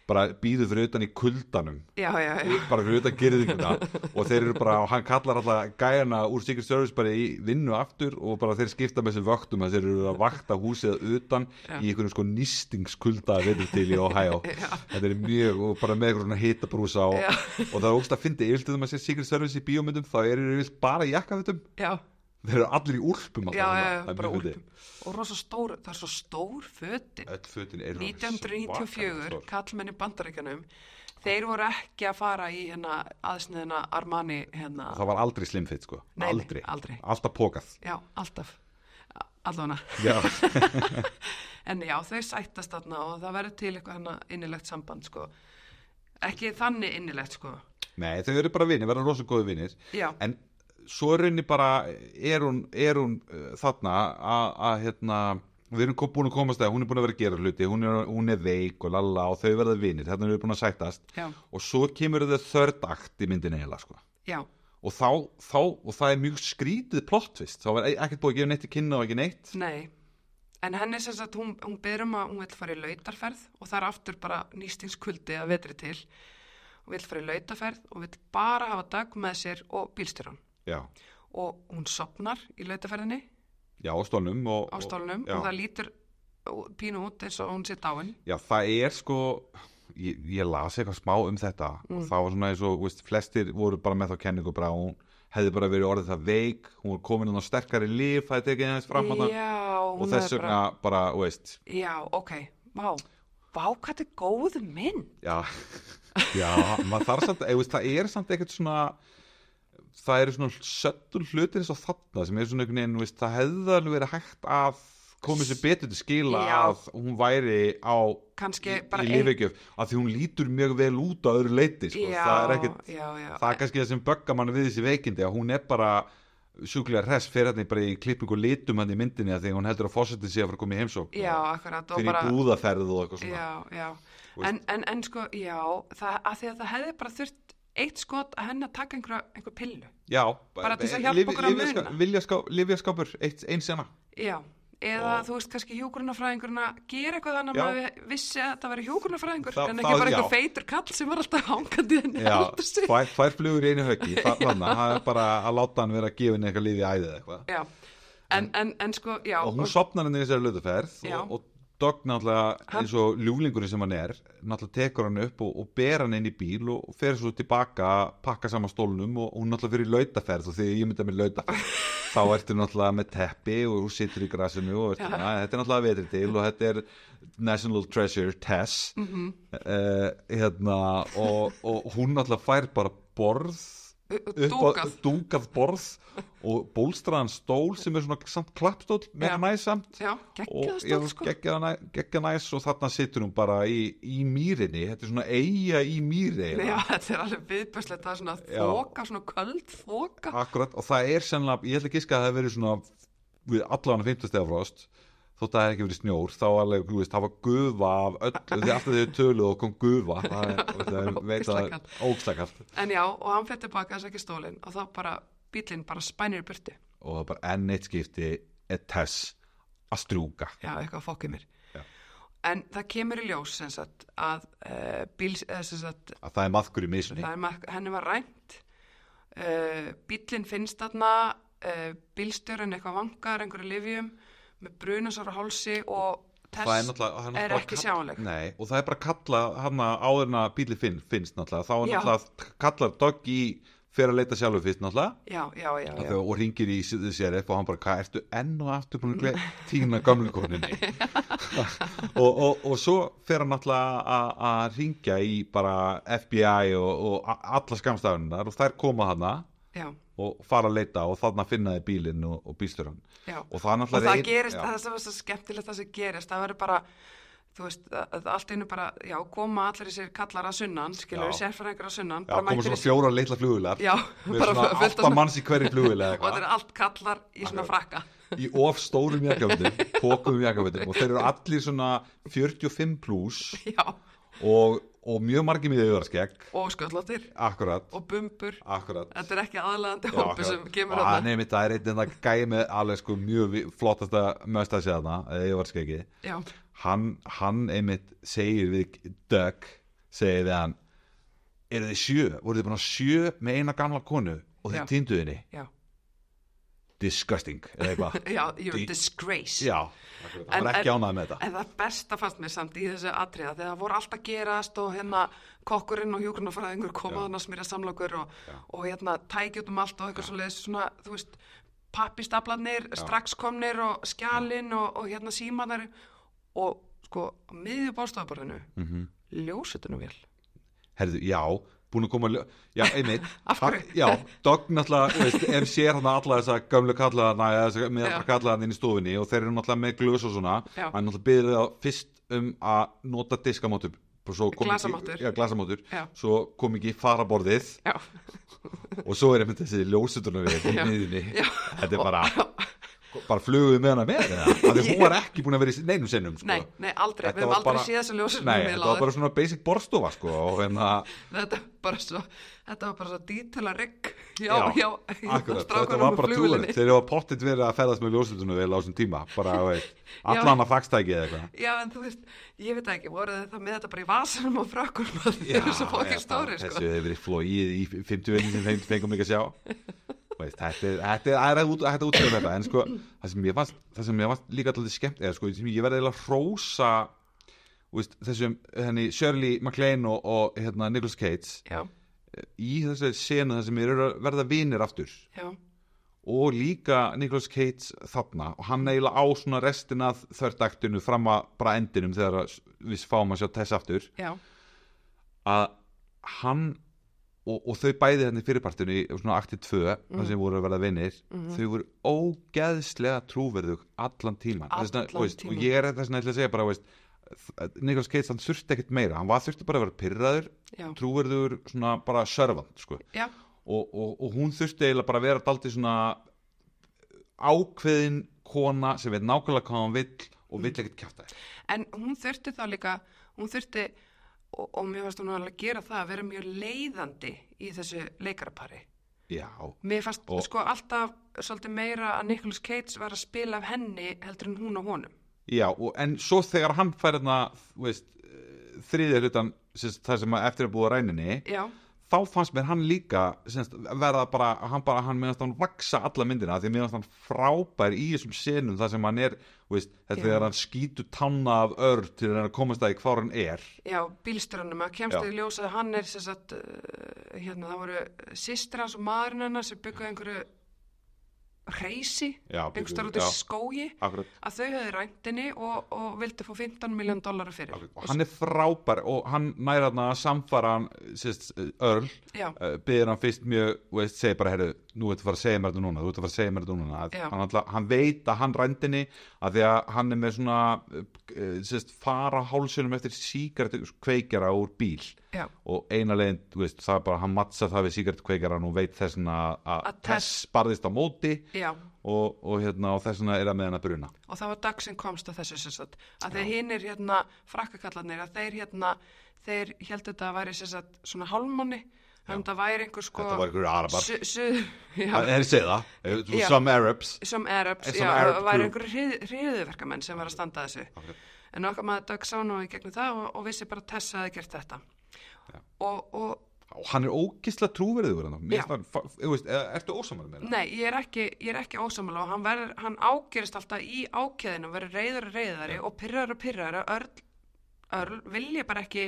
[SPEAKER 1] bara býðu fyrir utan í kuldanum,
[SPEAKER 2] já, já, já.
[SPEAKER 1] bara fyrir utan gerðinguna og þeir eru bara, og hann kallar alltaf gæjana úr Secret Service bara í vinnu aftur og bara þeir skipta með þessum vöktum að þeir eru að vakta húsið að utan
[SPEAKER 2] Já.
[SPEAKER 1] í einhvern sko nýstingskulda veitur til í Ohio þetta er mjög, og bara með einhvern hitabrúsa og,
[SPEAKER 2] Já.
[SPEAKER 1] og það er ógst að fyndi, yfirlega þegar maður sér Secret Service í bíómyndum þá eru yfirlega bara í jakkafutum
[SPEAKER 2] Já,
[SPEAKER 1] þeir eru allir í úlpum alltaf
[SPEAKER 2] já,
[SPEAKER 1] þarna.
[SPEAKER 2] já, já,
[SPEAKER 1] Það er
[SPEAKER 2] bara
[SPEAKER 1] mjög
[SPEAKER 2] úlpum. Og rosa stór, það er svo stór fötin.
[SPEAKER 1] fyndið. öll fötin eru
[SPEAKER 2] 1994,
[SPEAKER 1] svakalega stór.
[SPEAKER 2] kallmenni bandaríkjanum, þeir voru ekki að fara í hérna aðsniðina Armani hérna,
[SPEAKER 1] það var aldrei slimfitt sko
[SPEAKER 2] Nei, nei,
[SPEAKER 1] aldrei.
[SPEAKER 2] aldrei.
[SPEAKER 1] alltaf pokað
[SPEAKER 2] já, alltaf, allona.
[SPEAKER 1] já,
[SPEAKER 2] En já, þau sættast þarna og það verður til eitthvað hérna innilegt samband, sko. Ekki þannig innilegt, sko.
[SPEAKER 1] nei, þau eru bara vinir, verða rosa góði vinir
[SPEAKER 2] Já,
[SPEAKER 1] en svo er henni bara er hún, er hún uh, þarna að- að hérna við erum kom- búin að komast að hún er búin að vera að gera hluti hún er, hún er veik og lalla og þau verða vinir þarna eru búin að sættast
[SPEAKER 2] já,
[SPEAKER 1] og svo kemur þetta þörd akt í myndin eiginlega sko
[SPEAKER 2] já,
[SPEAKER 1] og þá, þá, og það er mjög skrítið plottvist, þá var e- ekkert búið að gefa neitt í kynna og ekki neitt
[SPEAKER 2] nei. En henni sem sagt, hún, hún byrður um að hún vil fara í lautarferð og það er aftur bara nýstingskuldi að vetri til. Hún vil fara í lautarferð og vil bara hafa dag með sér og bílstyrun.
[SPEAKER 1] já,
[SPEAKER 2] og hún sopnar í lautaferðinni
[SPEAKER 1] já, á stólnum og,
[SPEAKER 2] á stólnum
[SPEAKER 1] já,
[SPEAKER 2] og það lítur ó, pínu út eins og hún sé dáin
[SPEAKER 1] já, það er sko ég, ég las eitthvað smá um þetta og
[SPEAKER 2] Mm.
[SPEAKER 1] það var svona eins og, veist, flestir voru bara með þá kenningu bara, hún hefði bara verið orðið það veik, hún var komin hann á sterkari líf, það er tekið aðeins fram hann
[SPEAKER 2] já, hún
[SPEAKER 1] og
[SPEAKER 2] er
[SPEAKER 1] þess vegna
[SPEAKER 2] bara,
[SPEAKER 1] bara, veist
[SPEAKER 2] já, ok, vá vá, hvað þetta er góð mynd
[SPEAKER 1] já, já, maður þarf samt eða, veist, það er samt ekkert svona það eru svona söttul hlutir eins og þarna sem er svona einhvern veginn veist, það hefði alveg verið hægt að komið sér betur til skila
[SPEAKER 2] Já.
[SPEAKER 1] að hún væri á
[SPEAKER 2] kannski
[SPEAKER 1] í,
[SPEAKER 2] bara
[SPEAKER 1] í lifegjöf að því hún lítur mjög vel út á öðru leiti sko.
[SPEAKER 2] já,
[SPEAKER 1] það er ekkert
[SPEAKER 2] já, já,
[SPEAKER 1] það er kannski það sem böggar mann við þessi veikindi að hún er bara sjúklega hress fyrir hann bara í klippingu og litum hann í myndinni að því hún heldur að fórsetin sé að fara að koma í heimsókn
[SPEAKER 2] já,
[SPEAKER 1] og
[SPEAKER 2] akkurat og
[SPEAKER 1] fyrir
[SPEAKER 2] bara,
[SPEAKER 1] búðaferð og eitthvað svona
[SPEAKER 2] já, já
[SPEAKER 1] Þú
[SPEAKER 2] en, en, en sko, já, það, að því að það hefði bara þurft eitt skot að henni að taka einhver, einhver pillu
[SPEAKER 1] Já, eh,
[SPEAKER 2] Bara til þess að hjálpa okkur að muna.
[SPEAKER 1] Livjaskápur, eitt, einn sena
[SPEAKER 2] Já, eða
[SPEAKER 1] Og-
[SPEAKER 2] þú veist kannski hjúkurnafræðingurinn að gera eitthvað þannig
[SPEAKER 1] Já.
[SPEAKER 2] að maður vissi að það væri hjúkurnafræðingur
[SPEAKER 1] Þá-
[SPEAKER 2] en
[SPEAKER 1] þá-
[SPEAKER 2] ekki bara
[SPEAKER 1] já.
[SPEAKER 2] eitthvað feitur kall sem var alltaf hangandi henni
[SPEAKER 1] Já,
[SPEAKER 2] heldur sig.
[SPEAKER 1] tvær, tvær flugur í einu höggi þa- þarna, það er bara að láta hann vera að gefa henni eitthvað lífi í æðið eða eitthvað
[SPEAKER 2] Já, en, en, en sko, já,
[SPEAKER 1] og hún sopnar henni í þessari löðuferð
[SPEAKER 2] Já.
[SPEAKER 1] og, og Dögg náttúrulega
[SPEAKER 2] Hann-
[SPEAKER 1] eins og ljúlingurinn sem hann er náttúrulega tekur hann upp og, og ber hann inn í bíl og, og fer svo tilbaka pakka saman stólnum og hún náttúrulega fyrir lautaferð og því ég mynda mér lautaferð þá ertu náttúrulega með teppi og þú situr í grasinu og ertu, na, þetta er náttúrulega vetri til og þetta er National Treasure Tess
[SPEAKER 2] Mhm.
[SPEAKER 1] Eh, mm hérna, og, og hún náttúrulega fær bara borð upp á
[SPEAKER 2] dúkað
[SPEAKER 1] dúkað borð og bólstraðan stól sem er svona samt klappstól með
[SPEAKER 2] Já.
[SPEAKER 1] næsamt
[SPEAKER 2] já,
[SPEAKER 1] og
[SPEAKER 2] geggjaðast
[SPEAKER 1] ég
[SPEAKER 2] það
[SPEAKER 1] veist
[SPEAKER 2] sko
[SPEAKER 1] geggja næ- geggja næs og þarna situr hún bara í, í mýrinni, þetta er svona eiga í mýri
[SPEAKER 2] Nei,
[SPEAKER 1] eiginlega.
[SPEAKER 2] já, þetta er alveg viðbörslegt það er svona
[SPEAKER 1] Já.
[SPEAKER 2] þoka, svona köld þoka
[SPEAKER 1] Akkurat, og það er sennilega, ég ætla að giska að það hefur verið svona við allan 50 stegar frost þótt að það hefði ekki verið snjór, þá alveg, þú veist, það var gufa af öllu, því alltaf þau töluð og kom gufa, það er, það er veit að
[SPEAKER 2] Ógeðslega
[SPEAKER 1] ógstakalt
[SPEAKER 2] en já, og hann fyrir tilbaka þess ekki stólinn og þá bara bílinn bara spænir í burti
[SPEAKER 1] og það er bara enn eitt skipti er tess að strjúka
[SPEAKER 2] já, eitthvað fokkið mér
[SPEAKER 1] Já.
[SPEAKER 2] en það kemur í ljós sem sagt að uh, bíls, eða sem sagt
[SPEAKER 1] að það er maðkur í misunni
[SPEAKER 2] það er maður, henni var rænt uh, bílinn finnst þarna uh, bílstjörinn eitthvað vangar einhverju lifjum með brunasar á hálsi og
[SPEAKER 1] það er
[SPEAKER 2] tess
[SPEAKER 1] náttúrulega það
[SPEAKER 2] er
[SPEAKER 1] náttúrulega
[SPEAKER 2] ekki
[SPEAKER 1] kall-
[SPEAKER 2] sjáanleg.
[SPEAKER 1] Nei, og það er bara kalla hann áður en að bíli finn, finnst náttúrulega þá er
[SPEAKER 2] Já.
[SPEAKER 1] náttúrulega kallar Doggy í- fer að leita sjálfur fyrst náttúrulega
[SPEAKER 2] já, já, já,
[SPEAKER 1] Að
[SPEAKER 2] já.
[SPEAKER 1] þau- og ringir í sér upp og hann bara, hvað ertu enn og aftur búin að gle- týna gamlu koninni og, og, og svo fer hann náttúrulega að- að ringja í bara FBI og, og a- alla skamstafunar og þær koma hana
[SPEAKER 2] já,
[SPEAKER 1] og fara að leita og þarna finna þið bílinn og, og bílstur hann
[SPEAKER 2] já.
[SPEAKER 1] og það, er
[SPEAKER 2] og
[SPEAKER 1] náttúrulega
[SPEAKER 2] það
[SPEAKER 1] ein-
[SPEAKER 2] gerist,
[SPEAKER 1] já,
[SPEAKER 2] það sem var svo skemmtilegt það sem gerist, það verður bara þú veist, að, að allt einu bara já, koma allir þessir kallar að sunnan skilur við
[SPEAKER 1] Já.
[SPEAKER 2] sérfræðingur að sunnan
[SPEAKER 1] já, koma
[SPEAKER 2] mættir
[SPEAKER 1] svona
[SPEAKER 2] í-
[SPEAKER 1] fjóra litla flugulegar
[SPEAKER 2] Já,
[SPEAKER 1] með
[SPEAKER 2] bara
[SPEAKER 1] svona
[SPEAKER 2] fullt af
[SPEAKER 1] átta
[SPEAKER 2] svona-
[SPEAKER 1] manns í hverju flugulega
[SPEAKER 2] og þetta er allt kallar í svona frakka
[SPEAKER 1] í of stórum jakafötum, pókum jakafötum og þeir eru allir svona 45 pluss
[SPEAKER 2] já,
[SPEAKER 1] og, og mjög margir með auðarskegg
[SPEAKER 2] og sköllóttir
[SPEAKER 1] akkurat,
[SPEAKER 2] og bumbur,
[SPEAKER 1] akkurat
[SPEAKER 2] þetta er ekki aðlaðandi
[SPEAKER 1] Já,
[SPEAKER 2] hópu sem
[SPEAKER 1] akkurat.
[SPEAKER 2] kemur
[SPEAKER 1] og
[SPEAKER 2] að
[SPEAKER 1] hann er mitt, það er einn en það gæði með alveg sko mjög vi- flottasta möstasi þarna, eða ég var skeggi
[SPEAKER 2] já,
[SPEAKER 1] hann, hann einmitt segir við Doug, segir við hann eru þið sjö, voru þið búin að sjö með eina gamla konu og
[SPEAKER 2] Já.
[SPEAKER 1] þið týndu henni
[SPEAKER 2] já,
[SPEAKER 1] disgusting, eða eitthvað
[SPEAKER 2] já, you're
[SPEAKER 1] Dí-
[SPEAKER 2] a disgrace
[SPEAKER 1] já, akkurat. hann
[SPEAKER 2] En-
[SPEAKER 1] var ekki
[SPEAKER 2] en-
[SPEAKER 1] ánað með þetta
[SPEAKER 2] En það besta fannst mér samt í þessu atriða þegar það voru alltaf að gerast og hérna kokkurinn og hjúkurnafræðingur
[SPEAKER 1] Já.
[SPEAKER 2] komaðan að smýra samlokur og,
[SPEAKER 1] Já.
[SPEAKER 2] og hérna tækjut um allt og eitthvað svo leiðis svona, þú veist, pappistaflanir, strax komnir og skjalinn og, og hérna símanar og sko, á miðju bólstaðaborðinu, mm
[SPEAKER 1] Mhm.
[SPEAKER 2] -hmm. ljósutunum vel.
[SPEAKER 1] Herðu, já, búin að koma að ljó- Já, einmitt
[SPEAKER 2] Af hverju?
[SPEAKER 1] Hann- Já, Dogg náttúrulega, þú veist, ef sér hann alla þessa gömlu kallaðana eða þessa með
[SPEAKER 2] Já.
[SPEAKER 1] alla kallaðana inn í stofunni og þeir eru náttúrulega með glös og svona
[SPEAKER 2] Já.
[SPEAKER 1] hann náttúrulega byrðið á fyrst um að nota diskamátur og svo kom
[SPEAKER 2] Glasamáttur.
[SPEAKER 1] ekki, já, glasamáttur
[SPEAKER 2] Já.
[SPEAKER 1] svo kom ekki faraborðið
[SPEAKER 2] Já,
[SPEAKER 1] og svo er einmitt þessi ljósutunum við í
[SPEAKER 2] Já.
[SPEAKER 1] miðinni
[SPEAKER 2] Já.
[SPEAKER 1] þetta er bara bara flugum við með hana með það því hún var ekki búin að vera í neinum sinnum sko.
[SPEAKER 2] nei, nei, aldrei,
[SPEAKER 1] Þetta
[SPEAKER 2] við hefum
[SPEAKER 1] var
[SPEAKER 2] aldrei
[SPEAKER 1] bara-
[SPEAKER 2] séð þessu ljósutunum
[SPEAKER 1] Nei,
[SPEAKER 2] vel
[SPEAKER 1] þetta var bara svona basic borstofa sko, og hérna
[SPEAKER 2] Þetta var bara svo, þetta var bara svo dítela rigg, já,
[SPEAKER 1] Já,
[SPEAKER 2] já,
[SPEAKER 1] Akkurat, þetta
[SPEAKER 2] strákunum
[SPEAKER 1] var
[SPEAKER 2] og
[SPEAKER 1] bara
[SPEAKER 2] flugvélinni.
[SPEAKER 1] trúðanett Þeir hafa pottitt verið að ferðast með ljóslutunum vel á þessum tíma bara, þú veist, allan að fagstæki eða eitthvað
[SPEAKER 2] Já, en þú veist, ég veit ekki, voru þið það með þetta bara í vasanum og frakkunum að þið
[SPEAKER 1] Já,
[SPEAKER 2] eru svo fókið
[SPEAKER 1] eða
[SPEAKER 2] stóri,
[SPEAKER 1] bara,
[SPEAKER 2] sko.
[SPEAKER 1] Þessu hefur verið flóið í 50 vinni sem þeim fengum ekki að sjá Þú veist, Þetta er- þetta er aðra út að útskjöfum þetta en sko, það sem ég fannst, það sem ég fannst líka alltaf skemmt eða sko, sem ég verði eiginlega að hrósa þú veist, þessum henni Shirley MacLaine og, og hérna, Nicholas Cates
[SPEAKER 2] Já,
[SPEAKER 1] í þessu senu þar sem þeir eru að verða vinir aftur
[SPEAKER 2] já,
[SPEAKER 1] og líka Nicolas Cage þarna og hann eiginlega á svona restina af þördaktinu fram að bara endinum þegar að við fáum að sjá Tess aftur
[SPEAKER 2] já,
[SPEAKER 1] að hann og, og þau bæði henni fyrirpartinu í svona akti 2 þar
[SPEAKER 2] Mhm.
[SPEAKER 1] sem voru að verða vinnir þau voru ógeðslega trúverðug allan tíman,
[SPEAKER 2] Allan
[SPEAKER 1] Þessna, þú veist,
[SPEAKER 2] tímann.
[SPEAKER 1] og ég er þess að ætla að segja bara þú veist, Nicolas Cage hann þurfti ekkert meira hann var þurfti bara að vera pyrraður
[SPEAKER 2] já,
[SPEAKER 1] trúverður svona bara servant sko
[SPEAKER 2] já,
[SPEAKER 1] og, og, og hún þurfti eiginlega bara að vera daldi svona ákveðin kona sem veit nákvæmlega hvað hún vill og
[SPEAKER 2] Mhm.
[SPEAKER 1] vill ekkert kjáta þér
[SPEAKER 2] en hún þurfti þá líka, hún þurfti, og, og mér fannst hún alveg að gera það, að vera mjög leiðandi í þessu leikarapari.
[SPEAKER 1] já,
[SPEAKER 2] Mér fannst,
[SPEAKER 1] Og-
[SPEAKER 2] sko, alltaf svolítið meira að Nicholas Cates var að spila af henni heldur en hún og honum.
[SPEAKER 1] já og, en svo þegar hann fær þarna þú veist, eh, þriðja hlutan sérst, það sem að eftir að búa ræninni
[SPEAKER 2] Já,
[SPEAKER 1] þá fannst mér hann líka sérst, verða bara, hann bara, hann meðast hann vaksa alla myndina, því meðast hann frábær í þessum senum þar sem hann er þú veist, þetta
[SPEAKER 2] Já.
[SPEAKER 1] þegar hann skýtur tanna af örd til að reyna að komast að í hvað hann er
[SPEAKER 2] já, bílstörunum, að kemst
[SPEAKER 1] Já.
[SPEAKER 2] í ljós að hann er, sem sagt, eh, uh, hérna, það voru sýstir hans og maðurinn hennar sem byggðu einhverju reysi,
[SPEAKER 1] Já,
[SPEAKER 2] einhvers
[SPEAKER 1] bíddu,
[SPEAKER 2] þar út í
[SPEAKER 1] já.
[SPEAKER 2] skógi
[SPEAKER 1] akkurat
[SPEAKER 2] að þau höfðu ræntinni og, og vildu fá 15 miljón dólarar fyrir
[SPEAKER 1] og hann er frábær og hann næra hann að samfara hann sérst, Örl,
[SPEAKER 2] já,
[SPEAKER 1] byrðir Eh, hann fyrst mjög þú veist, segir bara, herru, nú ertu að fara að segja mér þetta núna þú ertu að fara að segja mér þetta núna að,
[SPEAKER 2] Já.
[SPEAKER 1] hann, alltaf, hann veit að hann rændinni að því að hann er með svona uh, sérst, fara hálsunum eftir sígarettu kveikjara úr bíl
[SPEAKER 2] já,
[SPEAKER 1] og eina leiðin, þú veist, það er bara hann matsa það við sígarettu kveikjaran og veit þess vegna að
[SPEAKER 2] Að
[SPEAKER 1] Tess barðist á móti
[SPEAKER 2] já
[SPEAKER 1] og, og, hérna, og þess vegna er að með hann að bruna
[SPEAKER 2] og það var dag sem komst að þessu sem sagt að þeir hinnir hérna frakkakallarnir að þeir hérna, þeir heldur þetta að væri sem sagt svona hálmanni þannig að það væri einhver sko
[SPEAKER 1] þetta var ykkur arabar,
[SPEAKER 2] su, su, já,
[SPEAKER 1] það er segða
[SPEAKER 2] Já.
[SPEAKER 1] some Arabs
[SPEAKER 2] some Arabs,
[SPEAKER 1] Some
[SPEAKER 2] já,
[SPEAKER 1] Arab
[SPEAKER 2] það væri
[SPEAKER 1] group.
[SPEAKER 2] einhver hriðuverkamenn sem var að standa að þessu en okkar maður Doug sá nú í gegnum það og, og vissi bara að Tessa hefði gert þetta og, og
[SPEAKER 1] og hann er ógisla trúverðugur hann
[SPEAKER 2] Já.
[SPEAKER 1] Mér finnst hann fa- þú veist, eða ertu ósamar með það?
[SPEAKER 2] nei, ég er ekki, ég er ekki ósamlega og hann, verður, hann ágerist alltaf í ákjæðinu verður reyður og reyðari og pyrrar og pyrrar og örl, örl vilja bara ekki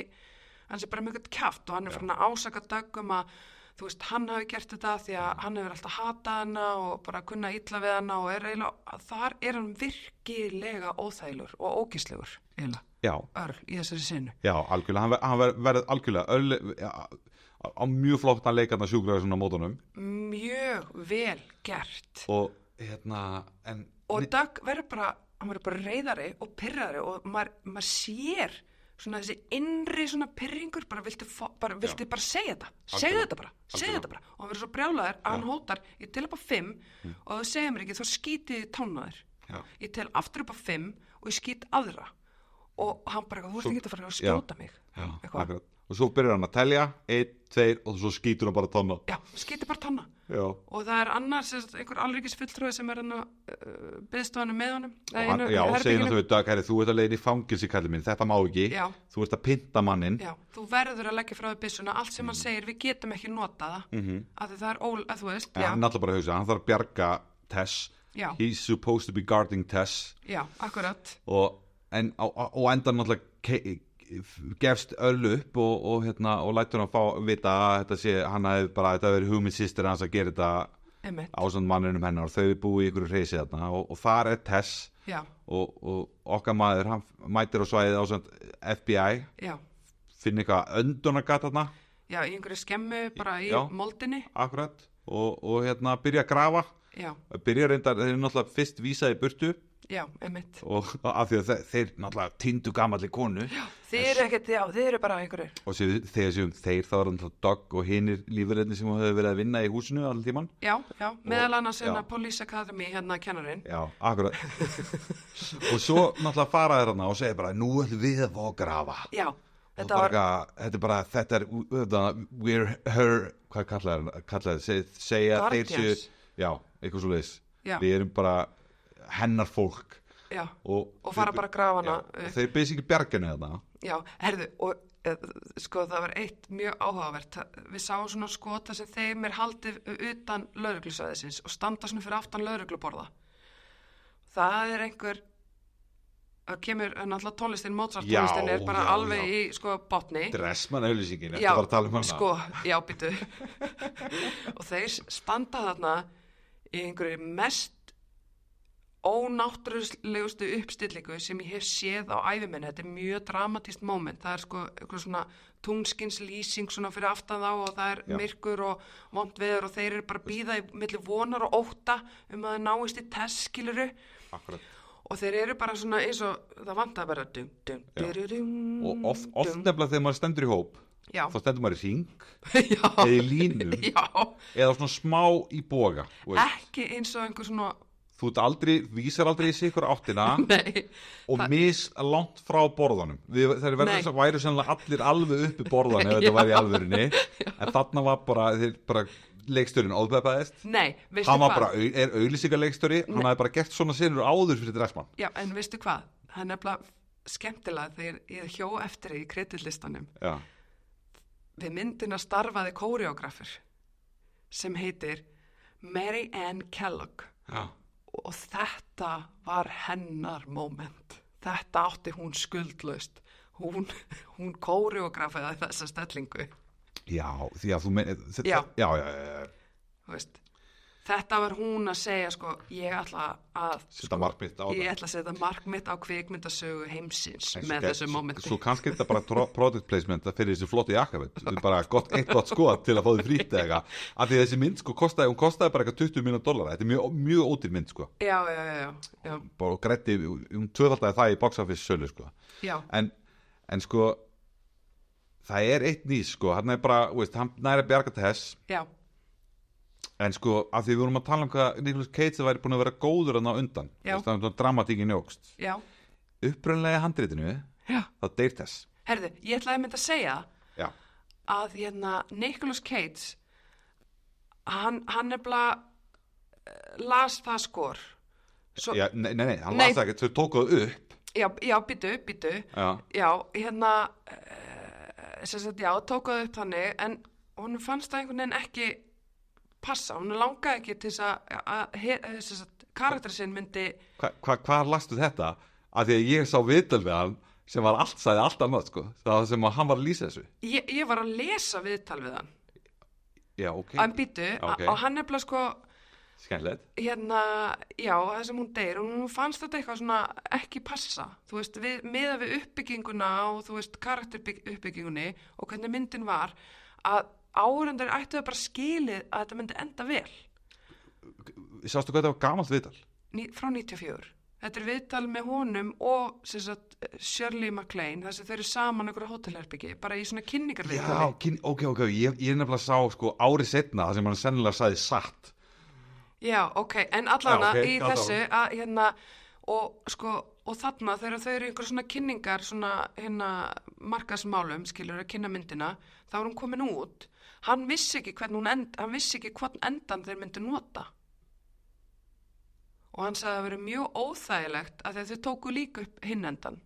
[SPEAKER 2] hann sé bara mjög kjátt og hann er fann að ásaka Doug um að þú veist, hann hafi gert þetta því að hann hefur alltaf hatað hana og bara kunna illa við hana og er eiginlega, þar er hann virkilega óþælur og ógislegur eiginlega,
[SPEAKER 1] Já,
[SPEAKER 2] örl í þessari sinu
[SPEAKER 1] já, algjörlega hann, ver, hann ver, verður algjörlega öll, já, á, á mjög flottan leikarna sjúkraði svona á mótunum
[SPEAKER 2] mjög vel gert
[SPEAKER 1] og hérna en,
[SPEAKER 2] og Doug verður bara hann verður bara reyðari og pyrrari og maður, maður sér svona þessi innri svona pyrringur bara viltu, fá- bara, viltu bara segja þetta segja
[SPEAKER 1] Algjörlega.
[SPEAKER 2] þetta bara, segja
[SPEAKER 1] Algjörlega.
[SPEAKER 2] þetta bara og hann verður svo brjálaður að hann hótar ég tel upp á fimm
[SPEAKER 1] Mm.
[SPEAKER 2] og þú segir mér ekki þá skítið tónaður
[SPEAKER 1] Já.
[SPEAKER 2] ég tel aftur upp á fimm og ég skít aðra og hann bara, þú ert
[SPEAKER 1] Svo-
[SPEAKER 2] ekki að fara að
[SPEAKER 1] Já.
[SPEAKER 2] skjóta mig
[SPEAKER 1] já,
[SPEAKER 2] Eitthvað.
[SPEAKER 1] akkurat. og svo byrjar hann að telja einn, tveir og svo skýtur hann bara tónna
[SPEAKER 2] já, skítið bara tóna
[SPEAKER 1] já,
[SPEAKER 2] og það er annars einhver alríkisfulltrúi sem er hann að uh, byðstofanum með honum
[SPEAKER 1] og hann, já segir hann þú veit Dag, herri, þú ert að leiðin í fangilsi kallið mín, þetta má ekki
[SPEAKER 2] Já.
[SPEAKER 1] þú ert að pinta mannin
[SPEAKER 2] Já, þú verður að leggja frá því byssuna allt sem hann
[SPEAKER 1] Mhm.
[SPEAKER 2] segir, við getum ekki nota það mm -hmm. að það er ól, að þú veist
[SPEAKER 1] en
[SPEAKER 2] já,
[SPEAKER 1] hann er alltaf bara að hugsa, hann þarf að bjarga Tess,
[SPEAKER 2] Já.
[SPEAKER 1] he's supposed to be guarding Tess
[SPEAKER 2] já, akkurat
[SPEAKER 1] og, en, á, á, og endan náttúrulega ke- gefst öll upp og, og, hérna, og lætur hann fá vita að þetta sé, hann hefði bara þetta verið hugmynd sýstir hans að gera þetta
[SPEAKER 2] einmitt,
[SPEAKER 1] ásand manninum hennar og þau búi í ykkur reysi þarna og, og þar er Tess
[SPEAKER 2] já,
[SPEAKER 1] og, og okkar maður hann mætir á svæðið ásand FBI
[SPEAKER 2] já
[SPEAKER 1] finn eitthvað öndunargat þarna
[SPEAKER 2] já, í einhverju skemmu bara í
[SPEAKER 1] Já.
[SPEAKER 2] moldinni
[SPEAKER 1] akkurat og, og hérna byrja að grafa
[SPEAKER 2] já,
[SPEAKER 1] byrja reyndar, þeir eru náttúrulega fyrst vísaði burtu
[SPEAKER 2] já, einmitt
[SPEAKER 1] og af því að þeir, þeir náttúrulega tindu gamalli konu Já.
[SPEAKER 2] þið eru ekkert, já, þið eru bara einhverju
[SPEAKER 1] og séu, þegar séum þeir þá var hann þá Dogg og hinnir lífverðinni sem höfðu verið að vinna í húsinu allir tíman
[SPEAKER 2] já, já, meðal annars
[SPEAKER 1] já.
[SPEAKER 2] hérna Police Academy hérna kennarinn
[SPEAKER 1] já, akkurat og svo náttúrulega fara þeir hann og segja bara nú ætlum við að fá að grafa
[SPEAKER 2] já,
[SPEAKER 1] Og
[SPEAKER 2] þetta
[SPEAKER 1] bara
[SPEAKER 2] var,
[SPEAKER 1] eitthvað, þetta er bara þetta er, þetta, we're her hvað kallar hann, kallar þeir seg, segja að þeir
[SPEAKER 2] Guardians.
[SPEAKER 1] séu, já, eitthvað svo leiðis
[SPEAKER 2] Já.
[SPEAKER 1] við erum bara hennar fólk
[SPEAKER 2] já
[SPEAKER 1] og,
[SPEAKER 2] Og fara bara að grafa hana
[SPEAKER 1] já,
[SPEAKER 2] upp.
[SPEAKER 1] og þeir byrja sig í bjarginu þarna
[SPEAKER 2] Já, herðu, og eh, sko það var eitt mjög áhugavert við sáum svona skota sem þeim er haldið utan lauruglusæðisins og standa svona fyrir aftan laurugluborða það er einhver það kemur eh, náttúrulega tónlistin Mozart
[SPEAKER 1] Já,
[SPEAKER 2] tónlistin er bara
[SPEAKER 1] já,
[SPEAKER 2] alveg
[SPEAKER 1] já.
[SPEAKER 2] í sko botni
[SPEAKER 1] dressmann auðlýsingin, þetta var að tala um hana
[SPEAKER 2] sko, já, býtu og þeir standa þarna í einhverju mest ónáttúrulegustu uppstillingu sem ég hef séð á æfimenn þetta er mjög dramatíst moment það er sko einhver svona tungskins svona fyrir aftan þá og það er
[SPEAKER 1] Já.
[SPEAKER 2] myrkur og vond veður og þeir eru bara að býða í milli vonar og óta um að það náist í tess skiluru
[SPEAKER 1] akkurat
[SPEAKER 2] og þeir eru bara svona eins og það vantar bara dum, dum,
[SPEAKER 1] Já.
[SPEAKER 2] dum,
[SPEAKER 1] og oft, oft nefnilega þegar maður stendur í hóp
[SPEAKER 2] Mm, Já.
[SPEAKER 1] þá stendur maður í ring
[SPEAKER 2] já,
[SPEAKER 1] eða í línum
[SPEAKER 2] já
[SPEAKER 1] eða svona smá í boga þú veist.
[SPEAKER 2] ekki eins og einhver svona
[SPEAKER 1] þú ert aldrei, vísar aldrei í sikur áttina
[SPEAKER 2] nei,
[SPEAKER 1] og mis langt frá borðanum Við, þeir verður
[SPEAKER 2] Nei.
[SPEAKER 1] þess að væri sennilega allir alveg uppi borðan ef þetta væri í alvörinni en þarna var bara, þeir bara leiksturinn óðbeppaðist
[SPEAKER 2] nei, veistu
[SPEAKER 1] hann var
[SPEAKER 2] hvað
[SPEAKER 1] bara, au- er auðlýsingar leikstöri hann hafði bara gert svona sinur áður fyrir dressmann
[SPEAKER 2] já, en veistu hvað, það er nefnilega skemmtilega þegar ég hjó eftir því í kreditlistanum
[SPEAKER 1] já,
[SPEAKER 2] við myndina starfaði kóreografur sem heitir Mary Ann Kellogg
[SPEAKER 1] já,
[SPEAKER 2] og þetta var hennar moment þetta átti hún skuldlaust hún, hún kóreografaði þessa stellingu
[SPEAKER 1] já því að þú meni, þetta,
[SPEAKER 2] Já.
[SPEAKER 1] já, já, já, já.
[SPEAKER 2] þú veist þetta var hún að segja sko, ég ætla að
[SPEAKER 1] Sýnda margmynd á
[SPEAKER 2] Sko, ég ætla að setja markmitt á kvikmyndasögu heimsins
[SPEAKER 1] En svo
[SPEAKER 2] með
[SPEAKER 1] gæ-
[SPEAKER 2] þessu momenti
[SPEAKER 1] Svo kannski er þetta bara tro- product placement fyrir þessi flotti jakka veit. Þetta er bara gott, eitt gott skoð til að fá því frýtt eða eitthvað af því að þessi mynd sko kostaði, hún kostaði bara eitthvað 20 miljón dollara, þetta er mjög, mjög ódýr mynd sko
[SPEAKER 2] já, já, já, já, já,
[SPEAKER 1] bara og grætti, hún tvöfaldaði það í box office sölu sko,
[SPEAKER 2] já.
[SPEAKER 1] en, en sko það er eitt nýs sko, hann er bara, þú veist, hann næri að bjarga til þess
[SPEAKER 2] já.
[SPEAKER 1] en sko, af því við vorum að tala um hvað Nicholas Cage væri búin að vera góður hann á undan,
[SPEAKER 2] Já.
[SPEAKER 1] Þú veist, dramatíkin jógst
[SPEAKER 2] Já,
[SPEAKER 1] upprunlega handritinu,
[SPEAKER 2] já.
[SPEAKER 1] þá deyr þess
[SPEAKER 2] Herðu, ég ætlaði mynd að segja
[SPEAKER 1] já,
[SPEAKER 2] að hérna, Nicholas Cage hann, hann nefnilega eh, las það skor Svo,
[SPEAKER 1] já nei, nei, nei, hann
[SPEAKER 2] Nei.
[SPEAKER 1] las það ekki, þau tókuðu upp
[SPEAKER 2] já, já, býtu, býtu
[SPEAKER 1] já,
[SPEAKER 2] Já, hérna uh, sem sagt, já, tók það upp þannig en hún fannst það einhvern veginn ekki passa, hún langaði ekki til þess að- að he- eh, sem sagt, karakter sinn myndi
[SPEAKER 1] hvað hva, hva hvar lastu þetta af því að ég sá viðtöl við hann sem var allt, sagði allt annað sko það sem að hann var að lýsa þessu
[SPEAKER 2] ég, ég var að lesa viðtal við hann
[SPEAKER 1] já, ok,
[SPEAKER 2] en býtu,
[SPEAKER 1] Ok.
[SPEAKER 2] okay. og hann nefnilega sko
[SPEAKER 1] skemmtilegt
[SPEAKER 2] hérna, já, það sem hún deyr og hún fannst þetta eitthvað svona ekki passa þú veist, við, meða við uppbygginguna og þú veist, karakteruppbyggingunni og hvernig myndin var að áhverjandur ættu það bara skilið að þetta myndi enda vel
[SPEAKER 1] sástu hvað þetta var gamalt viðtal
[SPEAKER 2] Ní, frá 94 Þetta er viðtal með honum og sem sagt, Shirley MacLaine þess að þau eru saman okkur á hótelherbyggi bara í svona kynningarviðtali
[SPEAKER 1] já, kyn, ok, ok, ég, ég nefnilega sá sko árið setna það sem hann sennilega sagði satt
[SPEAKER 2] Já, ok, en allavega
[SPEAKER 1] Já, ok,
[SPEAKER 2] í
[SPEAKER 1] gat á.
[SPEAKER 2] þessu að hérna og sko, og þarna þegar þau eru í einhver svona kynningar, svona hérna markasmálum, skilur að kynna myndina þá er hún komin út hann vissi ekki hvern hún end, hann vissi ekki hvern endan þeir myndi nota og hann sagði að það verið mjög óþægilegt að þau tóku líka upp hinn endan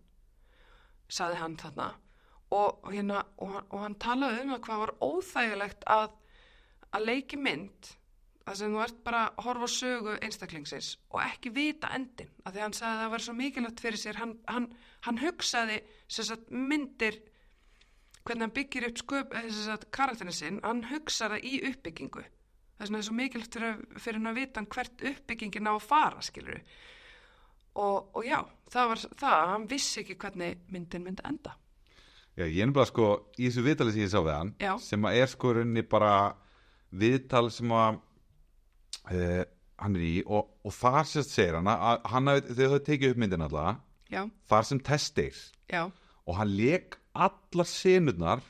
[SPEAKER 2] sagði hann þarna og, og hérna, og, hann- og hann talaði um að hvað var óþægilegt að að leiki mynd þar sem þú ert bara að horfa á sögu einstaklingsins og ekki vita endin af því að hann sagði að það var svo mikilvægt fyrir sér hann, hann, hann hugsaði sem sagt, myndir hvernig hann byggir upp sköp, eh, sem sagt, karakterin sinn hann hugsaði það í uppbyggingu þess vegna er svo mikilvægt fyrir, fyrir hann að vita hann hvert uppbyggingin á að fara skilur og, og já, það var það hann vissi ekki hvernig myndin myndi enda
[SPEAKER 1] já, ég nefnilega sko í þessu viðtali sem ég sá við hann
[SPEAKER 2] Já.
[SPEAKER 1] sem að er sko í rauninni bara viðtal sem að uh, hann er í og, og þar sérst segir hann að hann hafi, þau hafi tekið upp myndin alltaf
[SPEAKER 2] já,
[SPEAKER 1] þar sem testir
[SPEAKER 2] já,
[SPEAKER 1] og hann leik allar senurnar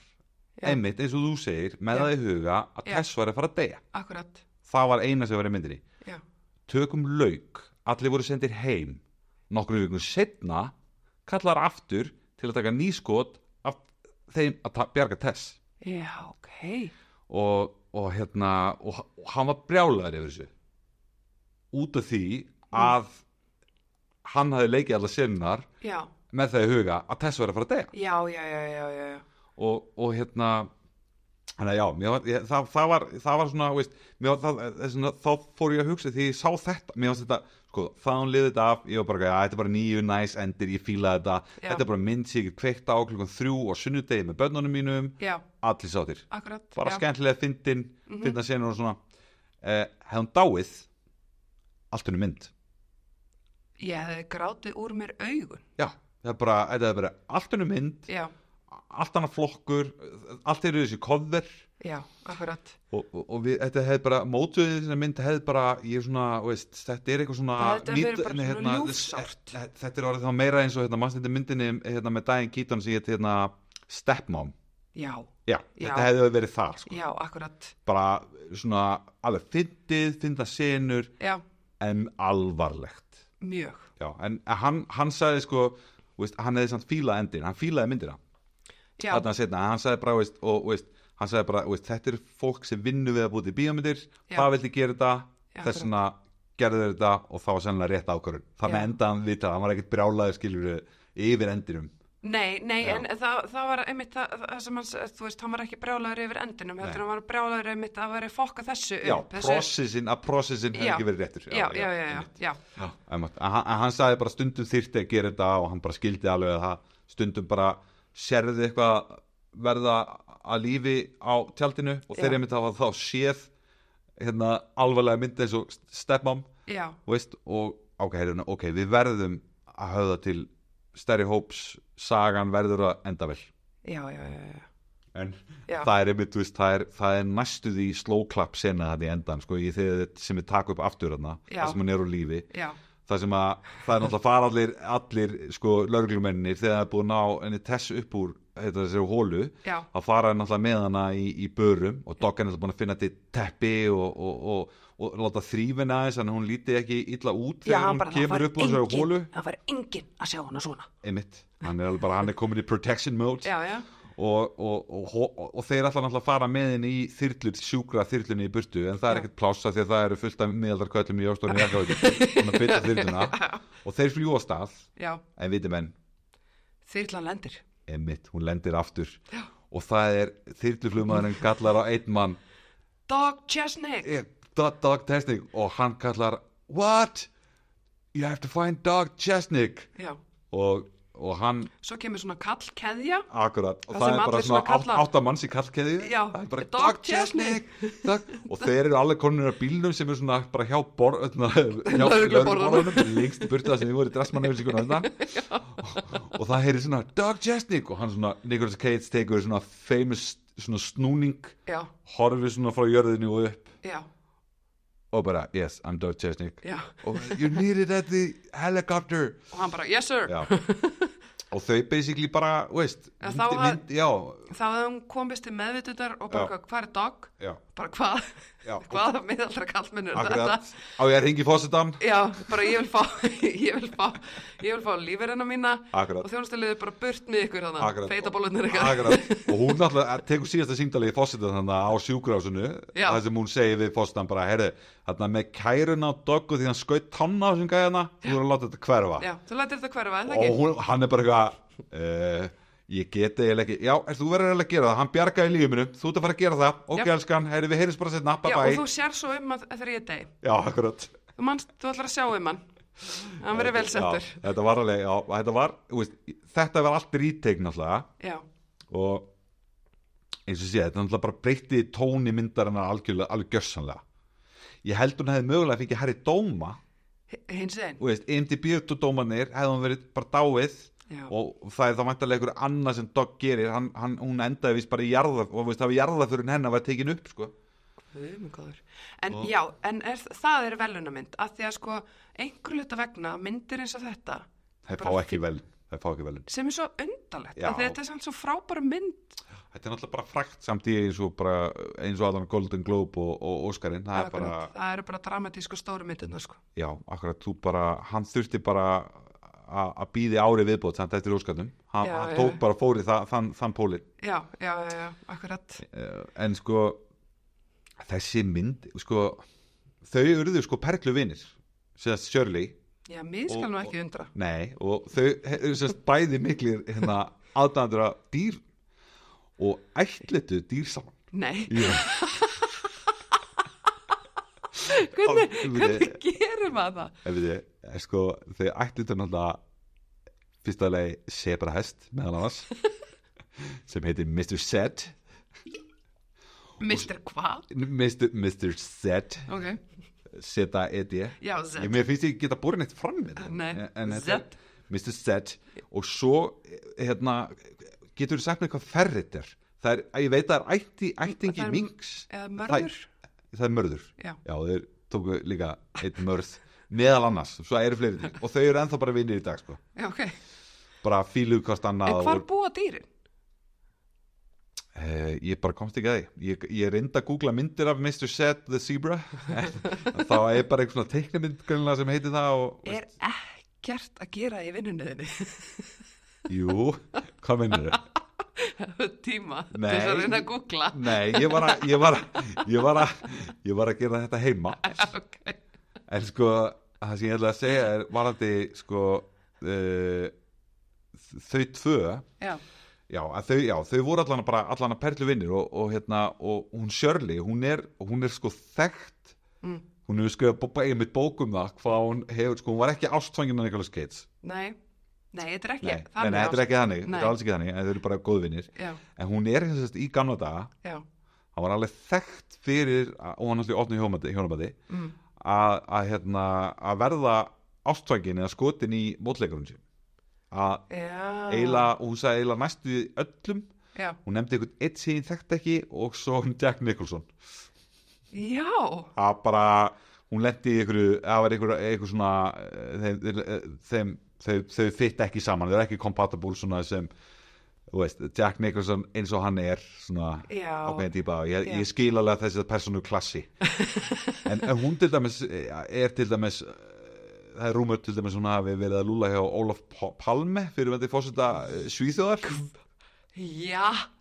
[SPEAKER 2] Já.
[SPEAKER 1] einmitt eins og þú segir með
[SPEAKER 2] Já.
[SPEAKER 1] það í huga að
[SPEAKER 2] Já.
[SPEAKER 1] Tess var að fara að deyja
[SPEAKER 2] akkurat
[SPEAKER 1] það var eina sem var í myndinni
[SPEAKER 2] já,
[SPEAKER 1] tökum lauk, allir voru sendir heim nokkrum vikum setna kallar aftur til að taka nýskot af þeim að ta- bjarga Tess
[SPEAKER 2] já, ok
[SPEAKER 1] og, og hérna og, og hann var brjálaður yfir þessu út af því
[SPEAKER 2] Mm.
[SPEAKER 1] að hann hafi leikið allar senurnar
[SPEAKER 2] já,
[SPEAKER 1] með það í huga að Tess var að fara að deyja
[SPEAKER 2] já, já, já, já, já, já.
[SPEAKER 1] og, og hérna þannig að já, mér var, ég, það, það, var, það var svona, veist, mér var, það, það, er svona þá fór ég að hugsa því ég sá þetta mér varst þetta, sko, það hún liði þetta af ég var bara, já, þetta er bara nýju, næs, endir, ég fílaði þetta
[SPEAKER 2] Já.
[SPEAKER 1] þetta er bara mynd sem ég get kveikt á klukkan þrjú og sunnudegi með börnunum mínum
[SPEAKER 2] Já,
[SPEAKER 1] allir sáttir,
[SPEAKER 2] akkurat
[SPEAKER 1] bara
[SPEAKER 2] já. Mhm.
[SPEAKER 1] skemmtilega fyndin, mm -hmm. fyndna senur og svona eh, hefði hún dáið allt henni mynd
[SPEAKER 2] Ég hefði grátið úr mér augun
[SPEAKER 1] já, það er bara, þetta er bara allt henni mynd,
[SPEAKER 2] Já,
[SPEAKER 1] allt annar flokkur allt eru þessi cover
[SPEAKER 2] já, akkurat
[SPEAKER 1] og, og, og við, þetta hefði bara mótuðið þessari mynd hefði bara, ég er svona, veist, þetta er eitthvað svona
[SPEAKER 2] Þetta hefði verið bara
[SPEAKER 1] nei,
[SPEAKER 2] svona
[SPEAKER 1] þess-
[SPEAKER 2] ljúfsárt.
[SPEAKER 1] e- þetta er orðið þá meira eins og hérna, mannst þetta myndinni hérna, með Diane Keaton sem hétt hérna, Stepmom
[SPEAKER 2] Já,
[SPEAKER 1] Já,
[SPEAKER 2] Já.
[SPEAKER 1] þetta hefði verið þar sko.
[SPEAKER 2] já, akkurat
[SPEAKER 1] bara svona alveg fyndið, fynda senur
[SPEAKER 2] Já,
[SPEAKER 1] en alvarlegt
[SPEAKER 2] mjög
[SPEAKER 1] Já, en hann, hann sagði sko veist, hann hefði samt fílað endin, hann fílaði myndina
[SPEAKER 2] Já,
[SPEAKER 1] þarna setna, hann sagði bara veist, og veist, hann sagði bara, veist, þetta er fólk sem vinnu við að búti bíómyndir,
[SPEAKER 2] Já.
[SPEAKER 1] það vildi gera þetta
[SPEAKER 2] Já,
[SPEAKER 1] þess vegna gerðu þeir þetta og það var sennilega rétt ákvörðun, þannig
[SPEAKER 2] Já.
[SPEAKER 1] enda hann vita hann var ekkert brjálaður skilur yfir endinum,
[SPEAKER 2] nei, nei,
[SPEAKER 1] Já.
[SPEAKER 2] en það, það var einmitt það, það sem hans, þú veist, hann var ekki brjálaður yfir endinum, heldur hann var brjálaður einmitt að vera að fokka þessu
[SPEAKER 1] já,
[SPEAKER 2] upp þessu,
[SPEAKER 1] processin að processin hefði
[SPEAKER 2] Já.
[SPEAKER 1] ekki verið réttur
[SPEAKER 2] já, já, já, já, já,
[SPEAKER 1] já. einmitt. En hann, en hann sagði bara stundum þyrfti að gera þetta og hann bara skildi alveg að það stundum bara sérði eitthvað verða að lífi á tjaldinu og
[SPEAKER 2] Já.
[SPEAKER 1] þeir einmitt hafa þá séð hérna, alvarlega mynd eins og stepmam
[SPEAKER 2] já,
[SPEAKER 1] veist, og ok, hérna, ok, við verðum að höfða til stærri hóps sagan verður að enda vel
[SPEAKER 2] já, já, já, já.
[SPEAKER 1] en
[SPEAKER 2] Já.
[SPEAKER 1] það er einmitt, þú veist, það er, það er næstu því slow clap sena þetta í endan sko, í þegar, sem við taka upp aftur þarna
[SPEAKER 2] Já.
[SPEAKER 1] það sem hann er úr lífi
[SPEAKER 2] Já,
[SPEAKER 1] það sem að, það er náttúrulega fara allir allir, sko, lörglumennir þegar það er búið að ná henni tess upp úr þetta þessari hólu,
[SPEAKER 2] já,
[SPEAKER 1] að fara henni náttúrulega með hana í, í börum og doggan er búin að finna til teppi og, og, og, og, láta þrýfina aðeins þannig að hún líti ekki illa út
[SPEAKER 2] já,
[SPEAKER 1] þegar hún
[SPEAKER 2] bara það
[SPEAKER 1] kemur
[SPEAKER 2] var
[SPEAKER 1] upp úr þessari hólu
[SPEAKER 2] engin, það var engin að sjá hana svona.
[SPEAKER 1] einmitt, hann er alveg bara, hann er komin í protection mode
[SPEAKER 2] Já, já,
[SPEAKER 1] og, og, og, og, og þeir ætla náttúrulega að fara með henni í þyrlur, sjúkra þyrlunni í burtu en það er
[SPEAKER 2] Já.
[SPEAKER 1] ekkert plássa því að það eru fullt af miðaldarköllum í ástóðinu jakkavæti þannig að byrja þyrluna og þeir fljú á stað
[SPEAKER 2] já,
[SPEAKER 1] en viti menn,
[SPEAKER 2] þyrlan lendir.
[SPEAKER 1] emitt, hún lendir aftur Já. og það er þyrluflugmaðurinn kallar á einn mann
[SPEAKER 2] Dog Chesnick.
[SPEAKER 1] eh, Dog Dog Chesnick og hann kallar What? You have to find Dog Chesnick
[SPEAKER 2] Já,
[SPEAKER 1] og, og hann
[SPEAKER 2] svo kemur svona kallkeðja.
[SPEAKER 1] Akkurat, og
[SPEAKER 2] Það
[SPEAKER 1] það,
[SPEAKER 2] sem
[SPEAKER 1] er bara
[SPEAKER 2] allir
[SPEAKER 1] svona
[SPEAKER 2] svona kalla-
[SPEAKER 1] átt- átta manns í kallkeði
[SPEAKER 2] Já,
[SPEAKER 1] það er bara
[SPEAKER 2] Dog
[SPEAKER 1] Dog Chesnick Dog- og þeir eru allir konunir af bílnum sem eru svona bara hjá hérna, borð
[SPEAKER 2] Lögregluborðunum.
[SPEAKER 1] lengst í burtu það sem þið voru í dressmann og, og það heyri svona Dog Chesnick og hann svona Nicolas Cage tekur svona famous svona snúning
[SPEAKER 2] Já,
[SPEAKER 1] horfir svona frá jörðinu og upp
[SPEAKER 2] já,
[SPEAKER 1] og bara yes, I'm Dog Chesnick
[SPEAKER 2] já.
[SPEAKER 1] og you need it at the helicopter
[SPEAKER 2] Og hann bara, yes sir.
[SPEAKER 1] já og þau basically bara, veist
[SPEAKER 2] Já,
[SPEAKER 1] myndi,
[SPEAKER 2] þá haf-
[SPEAKER 1] myndi, já,
[SPEAKER 2] Þá hefði hún komist til meðvitundar og bara,
[SPEAKER 1] Já.
[SPEAKER 2] hvað- hvað er dog?
[SPEAKER 1] Já,
[SPEAKER 2] Bara hvað?
[SPEAKER 1] Já.
[SPEAKER 2] Hvaða miðaldra kallmennur er þetta?
[SPEAKER 1] akkurat Á ég að ringi fósitam
[SPEAKER 2] Já, bara ég vil fá, ég vil fá, ég vil fá lífverðina mína
[SPEAKER 1] Akkurat.
[SPEAKER 2] og þjónustulegðu bara burt með ykkur þannig,
[SPEAKER 1] Akkurat.
[SPEAKER 2] feitabólunir ykkar.
[SPEAKER 1] Akkurat Og hún náttúrulega eh, tekur síðasta síndalegi fósitam þannig á sjúkrásinu
[SPEAKER 2] Já.
[SPEAKER 1] Það sem hún segir við fósitam bara Herri, þarna með kæruna á doggu því hann skaut tanna á þessum gæðana Þú voru að láta þetta hverfa
[SPEAKER 2] Já, þú lætir þetta hverfa, er það
[SPEAKER 1] Og
[SPEAKER 2] ekki?
[SPEAKER 1] hún, hann er bara eitthvað uh, Ég geti eiginlega ekki Já, er, þú verður eiginlega að gera það Hann bjargaði lífið minu Þú ert að fara að gera það Ok,
[SPEAKER 2] Já.
[SPEAKER 1] elskan, herri, við heyrjum bara setna Bye
[SPEAKER 2] Já, og þú
[SPEAKER 1] bye
[SPEAKER 2] sér svo um að þegar ég er deg.
[SPEAKER 1] Já, akkurat
[SPEAKER 2] Þú manst, þú ætlar að sjá um hann. Hann verður vel settur.
[SPEAKER 1] Já, Þetta var alveg, já, þetta var þú veist, Þetta var allt rítegn alltaf
[SPEAKER 2] Já,
[SPEAKER 1] og eins og sé, þetta náttúrulega bara breytti tóni myndarinnar algjörlega, alveg gjörsanlega ég held hún hefði mögulega fengið herri dóma,
[SPEAKER 2] Hi- hins einn.
[SPEAKER 1] og veist, MDB-dómanir hefði hún verið bara dáið
[SPEAKER 2] Já,
[SPEAKER 1] og það er þá vantarlega einhver annað sem Dogg gerir, hann, hann, hún endaði vist bara í jarða, og veist, það var jarðaförun hennar var tekin upp, sko,
[SPEAKER 2] við erum góður. En já, en er, það er velunamynd, að því að sko, einhver hluta vegna myndir eins og þetta,
[SPEAKER 1] það fá
[SPEAKER 2] Bara
[SPEAKER 1] ekki vel það fá ekki vel,
[SPEAKER 2] sem er svo undarlegt,
[SPEAKER 1] Já.
[SPEAKER 2] að þetta er samt svo frábæra mynd.
[SPEAKER 1] þetta er náttúrulega bara frækt samt í eins og bara, eins og allan Golden Globe og, og Óskarinn, það er bara
[SPEAKER 2] Akkurat. það eru bara dramatísku stóru myndina, sko.
[SPEAKER 1] já, akkurat, þú bara, hann þurfti bara a- að býði ári viðbót samt eftir óskatnum, hann,
[SPEAKER 2] Já,
[SPEAKER 1] hann
[SPEAKER 2] já.
[SPEAKER 1] tók bara fóri það, þann, þann pólinn,
[SPEAKER 2] Já, já, já, já, akkurat.
[SPEAKER 1] Eh, en sko þessi mynd, sko þau eruðu sko perlu vinir sérst Shirley,
[SPEAKER 2] Já, mér skal
[SPEAKER 1] Og-
[SPEAKER 2] nú ekki undra.
[SPEAKER 1] nei og þau eru sérst bæði miklir hérna aðdæðandur að dýr og ætlitu dýr saman
[SPEAKER 2] Nei,
[SPEAKER 1] Jú. Á-
[SPEAKER 2] hvernig, hvernig gerir maður það?
[SPEAKER 1] ef við þið, sko, þau ættu þetta náttúrulega fyrsta lagi sebrahest meðal annars sem heitir Mr. Set
[SPEAKER 2] Mr. Hvað?
[SPEAKER 1] Mr. Mr. Set
[SPEAKER 2] Ok,
[SPEAKER 1] seta edi E ég,
[SPEAKER 2] já, Z.
[SPEAKER 1] mér finnst ég geta borin eitt fram með
[SPEAKER 2] Nei,
[SPEAKER 1] þetta er Mr. Set og svo hérna, getur þú sagt mér hvað ferrit er það er, ég veit að það er ætti,
[SPEAKER 2] Það
[SPEAKER 1] ættingi
[SPEAKER 2] er-
[SPEAKER 1] minks
[SPEAKER 2] Eða mörður?
[SPEAKER 1] það er mörður
[SPEAKER 2] Já,
[SPEAKER 1] Já, þeir tóku líka eitt mörð meðal annars, svo eru fleiri til og þau eru ennþá bara vinnir í dag sko.
[SPEAKER 2] já, ok.
[SPEAKER 1] bara fíluðu hvort annað
[SPEAKER 2] En hvar
[SPEAKER 1] og,
[SPEAKER 2] búa dýrin?
[SPEAKER 1] e, ég bara komst ekki að því ég, ég reyndi að googla myndir af Mr. Set the Zebra en þá er bara einhver svona teiknimynd greinlega sem heitir það og,
[SPEAKER 2] Er ekkert að gera í vinnunni þinni?
[SPEAKER 1] jú, hvað minnur þau?
[SPEAKER 2] Tíma, til
[SPEAKER 1] Nei.
[SPEAKER 2] þess að reyna að googla.
[SPEAKER 1] Nei, ég var, að, ég, var að, ég, var að, ég var að gera þetta heima
[SPEAKER 2] Ok,
[SPEAKER 1] en sko, það sem ég ætla að segja er varandi sko uh, þau tvö
[SPEAKER 2] já,
[SPEAKER 1] Já, að þau, já, þau voru allan að bara allan að perlu vinnir og, og hérna og hún Shirley, hún er, hún er sko þekkt
[SPEAKER 2] Mm.
[SPEAKER 1] hún hefur skrifað bó- bara einmitt bók um það hvað hún hefur, sko, hún var ekki ástfangin af Nicolas Cage,
[SPEAKER 2] nei, nei, þetta er ekki.
[SPEAKER 1] nei, nei, nei, þetta er ekki þannig
[SPEAKER 2] Nei.
[SPEAKER 1] þetta er alls ekki þannig, en þau eru bara góðvinnir
[SPEAKER 2] Já,
[SPEAKER 1] en hún er hins veist í gamla daga
[SPEAKER 2] já,
[SPEAKER 1] hann var alveg þekkt fyrir að- og hann náttúrulega í opnu hjónabandi, hjónabandi
[SPEAKER 2] Mm.
[SPEAKER 1] að, að, hérna, að verða ástfangin eða skotin í mótleikarun sín að Ah.
[SPEAKER 2] Já.
[SPEAKER 1] eiginlega, og hún sagði eiginlega næstu í öllum
[SPEAKER 2] Já.
[SPEAKER 1] hún nefndi einhvern eitt sem ég þekkt ekki og svo hún Jack Nicholson
[SPEAKER 2] Já.
[SPEAKER 1] að bara hún lendi í einhverju, það var einhver, einhver svona eh, þeim, þeim, þeim, þeim, þeim fitt ekki saman, þau eru ekki compatible svona sem, þú veist, Jack Nicholson eins og hann er svona
[SPEAKER 2] Já.
[SPEAKER 1] ákveðin típa og ég,
[SPEAKER 2] Já.
[SPEAKER 1] ég skil alveg þessi personu klassi en, en hún til dæmis eh, er til dæmis eh, það er rúmur til dæmis hún hafi verið að lúla hjá Ólaf Pa- Palme fyrir vendi fórseta Svíþjóðar
[SPEAKER 2] Já.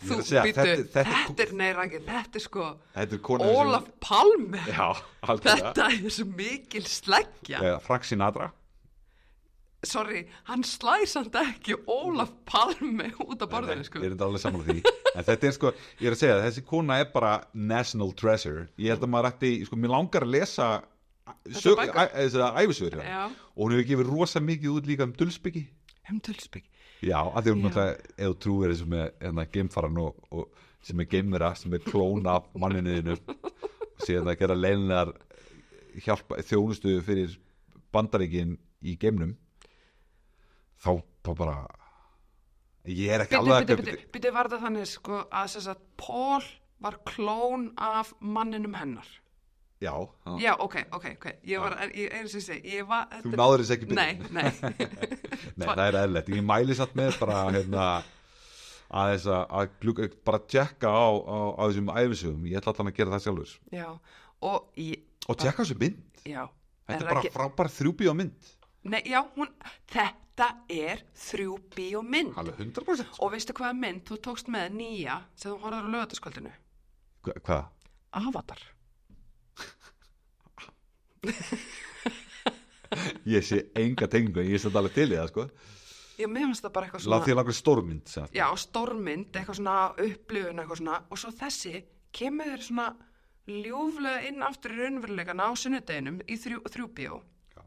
[SPEAKER 1] Ég
[SPEAKER 2] Þú,
[SPEAKER 1] er að segja,
[SPEAKER 2] býtu,
[SPEAKER 1] þetta- þetta
[SPEAKER 2] þetta,
[SPEAKER 1] er-
[SPEAKER 2] er neyrangið, þetta er sko
[SPEAKER 1] þetta er kona sem-
[SPEAKER 2] Ólaf Palme.
[SPEAKER 1] já, algjörlega.
[SPEAKER 2] Þetta er svo mikil sleggja.
[SPEAKER 1] Eh, Frank Sinatra
[SPEAKER 2] Sorry, hann slær samt ekki Ólaf Palme út af
[SPEAKER 1] Nei,
[SPEAKER 2] borðinu, sko.
[SPEAKER 1] Ég er þetta alveg sammála því En þetta er sko, ég er að segja, þessi kona er bara national treasure Ég held að maður ætti, sko, mér langar að lesa sög,
[SPEAKER 2] bækur.
[SPEAKER 1] æ, þessi æfisögur hérna
[SPEAKER 2] Já.
[SPEAKER 1] Og hún hefur gefið rosa mikið út líka um dulsbyggi
[SPEAKER 2] Hemdölsbygg.
[SPEAKER 1] Já, af því hún
[SPEAKER 2] Já.
[SPEAKER 1] náttúrulega, ef þú trúir þessu með hérna, geimfaran og, og sem er geimvera, sem er klóna af manninuðinu síðan að gera leinlegar hjálpa, þjónustu fyrir bandaríkin í geimnum þá þá bara ég er ekki
[SPEAKER 2] Býtu,
[SPEAKER 1] alveg að
[SPEAKER 2] býtu,
[SPEAKER 1] kaupa-
[SPEAKER 2] býtu, býtu, var það þannig, sko, að þess að Pól var klón af manninum hennar.
[SPEAKER 1] Já,
[SPEAKER 2] Já, ok, ok, ok. Ég var, ég, eins og ég segi, ég var...
[SPEAKER 1] þú náður þess ekki
[SPEAKER 2] Nei,
[SPEAKER 1] byrjun
[SPEAKER 2] nei.
[SPEAKER 1] Nei, það er eðlilegt, ég mæli satt með bara hérna, aðeins að, að glugga, bara tjekka á, á, á þessum æfisugum, ég ætla alltaf að gera það sjálfur
[SPEAKER 2] Já, og ég,
[SPEAKER 1] og tjekka þessu mynd,
[SPEAKER 2] já.
[SPEAKER 1] þetta
[SPEAKER 2] Ah. það
[SPEAKER 1] er bara
[SPEAKER 2] ekki-
[SPEAKER 1] frábær þrjúbíó mynd,
[SPEAKER 2] Nei, já, hún, þetta er þrjú bíómynd.
[SPEAKER 1] alveg 100%
[SPEAKER 2] Og veistu hvaða mynd þú tókst með nýja sem þú horfður á lögataskvöldinu?
[SPEAKER 1] Hva, Hvað?
[SPEAKER 2] Avatar.
[SPEAKER 1] Ég sé enga tengu, ég sé þetta alveg til í það sko
[SPEAKER 2] Já, mér finnst það bara eitthvað
[SPEAKER 1] Látt
[SPEAKER 2] svona,
[SPEAKER 1] því langar stórmynd sem sagt.
[SPEAKER 2] já, stórmynd, eitthvað svona upplifun, eitthvað svona, og svo þessi kemur þér svona ljúflega inn aftur í raunverulegan á sunnudeginum í þrjú, þrjú bíó.
[SPEAKER 1] Já.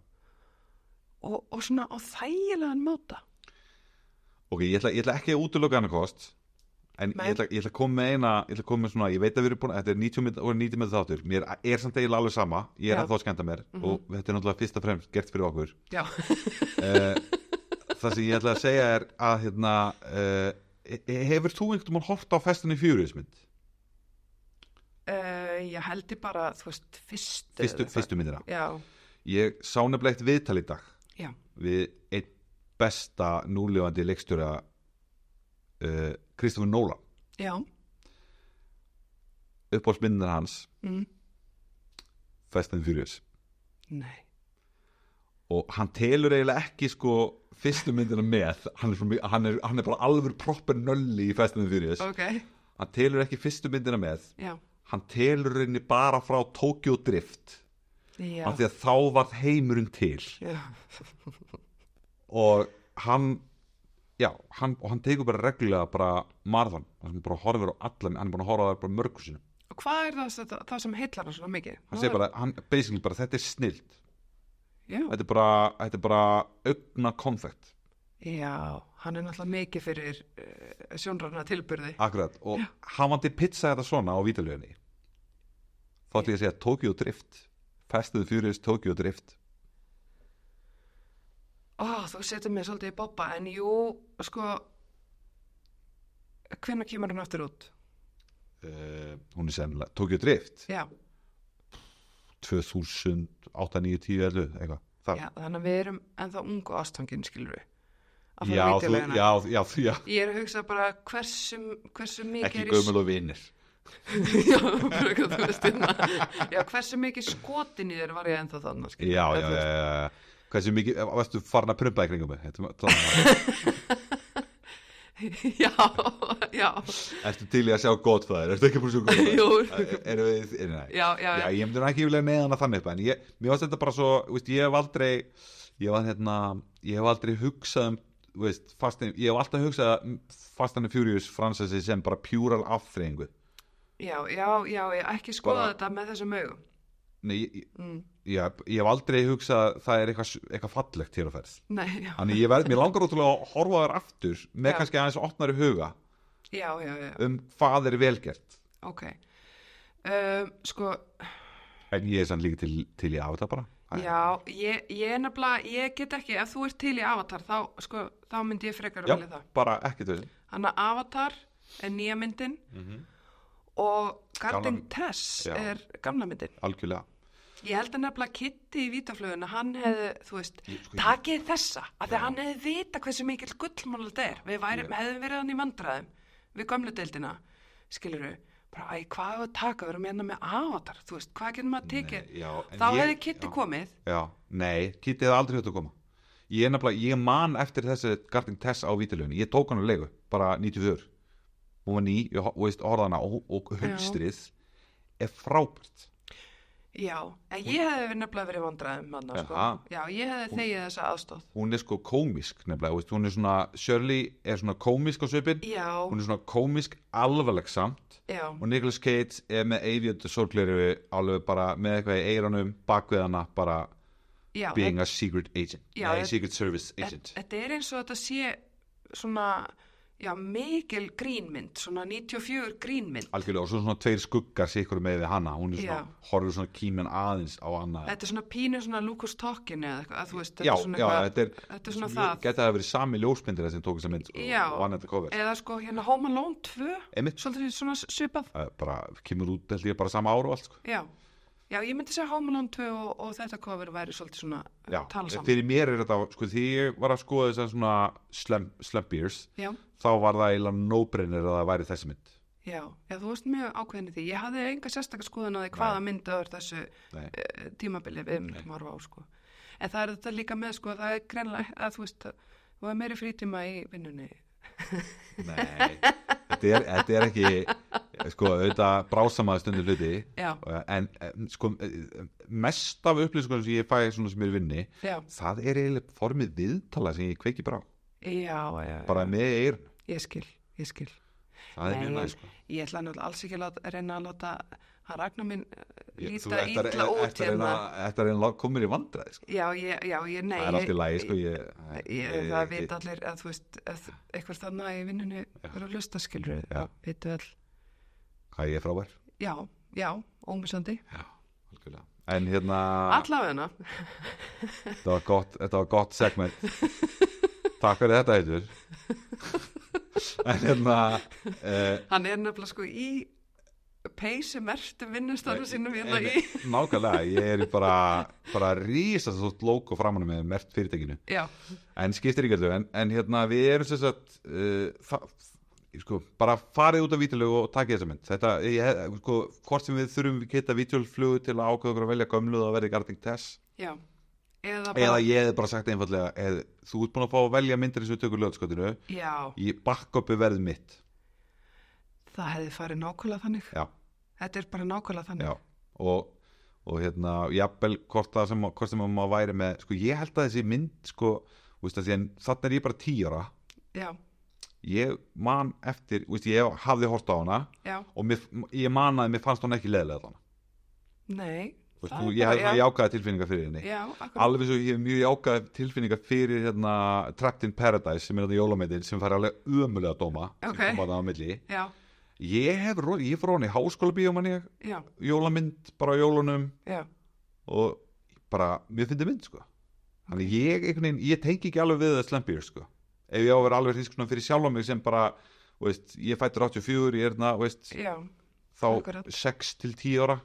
[SPEAKER 2] Og, og svona á þægilegan móta.
[SPEAKER 1] Ok, ég ætla, ég ætla ekki að útiloka hana kost En
[SPEAKER 2] Nei.
[SPEAKER 1] ég ætla, ég ætla að koma með eina Ég ætla að koma með svona, ég veit að við erum búin Þetta er 90 mynd, og 90 mynd þáttur Mér er samt eiginlega alveg sama Ég er
[SPEAKER 2] Já.
[SPEAKER 1] að
[SPEAKER 2] Mhm.
[SPEAKER 1] þá skemmta mér Og þetta er náttúrulega fyrst og fremst gert fyrir okkur
[SPEAKER 2] Já,
[SPEAKER 1] uh, Það sem ég ætla að segja er að hérna, uh, Hefur þú einhvern mann hort á festinni Furious mynd?
[SPEAKER 2] uh, ég held ég bara, þú veist, fyrstu.
[SPEAKER 1] Fyrstu,
[SPEAKER 2] eða það-
[SPEAKER 1] fyrstu myndina
[SPEAKER 2] Já,
[SPEAKER 1] Ég sá nefnilega eitt viðtal í dag
[SPEAKER 2] já,
[SPEAKER 1] Við einn besta núlifandi leikstjóra uh, Kristofur Nóla
[SPEAKER 2] já,
[SPEAKER 1] Uppáhaldsmyndin hans
[SPEAKER 2] mm.
[SPEAKER 1] Fast and Furious
[SPEAKER 2] nei.
[SPEAKER 1] og hann telur eiginlega ekki sko fyrstu myndina með hann er, svo mi- hann er, hann er bara alveg proper nölli í Fast and Furious
[SPEAKER 2] Ok,
[SPEAKER 1] hann telur ekki fyrstu myndina með
[SPEAKER 2] já,
[SPEAKER 1] hann telur henni bara frá Tokyo Drift
[SPEAKER 2] já.
[SPEAKER 1] af því að þá varð heimurinn til
[SPEAKER 2] Já,
[SPEAKER 1] og hann já, hann, og hann tekur bara reglulega bara marðan, hann bara horfir á allan hann er búin að horfa á það bara mörgur sinum
[SPEAKER 2] og hvað er það, sem- það sem heillar hann svona mikið?
[SPEAKER 1] hann segir bara, hann, basically bara, þetta er snilt
[SPEAKER 2] Já,
[SPEAKER 1] þetta er bara, þetta er bara augna konfekt
[SPEAKER 2] Já, hann er náttúrulega mikið fyrir uh, sjónræna tilbyrði.
[SPEAKER 1] Akkurat, og hafandi pizza þetta svona á vítalöginni þá ætlum ég að segja Tokyo Drift Fast and the Furious Tokyo Drift
[SPEAKER 2] Ó, þú setur mig svolítið í bobba, en jú, sko, hvenær kemur hann aftur út?
[SPEAKER 1] uh, hún er sennilega, Tokyo Drift
[SPEAKER 2] Já,
[SPEAKER 1] 2000, 8, 9, 10, 11 eitthvað, þar
[SPEAKER 2] já, þannig að við erum ennþá ungu ástangin, skilur við. Að fara
[SPEAKER 1] já,
[SPEAKER 2] á
[SPEAKER 1] þú,
[SPEAKER 2] vídeólaugina.
[SPEAKER 1] já, já, já,
[SPEAKER 2] Ég er að hugsa bara hversu, hversu mikið
[SPEAKER 1] ekki
[SPEAKER 2] er í
[SPEAKER 1] gömul og vinnir
[SPEAKER 2] já, bara eitthvað, þú veist, hérna. já, hversu mikið skotin í þér var ég ennþá þannig,
[SPEAKER 1] já, já, já, já, já. hversu mikið, varstu farin að prumpa í kringum mig Þetta var- það-
[SPEAKER 2] já. já, já,
[SPEAKER 1] ertu til í að sjá Godfather, ertu ekki búin að sjá
[SPEAKER 2] Jú.
[SPEAKER 1] Godfather Eh, erum við, nei, nei
[SPEAKER 2] já, já,
[SPEAKER 1] Já,
[SPEAKER 2] já,
[SPEAKER 1] ég myndi nú ekki vilja með hana þannig upp en ég, mér varst þetta bara svo, þú veist, ég hef aldrei ég var hérna, ég hef aldrei hugsað um, þú veist, fastin ég hef alltaf hugsað um Fast and Furious fransessi sem bara pjúral afþreyingu
[SPEAKER 2] já, já, já, ég ekki skoða
[SPEAKER 1] Bara-
[SPEAKER 2] þetta með þessum augum.
[SPEAKER 1] Nei, ég, ég,
[SPEAKER 2] Mm.
[SPEAKER 1] ég, ég hef aldrei hugsað að það er eitthvað, eitthvað fallegt hér á ferð
[SPEAKER 2] Nei, já,
[SPEAKER 1] Þannig ég verð, mér langar ótrúlega að horfa á þér aftur með
[SPEAKER 2] Já.
[SPEAKER 1] kannski aðeins opnari huga
[SPEAKER 2] já, já, já.
[SPEAKER 1] um hvað er velgert
[SPEAKER 2] ok um, sko,
[SPEAKER 1] en ég er sann líka til, til í af þetta bara
[SPEAKER 2] já ég, ég er nefnilega, ég get ekki ef þú ert til í Avatar, þá, sko, þá myndi ég frekar
[SPEAKER 1] Já,
[SPEAKER 2] að velja það
[SPEAKER 1] bara ekkert þessi
[SPEAKER 2] hann að Avatar er nýja myndin og Garden
[SPEAKER 1] Mhm. Gamla-
[SPEAKER 2] Tess
[SPEAKER 1] Já.
[SPEAKER 2] er gamla myndin
[SPEAKER 1] algjörlega
[SPEAKER 2] Ég held að nefnilega Kitty í Vítaflöðuna, hann hefði, þú veist,
[SPEAKER 1] Mm. Ég- sko, ég-
[SPEAKER 2] takið þessa, af því að hann hefði vita hversu mikill gullmál þetta er. Við væri, hefðum verið hann í vandræðum við gömlu deildina, skilur við, bara, æ, hvað hefur taka, við erum hérna með avatar, þú veist, hvað getur maður að tekið?
[SPEAKER 1] Nei, já, en
[SPEAKER 2] Þá
[SPEAKER 1] ég-
[SPEAKER 2] hefði Kitty
[SPEAKER 1] já.
[SPEAKER 2] komið,
[SPEAKER 1] Já, nei, Kitty hefði aldrei höfðu að koma Ég er nefnilega, ég man eftir þessi Garting Tess á vítilegunni, ég tók hann að leigu bara 94 Hún var ný, ég ho- og veist orðana og, og hulstrið er frábært
[SPEAKER 2] já, en ég hefði nefnilega verið í vandræðum, hann, sko.
[SPEAKER 1] Jaha.
[SPEAKER 2] Já, ég hefði þegið þessa aðstóð.
[SPEAKER 1] Hún er sko komisk nefnilega, veist, hún er svona Shirley er svona komisk á svipin
[SPEAKER 2] Já,
[SPEAKER 1] Hún er svona komisk alvarleg samt
[SPEAKER 2] já,
[SPEAKER 1] og Nicolas Cage er með eigjöndu sorgleiru alveg bara með eitthvað í eiranum bakvið hana bara
[SPEAKER 2] já,
[SPEAKER 1] being a secret agent
[SPEAKER 2] Já,
[SPEAKER 1] Nei,
[SPEAKER 2] þetta-
[SPEAKER 1] secret service agent
[SPEAKER 2] þetta þetta er eins og þetta sé svona, já, mikil grínmynd, svona 94 grínmynd.
[SPEAKER 1] algjörlega og svo svona tveir skuggar sér ykkur með við hana hún er svona,
[SPEAKER 2] Já.
[SPEAKER 1] horfir svona kímen aðeins á annað
[SPEAKER 2] Þetta er svona pínu svona Lucas Talkin eða eitthvað, að þú veist, þetta
[SPEAKER 1] já,
[SPEAKER 2] er svona
[SPEAKER 1] já,
[SPEAKER 2] eitthvað,
[SPEAKER 1] þetta er,
[SPEAKER 2] þetta er svona það,
[SPEAKER 1] geta það verið sami ljósmyndir sem tók þess að mynd og-
[SPEAKER 2] Já.
[SPEAKER 1] og annað þetta cover
[SPEAKER 2] eða sko hérna Home Alone 2,
[SPEAKER 1] Einmitt.
[SPEAKER 2] svolítið svona svipað,
[SPEAKER 1] Eh, bara kemur út held ég bara sama ár og allt sko.
[SPEAKER 2] já, já, ég myndi segja Home Alone 2 og, og þetta cover væri svolítið svona já,
[SPEAKER 1] já,
[SPEAKER 2] tala saman,
[SPEAKER 1] fyrir mér er þetta sko, því ég var að skoða þess að svona slum, slump years
[SPEAKER 2] já,
[SPEAKER 1] þá var það eiginlega no-brainer að það væri þessi mynd
[SPEAKER 2] já, já, þú veist mjög ákveðin í því, ég hafði enga sérstakar skoðan að því hvaða myndu öður þessu
[SPEAKER 1] Nei.
[SPEAKER 2] eh, tímabili við myndum horfa á, sko, en það er þetta líka með, sko, það er greinlega, að þú veist, þú er meiri frítíma í vinnunni,
[SPEAKER 1] Nei, þetta er, þetta er ekki sko, auðvitað brásamaði stundu hluti
[SPEAKER 2] Já.
[SPEAKER 1] en eh, sko, eh, mest af upplýsingunum sem ég fæ svona sem ég er í vinni
[SPEAKER 2] já,
[SPEAKER 1] það er eiginlega formið viðtala sem ég kveiki bara á,
[SPEAKER 2] já, já, já,
[SPEAKER 1] bara með eirun
[SPEAKER 2] ég skil, ég skil.
[SPEAKER 1] það er
[SPEAKER 2] Nei,
[SPEAKER 1] mjög
[SPEAKER 2] ég-
[SPEAKER 1] næst sko.
[SPEAKER 2] Ég ætla náttúrulega alls ekki að láta- reyna að láta hann Ragnar minn eh,
[SPEAKER 1] Ég- þú
[SPEAKER 2] líta
[SPEAKER 1] ert að-
[SPEAKER 2] ítla út
[SPEAKER 1] ert að reyna-
[SPEAKER 2] hérna.
[SPEAKER 1] ert að reyna að koma mér í vandræði sko.
[SPEAKER 2] Já, ég, já, ég, nei.
[SPEAKER 1] það er
[SPEAKER 2] ég-
[SPEAKER 1] allt í lagi sko, ég,
[SPEAKER 2] Ég,
[SPEAKER 1] ég-
[SPEAKER 2] það
[SPEAKER 1] ég-
[SPEAKER 2] veit allir að þú veist að eitthvað þarna í vinnunni verður að lusta skilur
[SPEAKER 1] Já.
[SPEAKER 2] veitu all,
[SPEAKER 1] hvað ég er frábær
[SPEAKER 2] já, já, ómisandi
[SPEAKER 1] Já, algjörlega. en hérna
[SPEAKER 2] allavegna,
[SPEAKER 1] þetta var gott, þetta var gott segment takk fyrir þetta heitur en hérna uh,
[SPEAKER 2] hann er nefnilega sko í peysi mertu vinnustafnum sínum hérna í,
[SPEAKER 1] Einmitt, Nákvæmlega, ég er í bara, bara rísa svo logo framan með mert fyrirtækinu
[SPEAKER 2] já,
[SPEAKER 1] en skiptir ekki öllu, en, en hérna við erum sem sagt uh, það, sko, bara farið út af vítalögu og takið þessa mynd þetta, ég, sko, hvort sem við þurfum við geta vítalflugu til að ákveða okkur að velja gömlu og að verði Garting Tess
[SPEAKER 2] já eða bara,
[SPEAKER 1] eða ég hef bara sagt einfallega eð, þú ert búin að fá að velja myndir eins og við tökur lögskotinu
[SPEAKER 2] já,
[SPEAKER 1] í bakkoppu verð mitt
[SPEAKER 2] það hefði farið nákvæmlega þannig
[SPEAKER 1] já,
[SPEAKER 2] þetta er bara nákvæmlega þannig
[SPEAKER 1] já, og og hérna, jafnvel hvort það sem, hvort sem maður væri með, sko ég held að þessi mynd sko, þú veist að því en þannig er ég bara tíjara,
[SPEAKER 2] já,
[SPEAKER 1] ég man eftir, þú veist, ég hafði hort á hana
[SPEAKER 2] já,
[SPEAKER 1] og mér, ég man að mér fannst hún ekki leðilega þannig,
[SPEAKER 2] nei
[SPEAKER 1] þú veist,
[SPEAKER 2] það
[SPEAKER 1] þú, ég
[SPEAKER 2] er bara-
[SPEAKER 1] hafði svona jákaði tilfinningar fyrir henni,
[SPEAKER 2] Já, akkurat.
[SPEAKER 1] alveg svo ég hef mjög jákaði tilfinningar fyrir hérna Trapped in Paradise sem er þetta jólameitin sem fær alveg ömulega dóma,
[SPEAKER 2] Ok.
[SPEAKER 1] sem kom að það á milli
[SPEAKER 2] Já,
[SPEAKER 1] ég hef, ro- ég fór hann í háskóla bíóman ég,
[SPEAKER 2] já,
[SPEAKER 1] jólamynd bara á jólunum
[SPEAKER 2] já,
[SPEAKER 1] og bara, mér finnir mynd sko þannig ég, einhvern veginn, ég tengi ekki alveg við það slempýr sko, ef ég á að vera alveg hriskunum fyrir sjálf mig sem bara, þú veist ég er fættur 84, ég er þarna, þú veist
[SPEAKER 2] já,
[SPEAKER 1] þá
[SPEAKER 2] akkurat.
[SPEAKER 1] 6 til 10 ára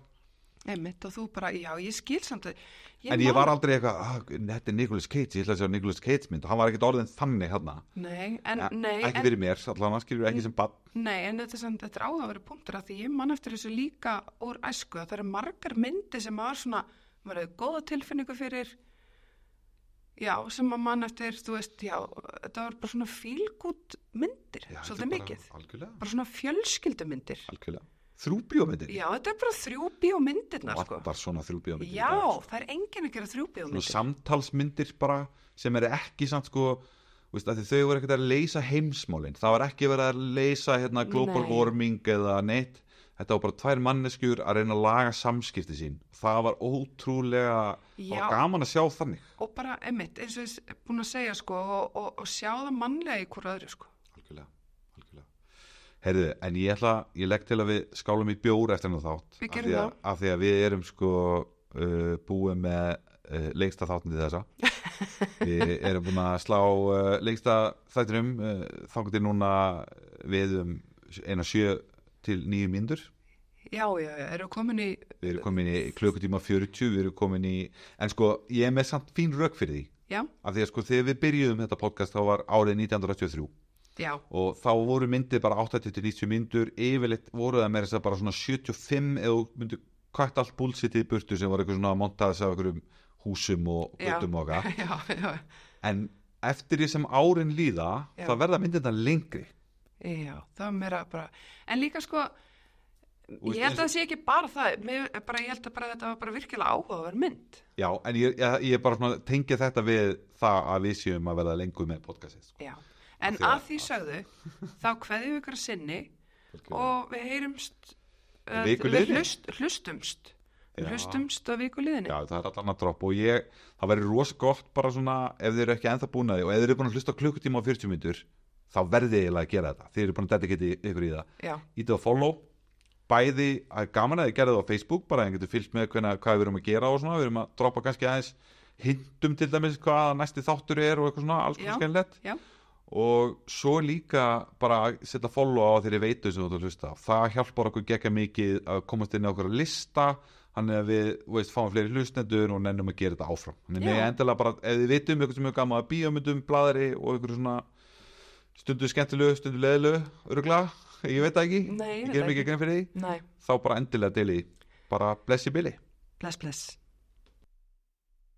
[SPEAKER 2] einmitt og þú bara, já, ég skil samt að, ég
[SPEAKER 1] en ég
[SPEAKER 2] man-
[SPEAKER 1] var aldrei eitthvað, ah, þetta er Nicolas Cage ég ætla að sjá Nicolas Cage mynd, og hann var ekkert orðin þannig þarna,
[SPEAKER 2] Nei, en,
[SPEAKER 1] Ja,
[SPEAKER 2] nei,
[SPEAKER 1] ekki
[SPEAKER 2] en, Mm.
[SPEAKER 1] fyrir mér allan hann skilur ekki sem bann,
[SPEAKER 2] nei, en þetta er samt, þetta er áhugaveru punktur að því ég man eftir þessu líka úr æsku að það eru margar myndi sem maður svona, maður hefur góða tilfinningu fyrir, já, sem maður man eftir, þú veist, já, þetta var bara svona fílgút myndir, svolítið mikið,
[SPEAKER 1] algjörlega,
[SPEAKER 2] bara svona fjölskyldumyndir.
[SPEAKER 1] algjörlega. þrjú bíómyndir,
[SPEAKER 2] Já, þetta er bara þrjú bíómyndirnar, sko.
[SPEAKER 1] vantar svona þrjú bíómyndir í
[SPEAKER 2] Já,
[SPEAKER 1] dag, sko.
[SPEAKER 2] það er enginn að gera þrjú
[SPEAKER 1] svona
[SPEAKER 2] bíómyndir.
[SPEAKER 1] samtalsmyndir bara sem eru ekki samt sko þú veist, af því þau voru ekkert að leysa heimsmálin það var ekki verið að leysa hérna, global
[SPEAKER 2] Nei.
[SPEAKER 1] warming eða neitt þetta var bara tvær manneskjur að reyna að laga samskipti sín það var ótrúlega það
[SPEAKER 2] Já.
[SPEAKER 1] var gaman að sjá þannig
[SPEAKER 2] og bara einmitt eins og ég er búin að segja sko og, og, og sjá það mannlega í hverju öðru sko
[SPEAKER 1] algjörlega, algjörlega. Herðu, en ég ætla, ég legg til að við skálum í bjór eftir hennar þátt
[SPEAKER 2] Við
[SPEAKER 1] Af
[SPEAKER 2] gerum
[SPEAKER 1] því að-
[SPEAKER 2] það.
[SPEAKER 1] Af því að við erum sko uh, búið með uh, lengsta þáttin til þessa Við erum búin að slá uh, lengsta þættinum uh, þangt er núna við um eina sjö til nýju mínútur
[SPEAKER 2] Já, já, já, eru komin í
[SPEAKER 1] Við erum komin í klukkutíma 40, við erum komin í En sko, ég er með samt fín rauk fyrir því
[SPEAKER 2] Já,
[SPEAKER 1] Af því að sko, þegar við byrjuðum þetta podcast þá var árið 1983
[SPEAKER 2] já,
[SPEAKER 1] og þá voru myndið bara 80-90 myndur yfirleitt voru það meira þess að bara svona 75 eða myndu kvætt allt búlsitið í burtu sem var eitthvað svona montaðis af einhverjum húsum og
[SPEAKER 2] já
[SPEAKER 1] göttum og eitthvað
[SPEAKER 2] Já, já,
[SPEAKER 1] en eftir því sem árin líða
[SPEAKER 2] Já.
[SPEAKER 1] þá verða myndið þetta lengri
[SPEAKER 2] já, það er meira bara En líka sko,
[SPEAKER 1] veist,
[SPEAKER 2] ég held að
[SPEAKER 1] eins-
[SPEAKER 2] það sé ekki bara það mér, er bara, Ég held að bara þetta var bara virkilega áhugaverð mynd
[SPEAKER 1] já, en ég, ég, ég er bara svona tengja þetta við það að við séum að verða lengur með podcastið sko.
[SPEAKER 2] Já, en
[SPEAKER 1] því að-
[SPEAKER 2] að því sögðu þá kveðjum við ykkur að sinni og við heyrumst eh,
[SPEAKER 1] Viku
[SPEAKER 2] við
[SPEAKER 1] liðinni.
[SPEAKER 2] hlust, hlustumst
[SPEAKER 1] Já.
[SPEAKER 2] við hlustumst að vikuliðinni
[SPEAKER 1] já, það er allan að dropp og ég það verður rosa gott bara svona ef þið eru ekki ennþá búin að því og ef þið eru búin að hlusta á klukkutíma og 40 myndur þá verðið eiginlega að gera þetta þið eru búin að dedikati ykkur í það
[SPEAKER 2] Já,
[SPEAKER 1] ítið á follow bæði að gaman að þið gerðu það á Facebook bara að þið getur fylgst með hvena, hvað við erum að gera og svona við erum að droppa kannski aðeins hindum til dæmis hvað næsti þáttur er og eitthvað svona alls
[SPEAKER 2] Já.
[SPEAKER 1] konar skemmilegt
[SPEAKER 2] já,
[SPEAKER 1] og svo líka bara að setja follow á þeirri veitu sem þú ert að hlusta á. það hjálpar okkur gegga mikið að komast inn á okkur lista hann er við, þú veist, fáum fleiri hlustendur og nennum að gera þetta áfram þannig
[SPEAKER 2] Já.
[SPEAKER 1] með endilega bara, ef þið vitum ykkur sem er gaman að bíómyndum, bladari og ykkur svona stundu skemmtilegu, stundu leðilegu örugla, ég veit það ekki
[SPEAKER 2] Nei, ég
[SPEAKER 1] ég
[SPEAKER 2] veit
[SPEAKER 1] gerum
[SPEAKER 2] það
[SPEAKER 1] ekki
[SPEAKER 2] ekki.
[SPEAKER 1] grein fyrir því
[SPEAKER 2] næ,
[SPEAKER 1] þá bara endilega deili, því. bara blessi billi
[SPEAKER 2] bless, bless